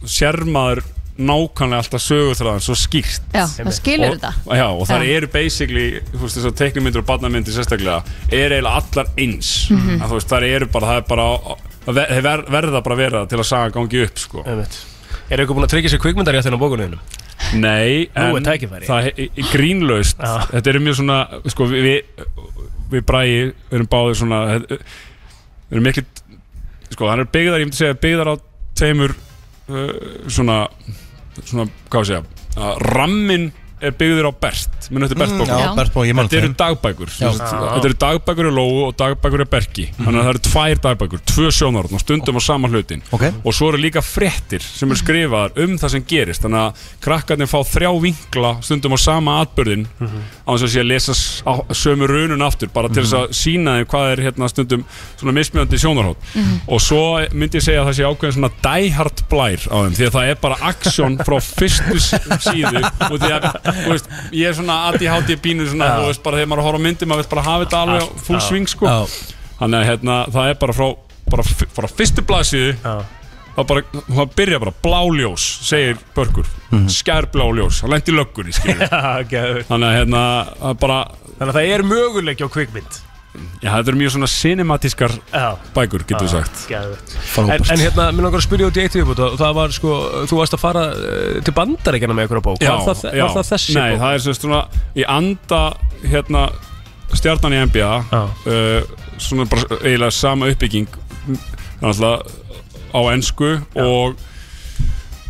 S4: sér maður nákvæmlega alltaf sögutræðan svo skýrt
S2: Já, það skilur
S4: og,
S2: þetta.
S4: Já, og það
S2: Já.
S4: eru basically, þú veist þess að teiknumyndir og barnamyndir sérstaklega, er eiginlega allar eins
S2: Mhm.
S4: að, þú veist, það eru bara, það er bara það ver, ver, verða bara að vera til að saga gangi upp sko.
S3: Er eitthvað búin að tryggja sér kvikmyndar í að þennan bókunuðinum?
S4: Nei,
S3: Nú
S4: en
S3: er tækifæri.
S4: það er- er grínlaust Þetta er mjög svona sko, við, við, við bræði erum báðir svona eh, við erum miklu sko, hann er byggðar, ég myndi segja byggðar á tveimur uh, svona svona, hvað sé ég að ramminn er byggður á Bert minn þetta er Bert
S1: Mm,
S4: bókum
S1: já, Bert bók, ég man
S4: Þetta eru
S1: þeim.
S4: dagbækur
S1: Já.
S4: Þú veist,
S1: Já.
S4: Þetta eru dagbækur í Lóu og dagbækur í Berki Þannig að það eru tvær dagbækur, tvö sjónarðn og stundum á sama hlutin
S1: Ok.
S4: Og svo eru líka fréttir sem eru skrifaðar um það sem gerist Þannig að krakkarnir fá þrjá vinkla stundum á sama atbyrðin Á þess að sé að lesa s- á- sömu runun aftur Bara til þess að sína þeim hvað er hérna stundum svona mismjöndi sjónarhótt
S5: Mhm.
S4: Og svo myndi ég segja að það sé ákveðin svona diehard blær á þeim Því að það er bara aksjón frá fyrstu s- síðu Og því að, þú veist, ég er svona ADHD bínu svona,
S5: Já.
S4: þú veist, bara þegar maður horfa á myndi maður veist bara hafa þetta alveg á
S5: Allt,
S4: full
S5: já.
S4: swing sko þannig að hérna, það er bara frá bara, f- frá fyrstu blaðsíðu það, bara, það byrja bara bláljós segir börkur, mm. skærbláljós það lendi löggunni skilur þannig að hérna, það bara
S3: Þannig að það er möguleik á kvikmynd.
S4: já, þetta eru mjög svona cinematískar bækur, getur við
S3: Já,
S4: sagt
S3: geðveikt. En,
S4: Frábært.
S3: en hérna, mér langar að spyrja út í eitt viðbútt og það var sko, þú varst að fara uh, til bandaríkjana með ykkur á bók var, það,
S4: já.
S3: var það þessi
S4: Nei,
S3: bók?
S4: það er sem sagt svona Í anda hérna Stjarnan í NBA uh, Svona bara eiginlega sama uppbygging Þannig að á ensku Og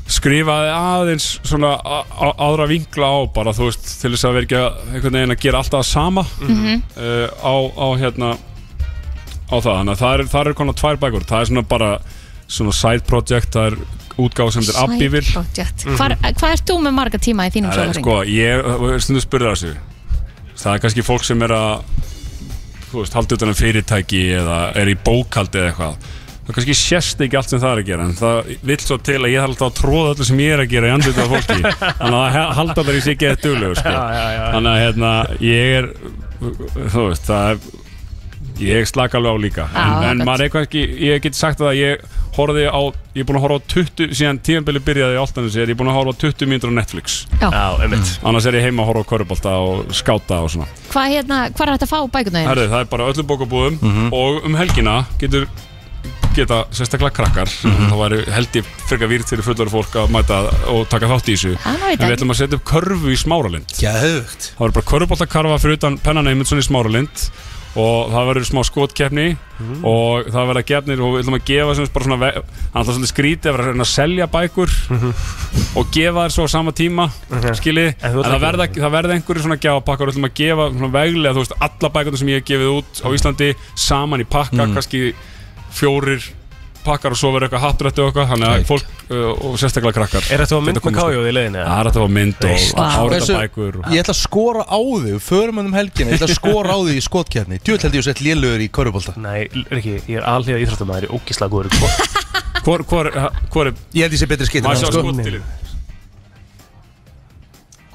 S4: skrifaði aðeins svona a- a- aðra vinkla á bara þú veist til þess að vera ekki að einhvern veginn að gera alltaf það sama
S5: Mhm.
S4: uh, á, á hérna á það, þannig að það er, það er konar tvær bækur það er svona bara svona side project, það er útgáð sem þetta
S2: Side
S4: er Abbeville
S2: project.
S3: Mhm.
S2: Hvar- eh, Hvað ert þú með marga tíma í þínum
S4: Það er,
S2: sólarhring?
S4: sko, ég er stundum spurðið þessu það er kannski fólk sem er að þú veist, haldið utan um fyrirtæki eða er í bókaldi eða eitthvað það kannski sérst ekki allt sem það er að gera en það vill svo til að ég þarf alltaf að tróða öllu sem ég er að gera í andlitið af fólki þannig að það halda bara í sig ekki eða duglegu sko.
S5: Já, já, já.
S4: þannig að hérna, ég er þú veist, það er Ég slaka alveg á líka
S2: Já,
S4: En,
S2: það er
S4: en
S2: gott.
S4: maður eitthvað ekki, ég get sagt það að ég horfði á Ég er búin að horfa á 20, síðan tíðanbili byrjaði í Altanus Ég er búin að horfa á 20 mínútur á Netflix
S2: Já.
S4: einmitt Annars er ég heima að horfa á körubólta og skáta og svona
S2: Hvað hérna, hvað er hægt að fá bækuna þínar?
S4: Herðu, það er bara öllum bókabúðum Og um helgina getur geta sérstaklega krakkar þá væri held ég frekar výrt fyrir fullar fólk að mæta og taka þátt í þessu
S2: Það er nú í
S4: en
S2: dag.
S4: við ætlum að setja upp körfu í smáralind Gæðugt Það verður bara körfuboltakarfa fyrir utan pennan Eymundsson í smáralind og það verður smá skotkeppni
S3: Mhm.
S4: og það verða gefnir og við ætlum að gefa sem sagt bara svona ve- það er alltaf svolítið skrítið að vera að reyna að selja bækur
S3: Mhm.
S4: og gefa þér svo á sama tíma skiljiði, en,
S3: þú ert
S4: það
S3: ekki-
S4: verða það verða einhverju svona gjafapakkar, við ætlum að gefa svona veglega, þú veist, alla bækarna sem ég hef gefið út á Íslandi, saman í pakka
S3: Mm.
S4: kannski fjórir pakkar og svo verður eitthvað hattrættu og eitthvað þannig að fólk, uh, og sérstaklega krakkar
S3: Er þetta að mynd
S4: Geta
S3: með
S4: komið, sko.
S3: kájóð í leiðinni?
S4: Það er að það var mynd og
S3: Veist það.
S4: árita
S1: Hversu-
S4: bækur og-
S1: Ég ætla að skora á þig, förum hann um helgina Ég ætla að skora á þig í skotkjarni Djúvel held ég að sett lélugur í körubólta
S7: Nei, Riki, ég er alhega íþróttamæður í ógislega góður
S4: Hvor, hvor, hvor er
S1: Ég held ég sé betri skitt
S4: Maður sjá skotilinn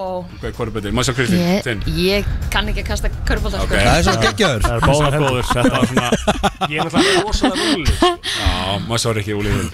S2: Ó.
S4: Ok, Hvor er betri? Maður sjá Kristín,
S2: Ég,
S4: þinn
S2: ég kann ekki að kasta sko. körfbólta
S4: Ok. Það er svo geggjaður. Það er báðar hendur. Þetta var svona-
S7: Ég er náttúrulega rosalega rúli
S4: Já, maður sjá Rikki Úlíður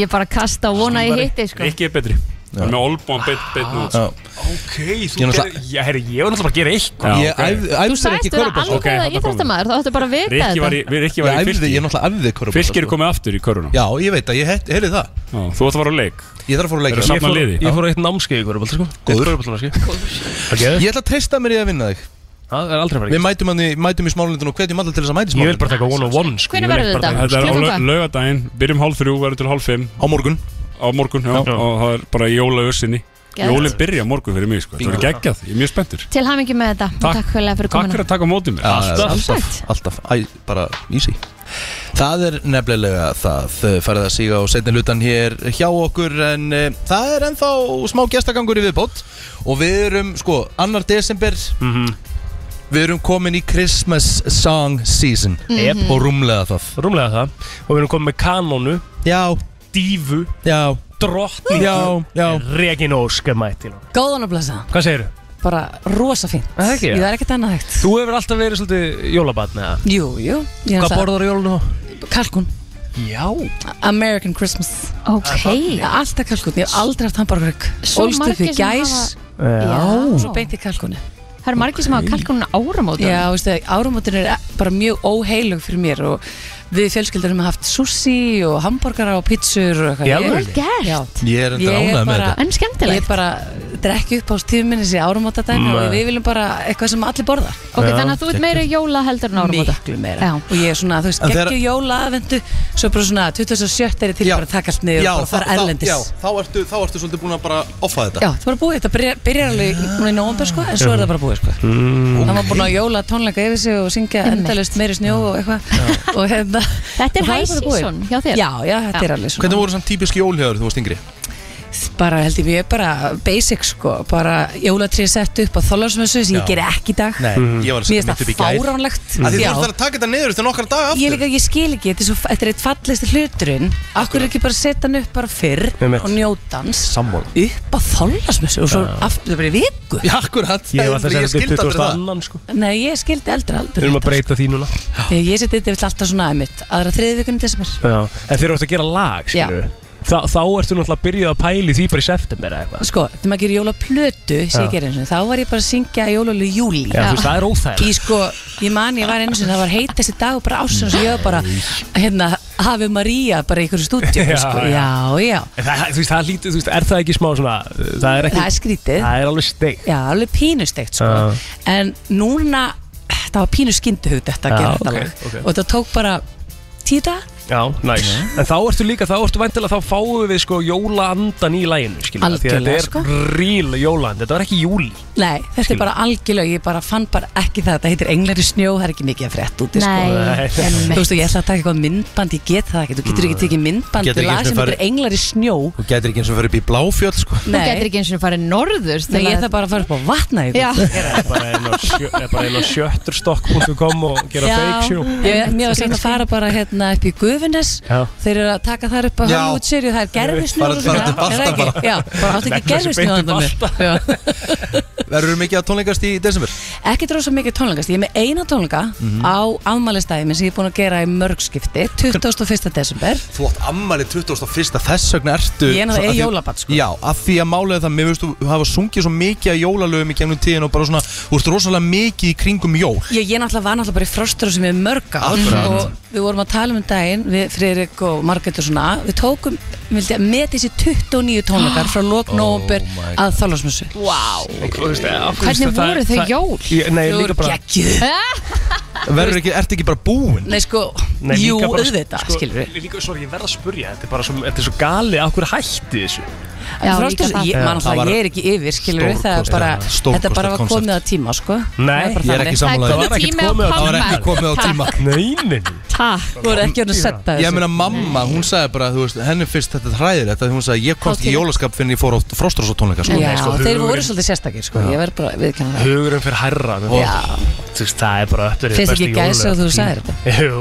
S2: Ég bara kasta og vona ég hitti sko.
S4: Rikki er betri Það er með olbúan beitt beitt nút
S1: Já.
S7: Ok,
S4: Ég
S7: þú
S4: er
S7: gerir,
S4: náttúrulega-
S7: ég, herri, ég var náttúrulega bara að gera eitthvað
S1: Ég æfði- æfði
S2: Þú sagðist þú vera
S4: körfubolta.
S2: alveg
S4: Ok, þarna komum við.
S2: íþróttamaður Þá ættu bara að vita
S4: Rikki var í,
S2: þetta
S4: Rikki var í
S1: æfði-
S4: fylki
S1: ég náttúrulega æfði körfubolta,
S4: Fylki er
S1: sko.
S4: komið aftur í köruna
S1: Já, ég veit að ég heyrði það
S4: Já, Þú ætti að fara á leik
S1: Ég þarf að fara á leik.
S4: Það er
S1: Ég
S4: safna
S1: fór-
S4: liði
S1: ég
S7: fór á eitt námskeið í körubólta sko
S1: Góður.
S7: Góður
S1: Ég ætla að treysta mér í að vinna þig
S7: Það er aldrei
S1: Við mætum, hann, í- mætum í smálindun og hvetjum alla til þess að mæti
S7: Ég
S1: smálindun
S7: vil bara taka one on one sko. Ég vil ekki bara taka-
S4: Þetta er á lau- laugardaginn, byrjum hálf þrjú, verður til hálf fimm
S1: Á morgun
S4: Á morgun, já, og það er bara jólausinni
S2: Geðvegt.
S4: Jólin byrja á morgun fyrir mig, sko Það er
S1: Bingo.
S4: geggjað, ég er mjög spenntur
S2: Til hamingi með þetta og
S4: Takk.
S2: Takk höllega fyrir
S4: Takk fyrir
S2: komuna
S4: að taka á móti mér
S1: Alltaf, alltaf,
S2: Sjálfsagt.
S1: alltaf, æ, bara easy Það er nefnilega það eh, farið að síga á setni lutan hér hjá okkur en e, það er ennþá smá gestagangur í viðbót og við erum sko annar desember
S7: Mhm.
S1: við erum komin í Christmas song season
S7: Mhm.
S1: og rúmlega það
S7: Rúmlega það Og við erum komið með kanónu
S1: Já
S7: Dífu
S1: Já
S7: Drottningu
S13: Já,
S1: já
S7: Regin Óska mætti
S13: Góðan og blessa
S7: Hvað segirðu?
S13: Bara rosa fínt
S7: Það er ekki,
S13: Ég
S7: ja.
S13: það er ekkert annað hægt
S7: Þú hefur alltaf verið svolítið jólabatn eða?
S13: Jú, jú ég er
S7: Hvað
S13: það-
S7: borðar á jólunum?
S13: Kalkun
S7: Já
S13: American Christmas
S2: Ok
S13: Já, Alltaf kalkun, ég hef aldrei haft hamburgrögg
S2: Svo margir
S13: við
S2: sem
S13: gæs
S2: hafa- Já.
S13: Svo beint í kalkunni
S2: Það eru margir sem hafa kalkunum áramótum
S13: Já, veistu, áramótin er bara mjög óheilug fyrir mér og við fjölskyldarum hafa haft sushi og hamburgara og pizzur og
S1: Í
S13: eitthvað.
S1: alvöru?
S13: Ég-
S1: Vel gert.
S13: Já.
S1: Ég er enda
S13: Ég
S1: ánægður með
S13: bara-
S1: þetta. En
S2: skemmtilegt.
S13: Ég er bara drekki upp á stífuminn þessi áramótadæmi
S1: Nei.
S13: og við viljum bara eitthvað sem allir borða.
S2: Ok, þannig að þú ert meira jóla heldur en áramóta
S13: Miklu meira Já. Og ég er svona, þú veist,
S2: En þegar-
S13: geggju jóla aðvendu Svo bara svona 27 er ég til bara að taka allt niður og bara fara erlendis
S1: Já, þá ertu, þá ertu svolítið búin að bara offa þetta
S13: Já, það var búið, þetta byrjar, byrjar alveg núna í nóvambur sko, en svo er það bara búið sko
S7: Mhm.
S1: mm.
S13: Það var búin að jóla tónleika yfir sig og syngja endalist meiri snjó og eitthvað og hérna
S2: Þetta er
S13: og það
S2: high
S13: bara búið.
S2: season hjá þér.
S13: Já, já, þetta er alveg svona
S1: Hvernig voru samt típisk jólhjáður þú varst yngri?
S13: Bara held ég, ég er bara basic sko bara jólatrið sett upp á þólarsmössu sem
S1: Já.
S13: ég ger ekki í dag
S1: Nei, ég var
S13: Mhm. Mér
S1: að setja
S13: finnst
S1: mitt upp í
S13: það
S1: gær
S13: fáránlegt
S1: Af Því þú
S13: Já.
S1: ert að taka þetta niður eftir nokkar dag
S13: Ég líka, ég skil ekki, þetta er, svo, þetta er eitt fallegsti hluturinn Akkur er ekki bara að setja hann upp bara fyrr
S7: Einmitt.
S13: og njóta hans
S7: Sammála.
S13: Upp að þólarsmössu og svo aftur bara í viku
S1: Já, akkurat
S7: Ég hef alltaf sett þetta upp 22. sko
S13: Nei, ég skildi aldrei aldrei
S7: Við erum að breyta því núna
S13: Ég, ég seti þetta alltaf svona aðeimitt aðra þriði vikunum desember
S7: Já En þegar þú ert að gera lag,
S13: Já.
S7: skilju Þá, þá ertu náttúrulega að byrja að pæli því bara í september eða eitthvað
S13: Sko, þegar maður gerir jólaplötu
S7: Já.
S13: sem ég gerir eins og þá var ég bara að syngja jólalög í júli
S7: Já, þú veist, það er óþægilegt.
S13: Í sko, ég man, ég var eins og það var heitasti dag og bara ásinn og ég var bara hérna, hafi María bara í einhverju stúdíu
S7: Já,
S13: sko.
S7: já.
S13: já, já,
S7: En það, þú veist, það lítið, þú veist, er það ekki smá svona uh, Það er ekki
S13: Það er skrítið.
S7: Það er alveg steik
S13: já, alveg pínustegt sko.
S7: Já.
S13: en núna það var pínu skynduhug þetta að
S7: Já,
S13: gera
S7: ok,
S13: þetta lag
S7: ok.
S13: og þetta tók bara tíu dag
S7: Já, næs En þá ertu líka, þá ertu væntilega, þá fáum við sko jólaandan í læginu, skilju af því að
S13: Algjörlega, sko.
S7: Þetta er real jólaand, þetta var ekki júli
S13: Nei, þetta
S7: Skilur.
S13: er bara algjörlega, ég bara fann bara ekki það, þetta heitir englar í snjó, það er ekki mikið að frétt úti
S7: Nei, Nei.
S13: sko.
S7: einmitt.
S13: Þú veist, og ég ætla að taka eitthvað myndband, ég get það ekki, þú getur ekki tekið myndband
S1: Getur
S13: Getur
S1: ekki
S13: lag
S1: einu
S13: sem
S1: sinni
S13: heitir
S1: farið-
S13: englar í snjó
S1: Þú gætir ekki eins og fyrir upp í bláfjöld sko
S2: Þú getur ekki eins og farið norður
S13: Nei, ég ætla bara að fara upp á vatna
S2: Já.
S7: Bara einn á sjö- eh, bara einn á sjötturstokk.com og gera fake show
S13: ég, mér var sengt að fara bara hérna upp í Guðvinnes
S7: Já.
S13: Þeir eru að taka þar upp á
S7: Já.
S13: Hollywood Siri og það er gerfisnjó
S1: Bara- bara til Balta bara.
S13: Já, bara áttu ekki
S1: Negla sig beint
S13: gerfisnjó
S1: í Verður mikið að tónleikast í desember?
S13: ekki dróð svo mikið tónleikast ég er með eina tónleika
S1: Mhm.
S13: á afmælistæði minn sem ég er búin að gera í mörgskipti 21. desember
S1: Þú átt ammali 21. þess vegna ertu
S13: Ég er náttúrulega
S1: Af því-
S13: jólabarn, sko.
S1: Já, af því að málega það, mér veist, þú hafa sungið svo mikið að jólalögum í gegnum tíðin og bara svona, þú ert rosalega mikið í kringum jól
S13: Ég, ég náttúrulega var náttúrulega bara í frostur sem er mörg ár
S1: Akkurat.
S13: og við vorum að tala um daginn við Friðrik og Margrét og svona við tókum, við vildi að meti þessi 29 tónleikar frá lok nóvambur
S3: Oh my
S13: að Þorlásmessu
S2: Wow
S13: Hvernig voru þau jól?
S3: Nei,
S13: Þau
S3: líka
S13: voru
S3: bara
S1: Verður ekki, ert ekki bara búinn?
S13: Nei sko,
S3: Nei,
S13: jú,
S3: líka bara-
S13: auðvitað,
S3: sko,
S13: skilur við
S3: Líka, sorry, ég verð að spurja, þetta er bara svo, þetta er svo gali, okkur hætti þessu
S13: Já,
S3: líka
S13: Frostur,
S3: það.
S13: ég,
S3: Já,
S13: man
S3: Eh, það var
S13: alltaf, ég er ekki yfir, skilur við það er bara,
S3: stórkostlegt-
S13: þetta bara var
S3: stórkostlegt
S13: komið að tíma, sko
S3: Nei,
S13: Það bara þannig.
S1: Það var ekki komið á tíma
S3: Neinin
S13: Takk Þú voru ekki orðin að setja þessu
S1: Ég meina mamma, hún sagði bara, þú veist, henni finnst þetta hræðir þetta Hún sagði, ég komst í
S13: Hátíð.
S1: jólaskap fyrir en ég fór á fróstrósa tónleika sko.
S13: Já, þeir voru svolítið sérstakir, sko Ég verð bara, við kannan það
S3: Hugurinn fyrir hærra
S13: Og- Já.
S3: Þú veist, það er bara öppur
S13: Finnst ekki gæsa og þú sagðir
S3: þetta? Jú,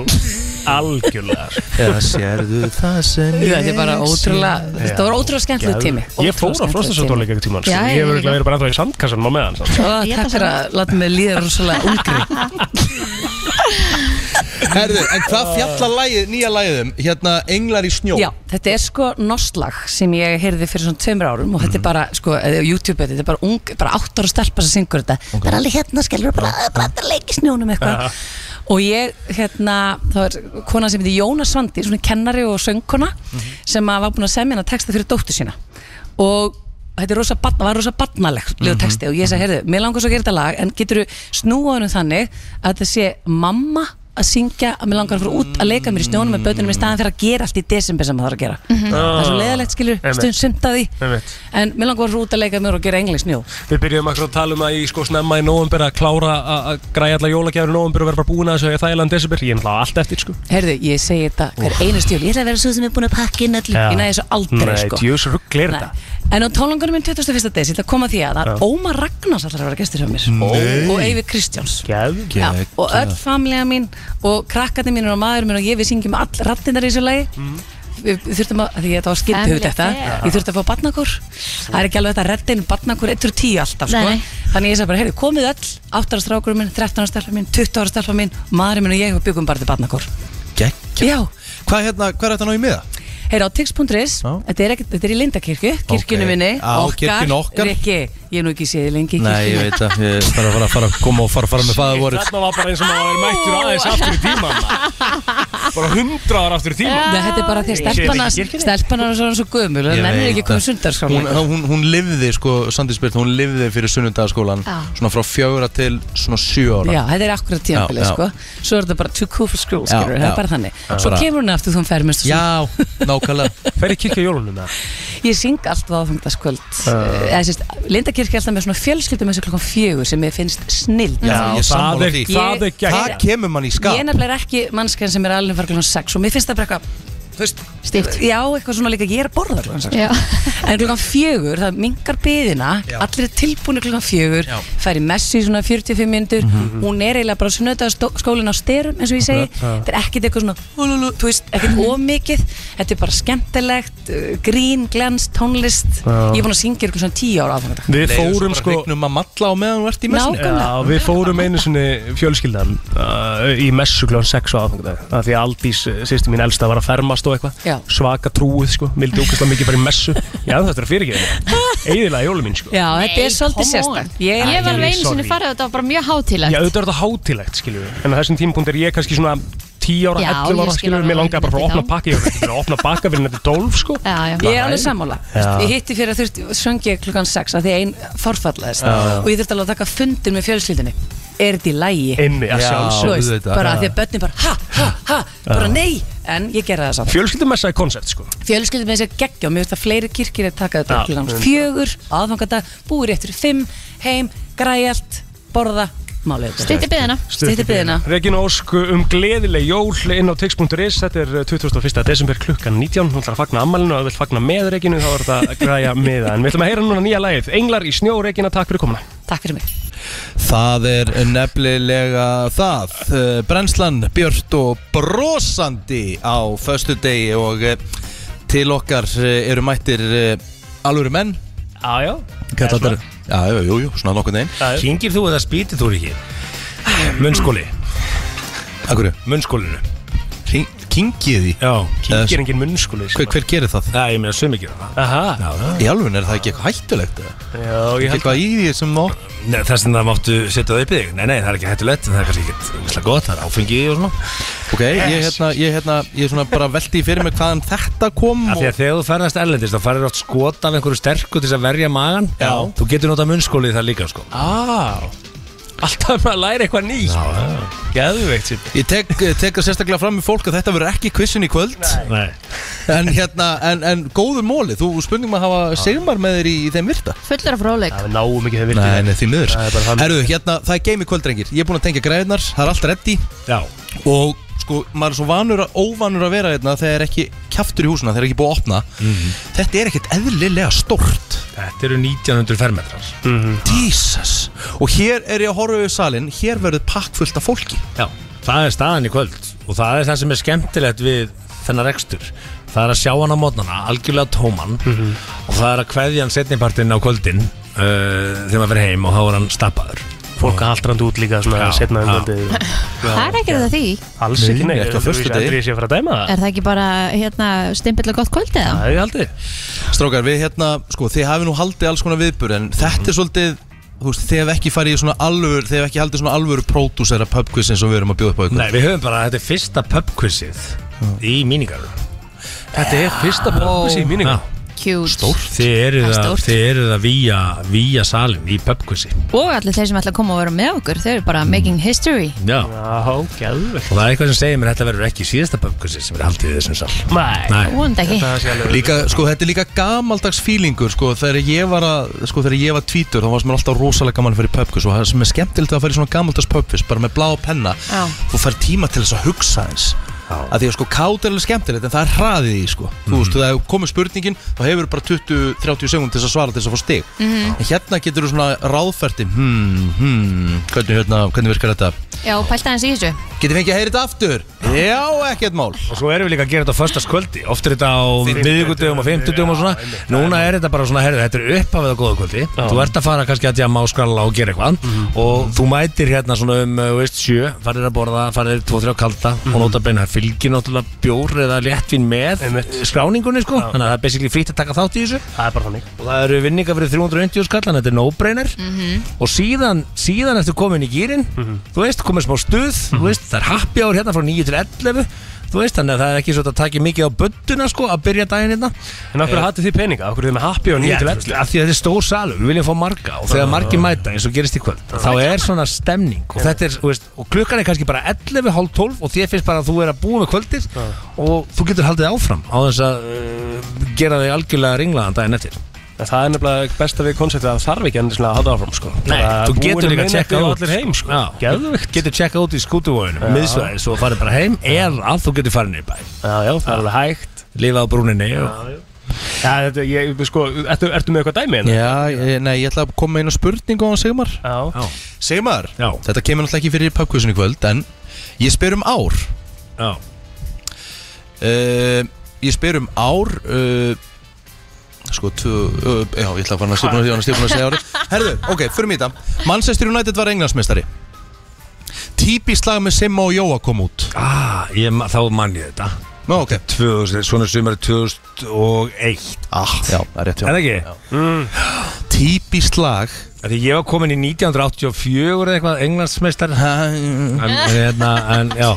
S3: algjörlega sko.
S1: Eða sérðu það sem
S13: Jú, þetta er bara ótrúlega- þetta var ótrúlega skemmtilegur tími.
S3: Ég fór á
S13: Ótrúlega
S3: fróstarsóttónleika ekki tíman
S13: Já,
S3: sko. Ég
S13: ég
S3: hefur
S13: líka.
S3: ekki verið bara ennþá í sandkassanum á meðan samt.
S13: Ó, Takk fyrir að láta mig líða rosalega ungri
S1: Herðu, en hvað fjalla lagið, nýja lagið um? Hérna, Englar í snjó
S13: Já, þetta er sko nostlag sem ég heyrði fyrir svona tveimur árum og þetta er bara, sko, eða á YouTube þetta er bara ung, bara átt ára stelpa sem syngur þetta Það er alveg hérna, skilur, bara, bara að leika í snjónum eitthvað Og ég, hérna, þá er kona sem heitir Jóna Svandi, svona kennari og söngkona sem að var búin að semja hana texta fyrir dóttu sína og þetta er rosa, barna- var rosa barnalegt mm texti og ég sagði, heyrðu, mér langar svo að gera þetta lag en getur þú snúaðunum þannig að þetta sé mamma að syngja að mér langar að fara út að leika mér í snjónum með bötunum í staðan fyrir að gera allt í desember sem maður þarf að gera það er svo leiðilegt skilur,
S3: Einmitt.
S13: stund sumt að því
S3: Einmitt.
S13: en mér langar að fara út að leika mér og gera engli snjó
S3: Við byrjum akkur að tala um að ég sko snemma í november að klára að- að græja alla jólagjafur í november og vera bara búin að þessu að ég þægilega en desember Ég er náttúrulega allt eftir sko
S13: heyrðu, ég segi þetta hver einu jól ég ætla að vera svo sem er búin að pakka inn allir ég næði þessu aldrei
S3: Nei,
S13: sko
S3: djöðs rugglir
S13: Nei.
S3: þetta
S13: En á tónlangunum minn 21. des, ég ætla að koma að því að það
S3: Já.
S13: er Ómar Ragnars allra að vera gestur hjá mér
S3: Mm. Nei.
S13: og Eyvi Kristjáns
S3: Geð,
S13: Já, og öll famlega mín og krakkarnir mín og maður mín og ég við syngjum all rattinnar í þessu lagi við við þurftum að, að því að þetta var skildu
S3: Family
S13: þetta,
S3: affair.
S13: ég þurfti að fá barnakór það er ekki alveg þetta að redda inn barnakór 1-10 alltaf, sko,
S2: Nei.
S13: þannig ég sagði bara heyrðu, komið öll, 8 ára strákur minn, 13 ára strákur minn 20 ára strákur minn, maðurinn minn og ég og byggum bara til barnakór
S1: Gekkja
S13: Já
S1: Hvað hérna, hvað er þetta ná í miða?
S13: Heyra á tix.is, þetta, er ekkert- þetta er í Lindakirkju, kirkjunum
S1: Ok.
S13: minni,
S1: Á, kirkjunni okkar.
S13: Rikki, ég hef nú ekki séð þig lengi í
S1: Nei, ég
S13: kirkjunni.
S1: veit að ég þarf að fara að fara að koma og fara, fara með fæðavorið
S3: Þarna var bara eins og maður væri mættur aðeins aftur í tíman Bara hundra ára aftur í tíman
S13: Nei, þetta er bara því að stelpana, stelpana er svona svo gömul,
S1: Ég
S13: það nennir ekki sko, að
S1: veit
S13: koma
S1: það.
S13: sundarskóla.
S1: hún, hún, hún lifði sko, Sandi spyrt, hún lifði fyrir sunnundagaskólan
S13: Já.
S1: Svona frá fjögra til svona sjö ára
S13: Já, þetta er akkurat tímabilið,
S1: Já, já.
S13: sko. Svo er þetta bara too cool for school,
S1: Já,
S13: skilur, það
S1: já.
S13: er bara þannig.
S1: Já.
S13: Svo
S1: Bara-
S13: kemur hún aftur þú fermist og
S1: svona. Já, nákvæmlega.
S3: Fer í kirkja jólunum það?
S13: Ég syng alltaf á aðfangtaskvöld.
S3: Já.
S1: Ah.
S13: Uh. Eða, sérst, Lindakirkja er alltaf með svona fjölskyldum þessu klokkan fjögur sem ég finnst snill.
S1: Já, ég er sammála því.
S13: Ég-
S1: Það kemur mann í skap
S13: Ég er nefnilega ekki mannskan sem er alveg fara klokkan 6 og mér finnst það bara eitthvað þú veist,
S2: Stíft.
S13: Já, eitthvað svona líka, ég er að borða klokkan 6
S2: Já.
S13: En klokkan fjögur, það mingar byðina Allir er tilbúinu klokkan fjögur
S2: Já.
S13: Fær í messi í svona 45 myndur
S2: Mhm.
S13: Hún er eiginlega bara sunnöðaskólin á styrum eins og ég segi,
S2: Akkurat, já.
S13: þetta er ekkit eitthvað svona húlúlú, Þú veist, ekkit
S2: Mhm.
S13: ómikið Þetta er bara skemmtilegt, uh, grín, glens, tónlist
S3: Já.
S13: Ég er búin að syngja ykkur svona 10 ára áfangadag
S3: Við fórum sko
S1: Regnum að matla á meðan þú ert í messunni
S3: Já, við fórum einu sinni fjölskyldan uh, í messu klón 6 á aðfangadag af því að Aldís, sýsti mín elsta, var að fermast og
S13: Já.
S3: eitthvað svaka trúið sko, mildi ógæslega mikið bara í messu Já, þetta er að fyrirgeða Eðilega jólum mín sko
S13: Já, þetta er svolítið
S2: come on.
S13: sérstakt
S2: Ég,
S3: Æ,
S2: var alveg einu
S3: sorry.
S2: sinni farið og þetta var bara mjög hátílegt
S3: Já, auðvitað er þetta hátilegt, skiljum við En á þessum tímapunkt er ég kannski svona 10 ára,
S2: Já, ég
S3: 11 ára,
S2: skil
S3: skiljum við
S2: alveg
S3: Mér langaði bara að fara að
S2: þá.
S3: opna pakka Ég var ekki að opna pakka fyrir nætti 12, sko
S2: Já, já.
S13: Ég er alveg sammála
S3: Já.
S13: Ég hitti fyrir að þurft, söng ég klukkan 6 að því ein forfallaðist
S3: Já, já.
S13: og ég þurfti alveg að taka fundir með fjölskyldinni Er þetta í lægi?
S3: Einmitt, að Já, sjálfsögðu.
S13: Þú veist,
S3: auðvitað.
S13: Bara
S3: Já.
S13: að því að börnin bara ha, ha, ha, bara
S3: Já.
S13: nei En ég gera það samt
S3: Fjölskyldumessa er koncept, sko
S13: Fjölskyldum með þessi geggja og mér veist að fleiri kirkir er takað þetta
S3: Já,
S13: upp klukkan
S3: einmitt.
S13: fjögur, aðfangadag, búið rétt fyrir fimm, heim, græja allt, borða, málið
S2: Stytti biðina.
S13: Stytti biðina
S3: Regina Ósk um gleðileg jól inn á tix.is Þetta er eh, 21. desember klukkan 19 Hún ætlar að fagna ammælinu og ef þú vilt fagna með Reginu þá er þetta að græja með það En við ætlum að heyra núna nýja lagið Englar í snjó, Regina, takk fyrir komuna
S13: Takk fyrir mig
S1: Það er nefnilega það Eh, Brennslan, Björt og brosandi á föstu degi og eh, til okkar eh, eru mættir eh, alvöru menn
S3: Jájá
S1: Kallar þetta Já, jú, jú, jú, svona nokkuð einn
S12: Kyngir þú eða spýtir þú ekki? Munnskóli
S1: Akkur?
S12: Munnskólinu
S1: Kyngið því?
S12: Já,
S1: Eða-
S12: kyngir engin munnskóli
S1: Hver, hver gerir það?
S12: Já, ég meina sumi gera það
S1: Aha Í alveg er það ekki eitthvað hættulegt eða?
S12: Já, ég held
S1: Eitthvað í því sem nóg
S12: Nei, þess að það máttu setja það upp í þig Nei, nei, það er ekki hættulegt en Það er kannski ekki úrslega gott Það er áfengi og svona
S1: Ok, ég hérna, ég hérna, ég svona bara veldi í fyrir mig hvaðan þetta kom
S12: Af því að þegar þú ferðast erlendist þá færður átt skota af einhverju sterku til þess að verja magan Já Þú getur notað munnskóli í það líka sko
S7: Ah, alltaf maður læri eitthvað nýtt
S1: Geðveikt sér Ég tek, eh, tek það sérstaklega fram með fólk að þetta verður ekki kvissin í kvöld
S12: Nei
S1: En hérna, en, en góður móli Þú spurningum að hafa segmar með þér í, í þeim virta
S2: Fullur af róleik
S1: Það náum ekki þeim virta Nei, nei, því miður
S7: Það er bara þannig.
S1: Herru, hérna, það er game í kvöld, drengir Ég er búinn að tengja græðinar, það er allt reddi
S12: Já
S1: Og sko, maður er svo vanur að, óvanur að vera hérna Þegar er ekki kjaftur í húsuna, þegar er ekki búið að opna Þetta er ekkert eðlilega stórt Mhm.
S12: Þetta eru 1900 fermetrar mm -hmm.
S1: Jesus Og hér er ég að horfa yfir salin Hér verður pakkfullt af fólki
S12: Já, það er staðan í kvöld og það er það sem er skemmtilegt við þennar rekstur það er að sjá hann á mótnana, algjörlega tóman
S7: Mhm.
S12: og það er að kveðja hann setnipartinn á kvöldin uh, þegar maður fyrir heim og þá er hann stappaður
S7: Fólk að haldrandi út líka svona
S12: Já,
S7: setna um
S12: já.
S7: kvöldið
S2: Það er ekki þetta því
S7: Alls ekki
S12: Nei,
S7: nei
S12: ekki
S7: Þú
S12: á
S7: veist
S12: föstudegi.
S7: aldrei að ég sé að fara að dæma
S2: Er það ekki bara hérna stimpill og gott kvöld eða?
S7: það er haldið
S1: Strákar, við hérna, sko, þið hafi nú haldið alls konar viðbur En þetta er svolítið, þú veist, þið hef ekki farið í svona alvöru Þið hef ekki haldið svona alvöru pródúsera pubquiz eins og við erum að bjóða upp á ykkur
S12: Nei, við höfum bara, þetta er fyrsta pubquizið í míningarum Þetta er fyrsta
S2: pubquizið í míningarum. Cute
S12: Þið eru
S2: Það er
S12: það,
S2: stórt.
S12: þið eru það vía, vía salin í pubquizi
S2: Og allir þeir sem ætla að koma og vera með okkur Þau eru bara making history
S12: Já, Já geðvegt Og það er eitthvað sem segir mér að þetta verður ekki síðasta pubquizið sem er haldið í þessum sal
S7: Nei,
S2: Vonandi ekki
S1: Líka, sko, þetta er líka gamaldags fílingur, sko Þegar ég var að, sko, þegar ég var tvítur Þá varst mér alltaf rosalega gaman að fara í pubquiz Og það sem er skemmtilegt að fara í svona gamaldags pubquiz Bara með blá penna
S10: Ah.
S2: Já.
S1: Þú fær tíma til þess að hugsa eins að því að sko kátt er alveg skemmtilegt en það er hraðið í því, sko þú veist, það hefur komið spurningin þá hefur bara 20-30 segund til þess að svara til þess að fá stig
S2: Mhm.
S1: en hérna getur þú svona ráðferdi hmm, hmm, hvernig, hérna, hvernig virkar þetta
S2: Já, pælta hans í þessu
S1: getur fengið að heyra þetta aftur já, ekkert mál
S12: Og svo erum við líka að gera þetta á föstaskvöldi Oft er þetta á miðvikudögum og fimmtudögum og svona Núna er þetta bara svona, herðu, þetta er upphafið á góða kvöldi Þú ert að fara kannski að djama á skralla og gera eitthvað
S1: Mhm.
S12: Og þú mætir hérna svona um, uh, veist, sjö Farir að borða, farir tvo-þrjá kalda
S1: Mhm.
S12: Og nota beina, fylgir náttúrulega bjór eða léttvín með eh, skráningunni sko Þannig að það er basically frítt að taka þátt í þessu
S7: Það er bara þannig
S12: Og það eru vinninga fyrir 390 skallan, þetta er no-brainer Og síðan, síðan ertu komin í gýrin Þú veist, komin smá stuð Þú
S7: Mhm.
S12: veist, það er happy hour hérna frá 9 til 11 Þú veist, þannig að það er ekki svo að taki mikið á budduna sko Að byrja daginn hérna
S7: En af hverju hatið þið peninga? Af hverju þið með happy og
S12: Já,
S7: 9 til Ah.
S12: þú
S7: 11?
S12: veist, af því að þetta er stór salur, við viljum fá marga og þegar margir mæta eins og gerist í kvöld
S7: Ah.
S12: þá er svona stemning og, þetta er, þú veist, og klukkan er kannski bara 11, hálf 12 og þér finnst bara að þú er að búa með kvöldir
S7: Ah.
S12: og þú getur haldið áfram á þess að uh, gera þig algjörlega ringlaðan daginn eftir
S7: En það er nefnilega besta við konseptið að það þarf ekki endilega að halda áfram sko.
S12: Nei,
S7: Bara
S12: þú
S7: búin
S12: getur
S7: að
S12: líka að
S7: minna
S12: checka
S7: þig og
S12: út
S7: allir heim sko.
S12: Já, Geðvikt Getur checka út í skútuvóðinu,
S7: Já.
S12: miðsvæðis og farið bara heim eða þú getur farið niður í bæ
S7: Já, já, það er alveg hægt
S12: Lifað á brúninni og...
S7: Já, þetta, ég, sko, ertu, ertu með eitthvað dæmi hérna?
S1: Já, ég, nei, ég ætla að koma með einu spurningu á hann Sigmar
S7: Já.
S1: Sigmar, Já. þetta kemur náttúrulega ekki fyrir í pubquizinu í kvöld En ég spyr um ár Eh,
S12: Já
S1: Ég spyr um ár uh, Sko, tvö, uh, já, ég ætla að fara að stjórna Ég var stjórna að segja ári Herðu, ok, förum í þetta Manchester United var englansmeistari Típist lag með Simma og Jóa kom út
S12: ah, ég, ma- Þá mann ég þetta
S1: Ná, ok
S12: 2000, Svona sumari 2001
S1: ah, Já, það er rétt
S12: Er það ekki? Mm.
S1: Típist lag
S12: Því ég var komin í 1984 eða eitthvað Englandsmeistar en, hérna, en já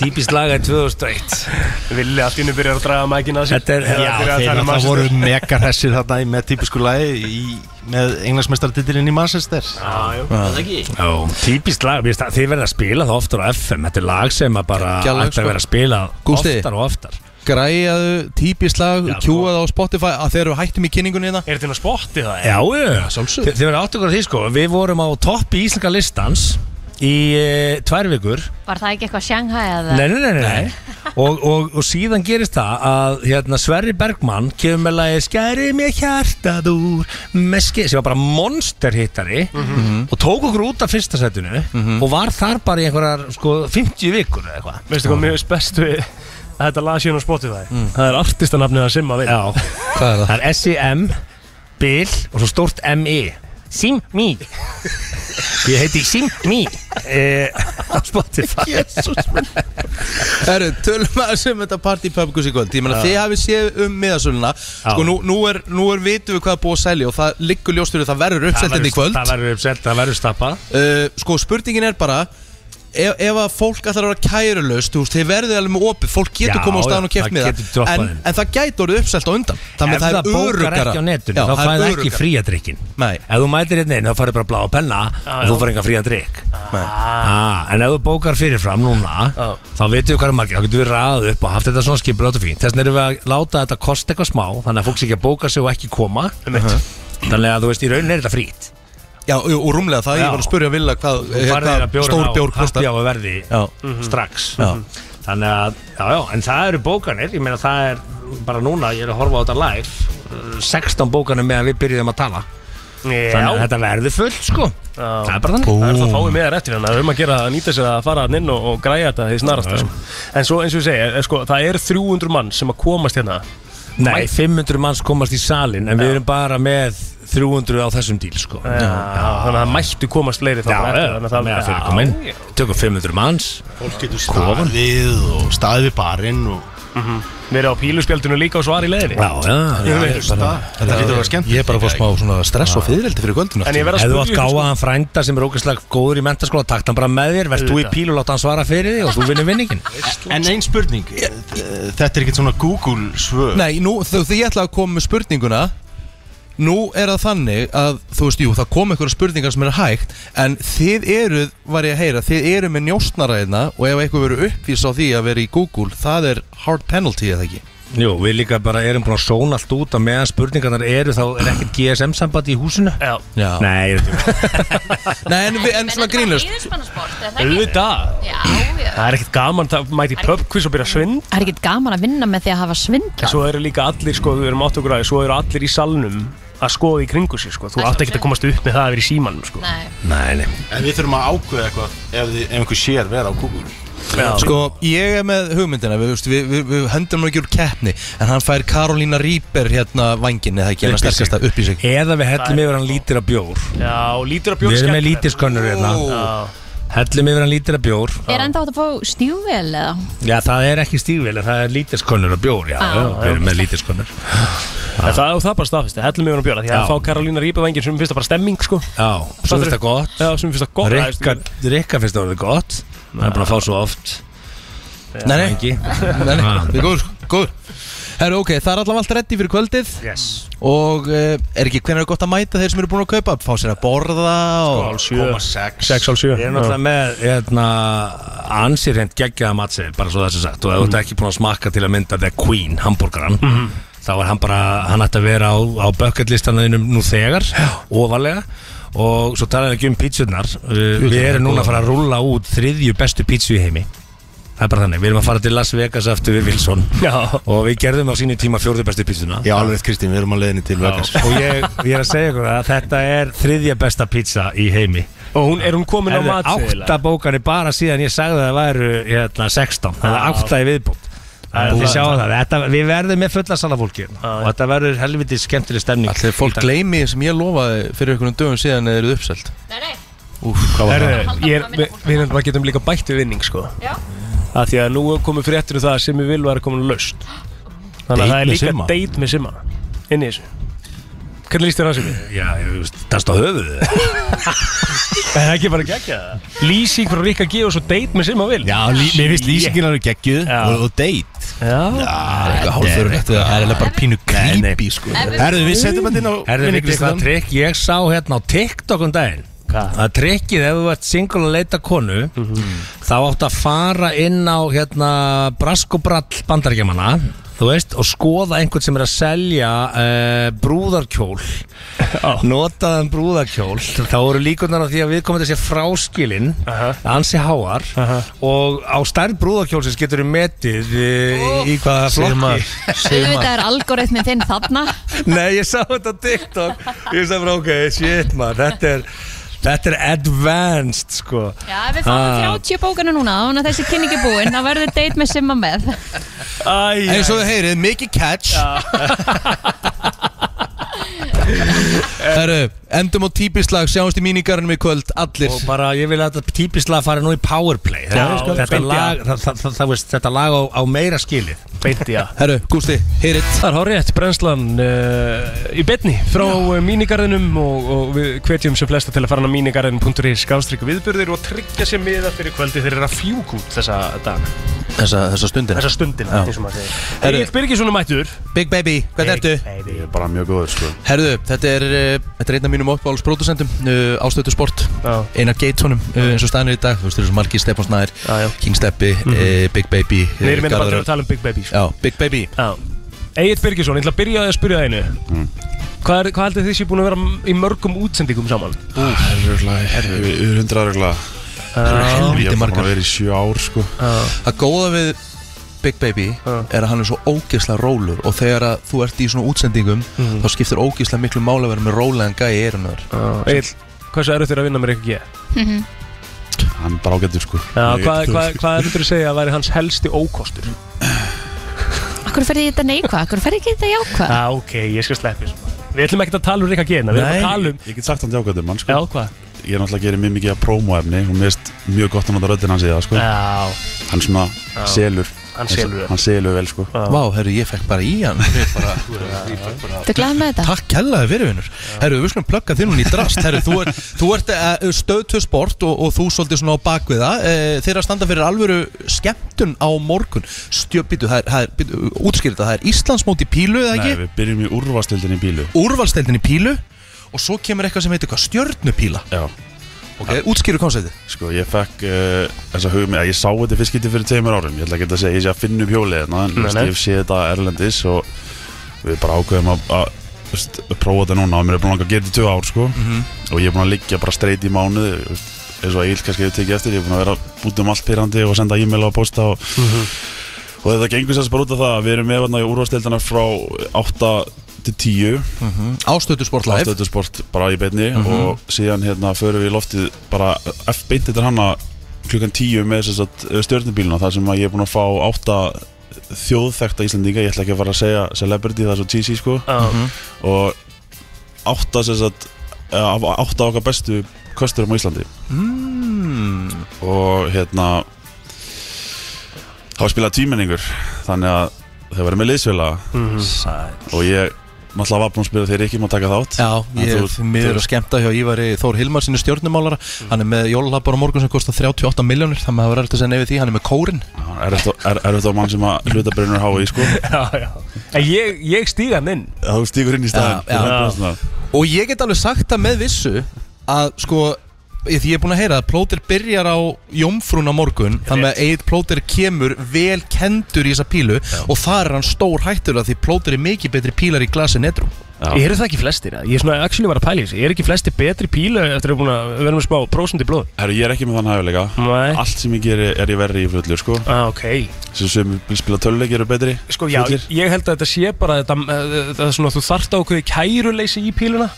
S12: Típist lag er 2001
S7: Villi allt innu byrjar að draga mækina að sér
S12: Þetta er-
S7: Byrjar
S12: já,
S7: að
S12: þeir
S7: tala um
S12: náttúrulega
S7: Manchester.
S14: voru mega hressir þarna í- með típisku lagi í, með englansmestartitilinn í Manchester
S12: Já, Já, típist lag, mér finnst það- þið verða að spila það oftar á FM Þetta er lag sem að bara
S1: Gjallag,
S12: ætti
S1: sko.
S12: að vera að spila
S1: Gústi.
S12: oftar og oftar
S1: Græjaðu típist lag
S12: sko.
S1: Kjúaðu á Spotify Að þeir eru hættum í kynningunni hérna
S7: Er þetta inn á spotti það?
S12: Já, já,
S1: sjálfsög
S12: Þi, Þið verða átt okkur á því sko, við vorum á topp í Íslenska listans í e, tvær vikur
S2: Var það ekki eitthvað Shanghai eða?
S12: Nei, nei, nei, nei, nei. Og, og, og síðan gerist það að hérna, Sverri Bergmann kemur með lagi Skæri mér hjartað úr með skei, sem var bara monsterhittari og tók okkur út af fyrsta setinu og var þar bara í einhverjar sko, 50 vikur eða eitthvað
S7: Veistu hvað mér finnst best við að þetta lag síðan á Spotify? Það er artistanafnið að simma við
S12: Já,
S1: hvað er
S12: það? Það er S.I.M. Bill og svo stórt M-I Sim Me Ég heiti Sim Me eh, á Spotify
S1: Jesus Herru, tölum aðeins um þetta party pubquiz í kvöld Ég meina
S12: Já.
S1: þið hafið séð um miðasöluna Sko nú, nú, er, nú er vitum við hvað er búið að selja Og það liggur ljóst fyrir það verður uppsettin í kvöld
S12: Það verður uppsett, það verður stappa
S1: uh, Sko spurningin er bara Ef, ef að fólk ætlar að vera kærulaust þú veist, Þið verðið alveg með opið Fólk getur
S12: Já,
S1: komið á
S12: já,
S1: staðan og keft
S12: það
S1: með
S12: getur
S1: það
S12: droppað
S1: en,
S12: þeim.
S1: en það gæti orðið uppselt á undan Þannig
S12: Ef
S1: að það er
S12: bókar
S1: öruggara
S12: ekki á netinu,
S1: Já,
S12: þá
S1: það er
S12: færðu ekki
S1: öruggara.
S12: fría drikkin
S1: Nei.
S12: Ef þú mætir hérna inn, þá færðu bara blá að penna og þú færðu enga fría drikk ah, En ef þú bókar fyrirfram núna þá veitum við hvað er margir, þá getum við raðað upp og haft þetta svona skipur átt og fínt Þess vegna erum við að láta þetta kosta eitthvað smá þannig að fólk sé ekki að bóka sig og ekki koma Þannig að þú veist, í rauninni er þetta frít
S1: Já, og og rúmlega það, ég var að spurja Villa hvað,
S12: Þú
S1: eh,
S12: farið
S1: hvað
S12: þér að bjóra
S1: stór bjór
S12: á
S1: kostar.
S12: happi á að verði
S3: Mhm.
S12: strax Þannig að, já, já, en það eru bókanir Ég meina það er bara núna, ég er að horfa á þetta live uh, 16 bókanir meðan við byrjuðum að tala Þannig að þetta verður fullt, sko Það er bara þannig
S3: Það er það fáið meðar eftir þannig að við erum að gera að nýta sér að fara hann inn og, og græja þetta því snarast sko. En svo eins og ég segi, er, sko, það er 300 mann sem að komast hérna
S12: Nei, 500 manns komast í salin En við erum bara með 300 á þessum díl, sko
S3: Já, þannig að það mættu komast fleiri þá
S12: Já,
S3: bara
S12: já,
S3: eftir, þannig að það-
S12: meðan fyrir
S3: Já,
S12: koma inn
S3: já.
S12: Tökum 500 manns
S14: Fólk getur
S12: Kofan.
S14: staðið og staðið við barinn og
S3: Mhm. Verið á píluspjaldinu líka og svar í leiðinni
S12: Já, já, já,
S14: Ég
S12: ég
S14: veit,
S12: er bara-
S14: Þetta lítur að vera skemmt
S12: Ég er bara að fá smá
S14: svona
S12: stress og
S14: fyrireldi fyrir kvöldinu
S3: En ég verð að
S12: Ef þú
S3: spyrja
S12: átt
S3: ykkur, sko.
S12: gáðan frænda sem er ógeðslega góður í mentaskóla takt hann bara með þér, verð þú í
S14: Auðvitað.
S12: píl og láta hann svara fyrir þig og þú vinnir vinningin
S14: En einn spurning eh, Þetta er ekkert svona Google svör
S1: Nei, nú, þú, því ég ætla að koma með spurninguna Nú er það þannig að, þú veist, jú, það kom einhverja spurningar sem er hægt En þið eruð, var ég að heyra, þið eruð með njóstnaræðina Og ef eitthvað verið uppvís á því að vera í Google, það er hard penalty eða ekki
S12: Jú, við líka bara erum búin að sóna allt út að meðan spurningarnar eru þá er ekkert GSM-sambandi í húsinu
S3: Já,
S1: Já.
S12: Nei, ég veit
S1: Nei, en, við, en svona grínlust
S2: Íðurspannarsport, er það ekki?
S3: Auðvitað
S2: Já, já.
S3: Það er ekkert gaman, það mæti pubquiz og byrja að svind
S2: Það er ekkert gaman að vinna með því að hafa svindla
S3: Svo eru líka allir, sko, við erum átt okkur að Svo eru allir í salnum að skoða í kringu sig, sko Þú átt ekkert að komast upp með það að vera í símanum, sko
S2: Nei.
S12: Nei, nei
S14: En við þurfum að ákveða eitthvað ef, þið- ef einhver sér vera á Google
S1: Sko, ég er með hugmyndina, við, við, við, við, við höndum nú ekki úr keppni En hann fær Karolína Rýper hérna vangin eða ekki, hann
S12: Upp í sig.
S1: sterkast að upp í sig
S12: Eða við hellum yfir hann lítir af bjór
S3: Já, lítur af
S12: Við
S3: bjór
S12: erum með
S3: skemmtilegt.
S12: lítirskönnur hérna
S3: Já.
S12: Hellum yfir hann lítir af bjór
S2: Er enda átt að fá stjúvel eða?
S12: Já, það er ekki stígvel en það er lítirskönnur af bjór Já,
S2: Já.
S12: já, við erum með lítirskönnur
S3: En það, og það er bara staðfesti, hellum yfir hann bjóra Því að
S12: Já.
S3: fá Karolína Rípavengin sem finnst það bara stemming sko
S12: Já, svo finnst það gott
S3: Já, sem finnst það gott
S12: Rikka, Rikka finnst það orðið gott Það er búin að fá svo oft
S1: Nei, nei,
S12: Ekki.
S1: nei, nei.
S12: Ah.
S1: Við erum góður, góður Herru, ok, það er allavega allt reddi fyrir kvöldið
S3: Yes
S1: Og uh, er ekki hvernig er gott að mæta þeir sem eru búin að kaupa Fá sér að borða og
S12: Koma
S14: sex.
S3: Sko, Sex hálf sjö.
S12: Ég er náttúrulega með hérna, ansir hreint geggjaða matseðil bara svo þessu sagt og ef þú ert ekki búin að smakka til að mynda The Queen, hamburgeran
S3: Mhm.
S12: þá er hann bara, hann ætti að vera á, á bökkallistanaðinum nú þegar ofalega og svo talaðum við ekki um pítsurnar Uh, við erum núna að fara að rúlla út þriðju bestu pítsu í heimi Það er bara þannig, við erum að fara til Las Vegas aftur við Wilson
S3: Já.
S12: og við gerðum á sínu tíma fjórðu bestu pítsuna
S14: Já, alveg Kristín, við erum að leiðinni til Vegas
S12: og ég, ég er að segja ykkur að þetta er þriðja besta pizza í heimi
S3: Og hún, er hún komin á
S12: Herðu,
S3: matseðil,
S12: átta bókanir bara síðan ég sagði að það væru hérna, 16, það er
S3: Já.
S12: átta í viðbútt
S3: Já.
S12: Þið sjáum það, þetta, við verðum með fulla salafólki og þetta verður helviti skemmtileg stemning
S1: Þegar fólk gleymi sem ég lofaði fyrir einhvern dögum síðan eða eruð uppselt
S2: Nei, nei
S1: Úf, hvað var það?
S3: Herðu, ég er, við, við erum bara getum um líka bætt við vinning sko
S2: Já.
S3: að Því að nú komum fréttir um það sem við vil var komin löst Þannig
S12: Date
S3: að það er
S12: með
S3: líka
S12: Simma?
S3: date með simma Inn í þessu Hvernig líst þér á sem við?
S12: Já, ég veist, dast á höfuðu
S3: Er það ekki bara geggja það? Lýsing frá Ríkka G og svo date með simma vil Já,
S14: lí- mér finnst lýsingin alveg geggjuð og- og date
S3: Já,
S1: Það er eitthvað hálfur rétt Það er eiginlega bara pínu creepy sko
S14: Herðu, við setjum þetta inn á
S12: Herðu,
S14: vinningi
S12: við glýst það
S14: Kristján.
S12: trikk Ég sá hérna á TikTok um daginn að trikkið ef þú ert single að leita konu
S14: Mhm.
S12: þá átt að fara inn á hérna braskobrall bandarækjamanna þú veist, og skoða einhvern sem er að selja uh, brúðarkjól notaðan brúðarkjól þá eru líkunar á því að við komum þessi fráskilin ansi háar og á stærð brúðarkjólsins getur við metið uh, í hvaða flokki
S2: Auðvitað er algoritminn þinn þarna
S12: Nei, ég sá þetta á TikTok Ég sagði bara, ok, shit man Þetta er, þetta er advanced sko.
S2: Já, ef við fáum
S12: Ah.
S2: 30 bókana núna Þannig að þessi kynning er búin Það verður date með simma með
S3: Æ,
S1: Eins og þið heyrið, mikið catch Herru, endum á típislag, sjáumst í mínigarunum í kvöld, allir
S12: Og bara, ég vil að þetta típislega fari nú í powerplay
S1: Já,
S12: Þetta- Þetta
S1: beint í
S12: sko, lag, það, það, það, það, veist, þetta lag á, á meira skilið Beinti, já
S1: Herru, Gústi, heyrit
S3: Það er hárétt, brennslan uh, í betni frá uh, mínigarðinum og, og við hvetjum sem flesta til að fara hann á mínigarðin.is skástríku viðburðir og tryggja sér miða fyrir kvöldi þeir eru að fjúk út þessa dag
S1: Þessa, þessa stundina
S3: Þessa stundina,
S1: Já.
S3: eins og maður segir
S1: Herru-
S3: Egil Birgisson er mættur
S1: Big Baby, hvernig ertu?
S3: Baby.
S1: Ég er bara mjög góður sko Herðu, þetta er, uh, þetta er einn af mínum uppáhalds pródusendum uh, Ástötu Sport já. Einar Gatetonum uh, eins og staðinu í dag Þú veist, þú eru svo margir Stefán Snæðir King Steppi,
S3: Mhm.
S1: uh, Big Baby uh,
S3: Við erum minna bara til
S1: Garðar
S3: að tala um Big Baby
S1: Já, Big Baby
S3: Egil Birgisson, ég ætla að byrja að spyrja það einu
S15: Mm,
S3: Hvað, er, hvað heldur þið sé búin að vera í mörgum útsendingum saman?
S15: Yfir hundra röglega
S1: Helviti margar
S15: verið í sjö ár sko
S1: Það góða við Big Baby er að hann er svo ógeðslega rólur og þegar að þú ert í svona útsendingum
S3: Mhm.
S1: þá skiptir ógeðslega miklu mála að vera með rólegan gæi í eirinu
S3: Egil, hversu erut þér að vinna með Rikki G?
S15: Hann er bara ágættur sko
S3: Já,
S15: Ég-
S3: hvað
S15: þú-
S3: hva, hva er þetta að segja að væri hans helsti ókostur?
S2: Akkur ferði þetta neikvað, akkur ferði ekki þetta jákvað
S3: Já, ok, ég skal sleppi þessu. Við ætlum ekkert að tala um Rikka Gena, við ætlum að tala um
S15: Ég get sagt hann til ágættum mann sko
S3: Já, hvað?
S15: Ég er náttúrulega að gera mjög mikið að prómóefni og mér finnst mjög gott að nota röddinn hans í það sko
S3: Já
S15: Hann svona
S3: Já.
S15: selur
S3: Hann selur.
S15: Hann selur vel sko
S1: Vá, herru, ég fekk bara í hann
S2: Þetta er glæð með þetta
S1: Takk kjallaði fyrir vinnur Herru, við skulum plugga þinn hún í drast Herru, þú, er, þú ert eh, stöð til sport og, og þú svolítið svona á bakviða Eh, Þeir eru að standa fyrir alvöru skemmtun á morgun Stjöpítu, það er, það er býtu, útskýrðu þetta, það er Íslandsmót í pílu eða
S15: Nei,
S1: ekki?
S15: við byrjum í úrvastildin í bílu
S1: Úrvalsteldin í pílu Og svo kemur eitthvað sem heitir hvað, stjörnupíla
S15: Já
S1: Ok, útskýru konceptið
S15: Sko, ég fekk uh, þessa hugmið Ég sá þetta fyrst getið fyrir tveimur árum Ég ætla ekki að segja, ég sé að finna upp hjólið hérna, En
S3: Nei,
S15: þú veist,
S3: nei.
S15: ég sé þetta erlendis Og við bara ákveðum að, að þú veist, Prófa þetta núna Og mér er búin að langa að gera þetta í tvö ár, sko
S3: Mhm.
S15: Og ég er búin að liggja bara streit í mánuð Eins og Egil kannski hefur tekið eftir Ég er búin að vera út um allt pyrrandi Og senda e-mail og posta og,
S1: Mhm.
S15: og þetta gengur sérst bara út af það að Við erum með hérna í úrvastildina frá 8 til 10
S1: Ástötu Mhm. sport live
S15: Ástötu sport bara í beinni
S1: Mhm.
S15: og síðan hérna förum við í loftið bara F beint þetta hana klukkan 10 með þess að stjórnubíluna þar sem að ég er búinn að fá átta þjóðþekta Íslendinga, ég ætla ekki að fara að segja celebrity það er svo cheesy sko
S3: Mhm.
S15: og átta sem sagt eh, af átta okkar bestu kösturum á Íslandi
S1: mm.
S15: og hérna þá spilaði tvímenningur þannig að þau verið með liðsfélaga
S3: Mhm.
S15: og ég náttúrulega var búinn að spila þeir ekki má taka þátt
S1: Já,
S15: En
S1: ég
S15: þú- Mm.
S1: er miður að skemmta hjá Ívari Þór Hilmar sinni stjórnumálara Hann er með jólalabbar á morgun sem kostar 38 miljónir Þannig að það var eftir að segja nefið því, hann er með kórin
S15: Er þetta á mann sem að hlutabrunur háa í sko?
S3: Já, já En ég, ég stíg hann inn
S15: Já, þú stígur inn í staðinn.
S1: já,
S15: Þú um
S1: já.
S15: ert bara
S1: Og ég get alveg sagt það með vissu Að sko, ég- því ég er búin að heyra að plóter byrjar á jómfrún á morgun Þannig að eitt plóter kemur vel kendur í þessa pílu Og þar er hann stór hættur að því plóter er mikið betri pílar í glasi netru
S3: Eru það ekki flestir? eða? Ég er svona actually var að pæla í þessu Er ekki flestir betri píla eftir að við verðum að spá prósund í blóð?
S15: Herru, ég er ekki með þann hæfileika
S3: Nei.
S15: Allt sem ég geri er ég verri í fullu sko
S3: ah, ok
S15: Sem sem spila töluleik eru betri
S3: Sko, já, ég held að þetta sé bara þetta, eh, þetta er svona, þú þarft á okkur kæruleysi í píluna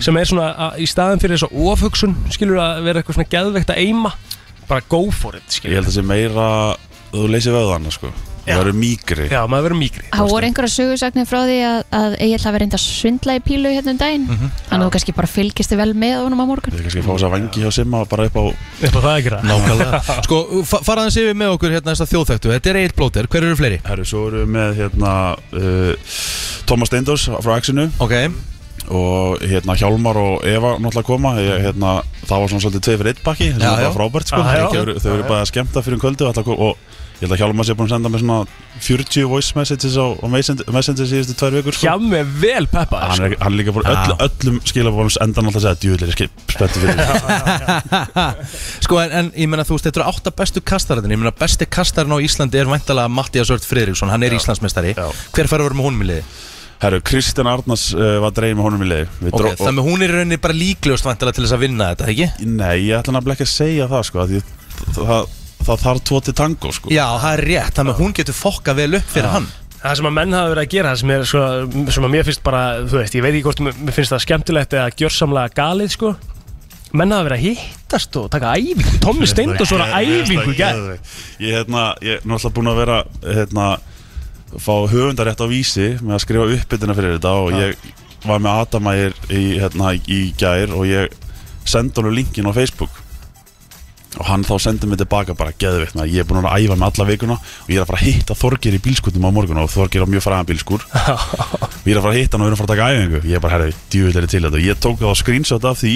S3: sem er svona að, í staðin fyrir þessa ofhugsun skilur að vera eitthvað svona geðveikt að eima bara go for it skilur.
S15: Ég held að sé meira Þú leysir vöðana sko Þú verður mýgri
S3: Já, maður verður mýgri
S2: Það voru einhverja sögursagnir frá því að, að Egil hafi reynda að svindla í pílu hérna um daginn
S15: Mhm.
S1: Mm.
S2: Þannig að þú kannski bara fylgist þið vel með honum á morgun
S15: Ég er kannski að fá þess að vangi hjá Simma bara upp á
S3: Upp á það ekki
S1: Nákvæmlega Sko, fa faraðan séu með okkur hérna þess að þjóðþæktu Þetta er eitt plóter, hver eru fleiri?
S15: Herru, svo eru við með hérna uh, Thomas Steindors frá Axinu
S1: Ok
S15: Og hérna Hjálmar og Eva náttúrulega koma ég, hérna, Það var svona svolítið tvei fyrir eitt pakki Það
S1: Já,
S15: var
S1: já.
S15: bara frábært sko
S1: Já, já.
S15: Þau eru- Þau
S1: Já,
S15: eru
S1: já.
S15: bara að skemmta fyrir um kvöldu og, ætla að ko- og ég held að Hjálmar sé búin að senda mér svona 40 voice messages á, á Messenger, messenger síðustu tvær vikur sko.
S3: Já, með vel peppa
S15: Hann
S1: sko.
S15: er, hann er líka búin öll, öllum skilabónum endan alltaf að segja djúðlir spettu fyrir þér."
S1: Sko en, en ég meina þú veist, þetta eru átta bestu kastararnir Ég meina besti kastarinn á Íslandi er væntalega Mattias Ört Friðriksson, hann er Íslandsmeistari Hver fær að vera með honum í liði?
S15: Herru, Kristján Arnars uh, var dregin með honum í liði Við
S1: Ok,
S15: dró- og-
S1: þannig að hún er í rauninni bara líklegust væntalega til þess að vinna þetta, ekki?
S15: Nei, ég ætla nefnilega ekki að segja það sko því, það, það, það þarf tvo til tango sko
S1: Já, það er rétt, þannig að hún getur fokka vel upp fyrir hann
S3: Það sem að menn hafa verið að gera, það sem, er, svo, sem að mér finnst bara, þú veist, ég veit ekki hvort mér mér finnst það skemmtilegt eða gjörsamlega galið, sko. Menn hafa verið að hittast og taka æfingu, Tommi Steind og svo að æfingu gæð.
S15: Ég hérna, ég er náttúrulega búin að vera hérna, fá höfundarétt á vísi með að skrifa uppbytuna fyrir þetta og ég var með Adamægir í, hérna, í í gær og ég sendi honum linkin á Facebook og hann þá sendi mig tilbaka bara geðveikt maður, ég er búin að vera að æfa mig alla vikuna og ég er að fara að hitta Þorgir í bílskutum á morgun og Þorgir á mjög fræðan bílskur og ég er að fara að hitta hann og við erum að fara að taka æfingu ég er bara, herri, djúvilleri til þetta ég tók þá screenshot af því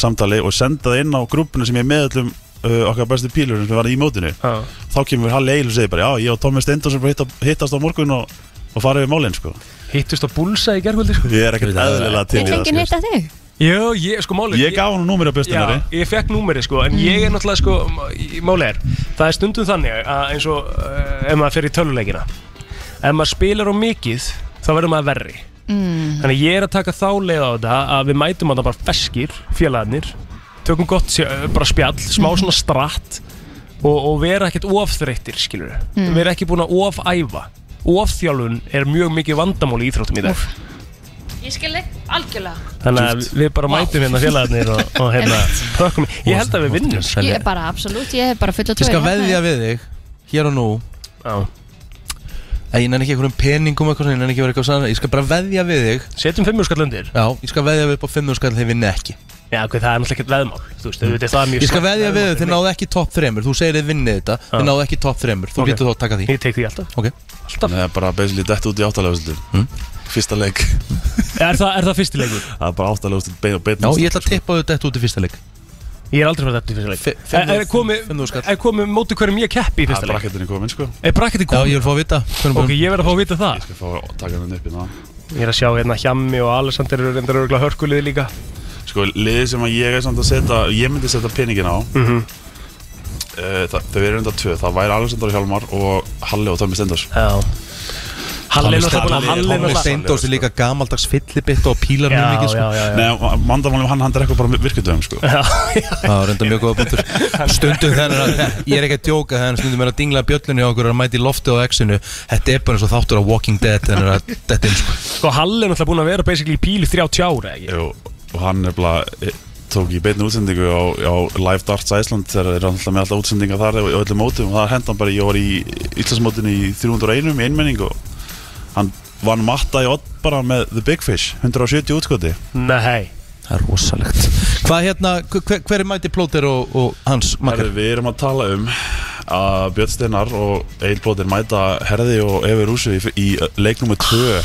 S15: samtali og sendaði inn á grúpuna sem ég er meðallum uh, okkar bestu pílur sem við varum í mótinu þá kemur Halli Eil og segir bara, já, ég og Tommi Steindor sem hitta, hittast á morgun og, og fara yfir málinn sko.
S3: Hittust á búlsa í gerkvöldi sko.
S15: ég er ekkert eðlilega til í
S2: Vill
S15: það
S2: enginn
S15: sko.
S2: hitta þig?
S3: Jó, ég, sko málið
S15: Ég gaf hann númeri á bjöstunari
S3: Já, ég fekk númeri sko, en ég er náttúrulega sko, m- í- málið er, það er stundum þannig að eins og uh, ef maður fer í töluleikina, ef maður spilar á mikið, þá verður maður verri.
S2: Mm.
S3: Þannig að ég er að taka þá leið á þetta að við mætum að það bara feskir, félagarnir, tökum gott, sé- eh, bara spjall, smá svona stratt og, og vera ekkert ofþreyttir, skilur við.
S16: Mm.
S3: Vera ekki búin að ofæfa. Ofþjálfun er mjög mikið vandamál í íþróttum í dag.
S2: Ég skil þig algjörlega
S3: Þannig að við bara mætum hérna félagarnir og, og hérna pökkum Ég held að við vinnum
S2: Ég er bara absolutt, ég hef bara fulla
S1: Ég skal veðja við þig Hér og nú
S3: Já
S1: Ég nenni ekki einhverjum peningum eitthvað svona, Ég nenni ekki að vera eitthvað svona Ég skal bara veðja við þig
S3: Setjum fimmjúrskall undir
S1: Já, ég skal veðja við upp á fimmjúrskall þegar ég vinni ekki
S3: Já, ok, það er náttúrulega ekkert veðmál Þú veist, auðvitað, það er mjög
S1: Ég skal
S3: slæmt
S1: veðja við
S3: veðmál.
S1: þig, þið náðu ekki topp þremur Þú segir þið vinnið þetta, þið náðu ekki topp þremur Þú
S3: Ok.
S1: getur þá að taka því
S3: Ég tek því alltaf
S1: Ok Hmm?
S15: Nei, bara basically dett út í áttalega mm? Fyrsta leik
S3: er, það, er það fyrsti leikur?
S15: Það er bara áttalega bein og bein
S1: Já, ég ætla að tippa þau dett út í fyrsta leik
S3: Ég er aldrei farið þetta í fyrsta leik Er- Er komið er komið móti hverjum ég keppi í
S15: Það
S3: fyrsta
S15: er
S3: leik?
S15: brakettin í komin sko
S3: Er brakketið komið?
S1: Já, ég vil fá að vita um-
S3: Ok, ég verð að fá að vita það
S15: Ég skal fá að taka hann upp í það
S3: Ég er að sjá hérna Hjammi og Alessandir eru reyndar örgulega hörkuliði líka
S15: Sko, liðið sem að ég er samt að setja Ég myndi setja peningin á mm
S3: Mhm.
S15: Þau eru enda tvö Það væri Alexander Hjálmar og Halli og Tommi Steindors
S3: Já Halli er náttúrulega búin að- Halli er
S1: Halli
S3: náttúrulega-
S1: Steindós er líka gamaldags fyllibitt og pílar mjög
S3: Já,
S1: mikið sko.
S3: já, já, já.
S15: Nei, vandamálum hann, hann drekkur bara virkudöfum sko
S3: Já,
S1: Það var reynda mjög góða punktur Stundum þennan að, ég er ekki að djóka þennan stundum er að dingla bjöllunni á okkur og mæti lofti á exinu Þetta er bara eins og þáttur á Walking Dead þennan að þetta er sko
S3: Sko, Halli er náttúrulega búin að vera basically í píl í 30 ára, ekki?
S15: Jú, og hann er bara tók í beinni útsendingu á, á Live Darts Iceland þegar þeir eru alltaf með alltaf útsendinga þar og öllu mótum og það hend hann bara, ég var í Íslandsmótinu í 301 í einmenning og hann vann matta í odd bara með The Big Fish, 170 útskoti
S3: Nei
S1: Það er rosalegt Hvað hérna, hver, hver er mæti plóter og, og hans makkar?
S15: Herðu, við erum að tala um að Björn Steinar og Egil Blóter mæta Herði og Efi Rúsu í, í leiknum með 2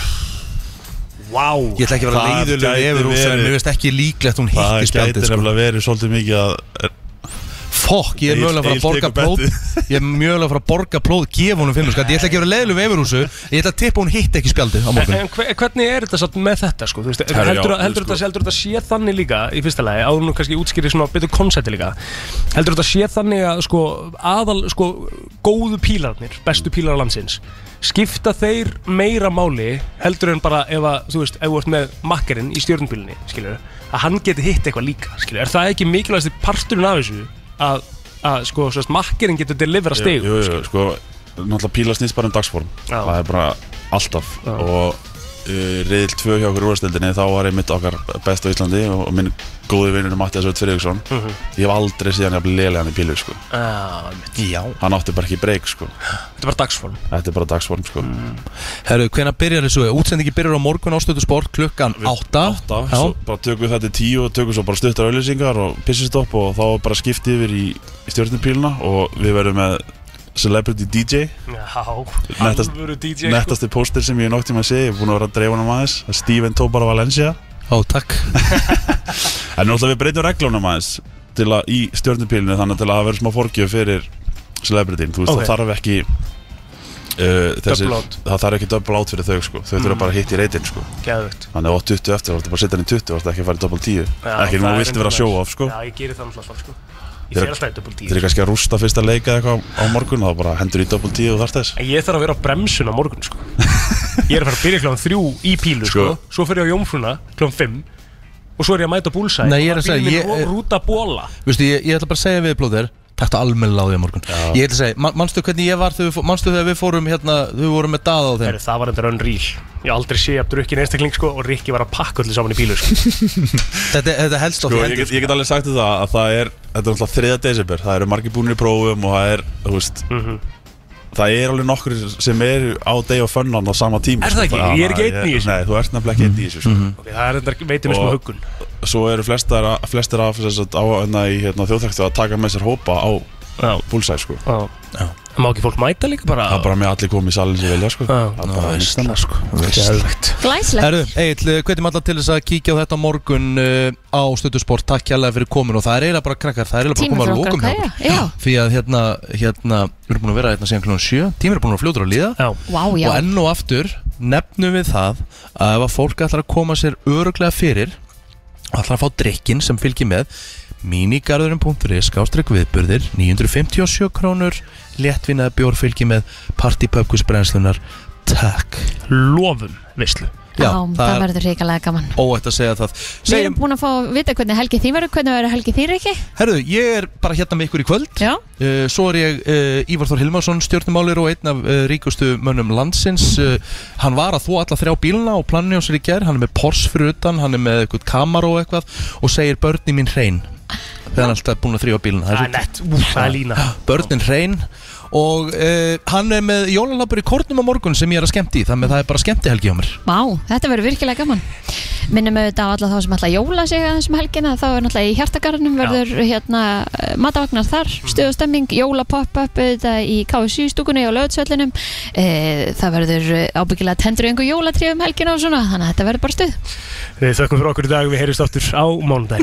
S3: Vá
S1: Ég ætla ekki að vera
S15: Það
S1: leiðulega
S15: gæti
S1: yfir úr en
S15: verið-
S1: mér veist ekki líklegt hún
S15: Það
S1: hitti
S15: gæti
S1: spjaldið sko.
S15: nefnilega verið svolítið mikið að
S1: Fokk, ég er
S15: Egill-
S1: mögulega að fara að
S15: Egill
S1: borga
S15: tekur
S1: plóð
S15: bettið.
S1: Ég er mögulega að fara að borga plóð, gefa honum fimmur skatt Ég ætla ekki að vera leiðileg við yfir húsu Ég ætla að tippa hún hitt ekki spjaldið á
S3: En,
S1: morgun
S3: en hve- hvernig er þetta satt með þetta sko? Þú veist,
S1: Herra,
S3: heldur,
S1: já,
S3: já, heldur,
S1: sko.
S3: þetta, heldur þetta sé þannig líka í fyrsta lagi, áður nú kannski útskýri svona betur konsepti líka heldur þetta sé þannig að sko, aðal sko, góðu pílarnir, bestu pílar landsins skipta þeir meira máli heldur en bara ef að þú veist, ef þú ert með makkarinn í stjórnbílinni skilur, að hann geti hitt eitthvað líka skilur, er það ekki mikilvægasti parturinn af þessu að, að sko, svo veist, makkarinn getur delivera stegu
S15: Jú, jú, jú, sko, náttúrulega píla snýst bara um dagsform
S3: Já.
S15: Það er bara alltaf Og uh, reyðil 2 hjá okkur úrstildinni Þá var einmitt okkar best á Íslandi Og og minn góði vinnur Mattias Völd Friðriksson
S3: Mhm.
S15: Ég hef aldrei síðan jafn lélega hann í pílu sko.
S3: ah, einmitt.
S1: Já
S15: Hann átti bara ekki breyk sko.
S3: Þetta er bara dagsform
S15: Þetta er bara dagsform sko.
S3: Mm.
S1: Herru, hvenær byrjar þessu? Útsendingi byrjar á morgun ástöðu sport klukkan 8
S15: Þá, svo bara tökum við þetta í tíu og tökum svo bara stuttar auðlýsingar og pissustopp og þá er bara skipt yfir í, í stjórnupíluna og við verðum með Celebrity DJ
S3: Já,
S15: Nettast,
S3: alvöru DJ sko.
S15: nettasti póster sem ég nokti með að segja, ég er búin að vera að dreifa hann aðeins það er Steven Tóbar Valencia
S1: Ó, takk
S15: En náttúrulega við breytum reglunum aðeins til að í stjórnupílinu þannig til að það verður smá forgjöf fyrir celebritin, þú veist
S3: Ok.
S15: það þarf ekki uh, þessi,
S3: Double out.
S15: það þarf ekki double out fyrir þau sko, þau þurfa
S3: Mm.
S15: bara að hitta í reytin sko
S3: Geðvögt
S15: Þannig að þú átt 20 eftir, þá ertu bara að setja hann í 20 og ertu ekki að fara í double 10 Ekki nú viltu vera að sjóa af sko
S3: Já, ég gerir það alltaf sko Ég fer alltaf sko. í double 10
S15: Þeir eru kannski að rústa fyrsta leika eitthvað á- á morgun og þá bara hendur í double 10 og þarf þess
S3: En ég þarf að vera á bremsun á morgun sko Ég er að fara að byrja kláðan þrjú í pílu sko,
S15: Sko.
S3: Svo fer ég á jómfruna kláðan fimm Og svo er ég að mæta búlsæ
S1: Nei, ég er að segja, ég er-
S3: Rúta bóla
S1: Vistu, ég, ég ætla bara að segja við blóðir Takk það almennilega á því á morgun Ég ætla að segja, man, manstu hvernig ég var þegar við fó- Manstu þegar við fórum hérna, þau vorum með daða á þeim
S3: Heru, Það var þetta rönn ríl Ég hef aldrei sé að drukkin einstakling sko Og Rikki var að pakka öllu saman í pílu sko
S1: Þetta, þetta helst á
S15: Sko,
S1: því
S15: ég,
S1: hendur
S15: get, ég get alveg sagt þér
S3: Mhm.
S15: það að það er, þetta er náttúrulega 3. desember, það eru margir búinir í prófum og það er, þú veist, það er alveg nokkur sem eru á day og fönnan á sama tíma
S3: Er það
S15: sko.
S3: ekki? Ég er ekki einn í þessu.
S15: Nei, þú ert nefnilega ekki einn í þessu sko.
S3: Ok, það er þetta veitir mér smá
S15: Og
S3: huggun
S15: Svo eru flestir, flestir af þess að á hérna, í hérna, þjóðþektu að taka með sér hópa á búlsæð sko.
S3: Já. Má ekki fólk mæta líka bara
S15: Það er bara með allir komið í salin sem vilja sko. Það er bara einstaklega sko. Veistlegt.
S2: Glæslegt.
S1: Herru, Egil, eh, hvetjum alla til þess að kíkja á þetta á morgun uh, á Stöðusport, takk hérlega fyrir komin og það er eiginlega bara krakkar, það er eiginlega
S2: Tími
S1: bara
S2: fyrir
S1: komið
S2: okkur
S1: að lókum
S2: að
S1: hjá
S2: kæja, já.
S1: okkur. Því að hérna, hérna, við erum búin að vera hérna síðan klunum 7, tímir er búin að fljóta að líða
S3: já.
S2: Vá, já.
S1: og enn og aftur nefnum við það að ef að fólk ætlar að koma sér öruglega fyrir ætlar að fá drikkin sem fylgir með minigarðurinn.is skástrygg viðburðir 957 krónur léttvinnaði bjór fylgir með partypöpkus brennslunar takk
S3: lofum veistlu
S2: Já, það verður ríkalega gaman
S1: óætt að segja það
S2: Við
S1: Segjum,
S2: erum búin að fá að vita hvernig helgi þín verður, hvernig verður helgi þín ekki?
S1: herðu, ég er bara hérna með ykkur í kvöld
S2: Já.
S1: uh, Svo er ég uh, Ívar Þór Hilmarsson stjórnumálir og einn af uh, ríkustu mönnum landsins uh, Hann var að þó alla þrjá bíluna og planinu á sér í ger Hann er með Porsche fyrir utan, hann er með eitthvað Camaro og eitthvað Og segir börnin mín hrein Þegar hann er alltaf búin að þrjá bíluna
S3: Það er nett, úf, það er lína
S1: Börnin hrein Og uh, hann er með jólalabur í kornum á morgun sem ég er að skemmti í Þannig að það er bara skemmti hjá mér
S2: Vá, þetta verður virkilega gaman Minnum auðvitað á alla þá sem ætla að jóla sig aðeins um helgina, þá er náttúrulega í hjartagarnum verður hérna eh, matavagnar þar stuðustemming, jóla pop-up auðvitað í KSU stúkunni og löðsöllinum e, það verður eh, ábyggilega tendur yngur jólatrið um helgina og svona, þannig að þetta verður bara stuð
S3: Við þökkum fyrir okkur í dag, við heyrjumst áttur á mánudaginn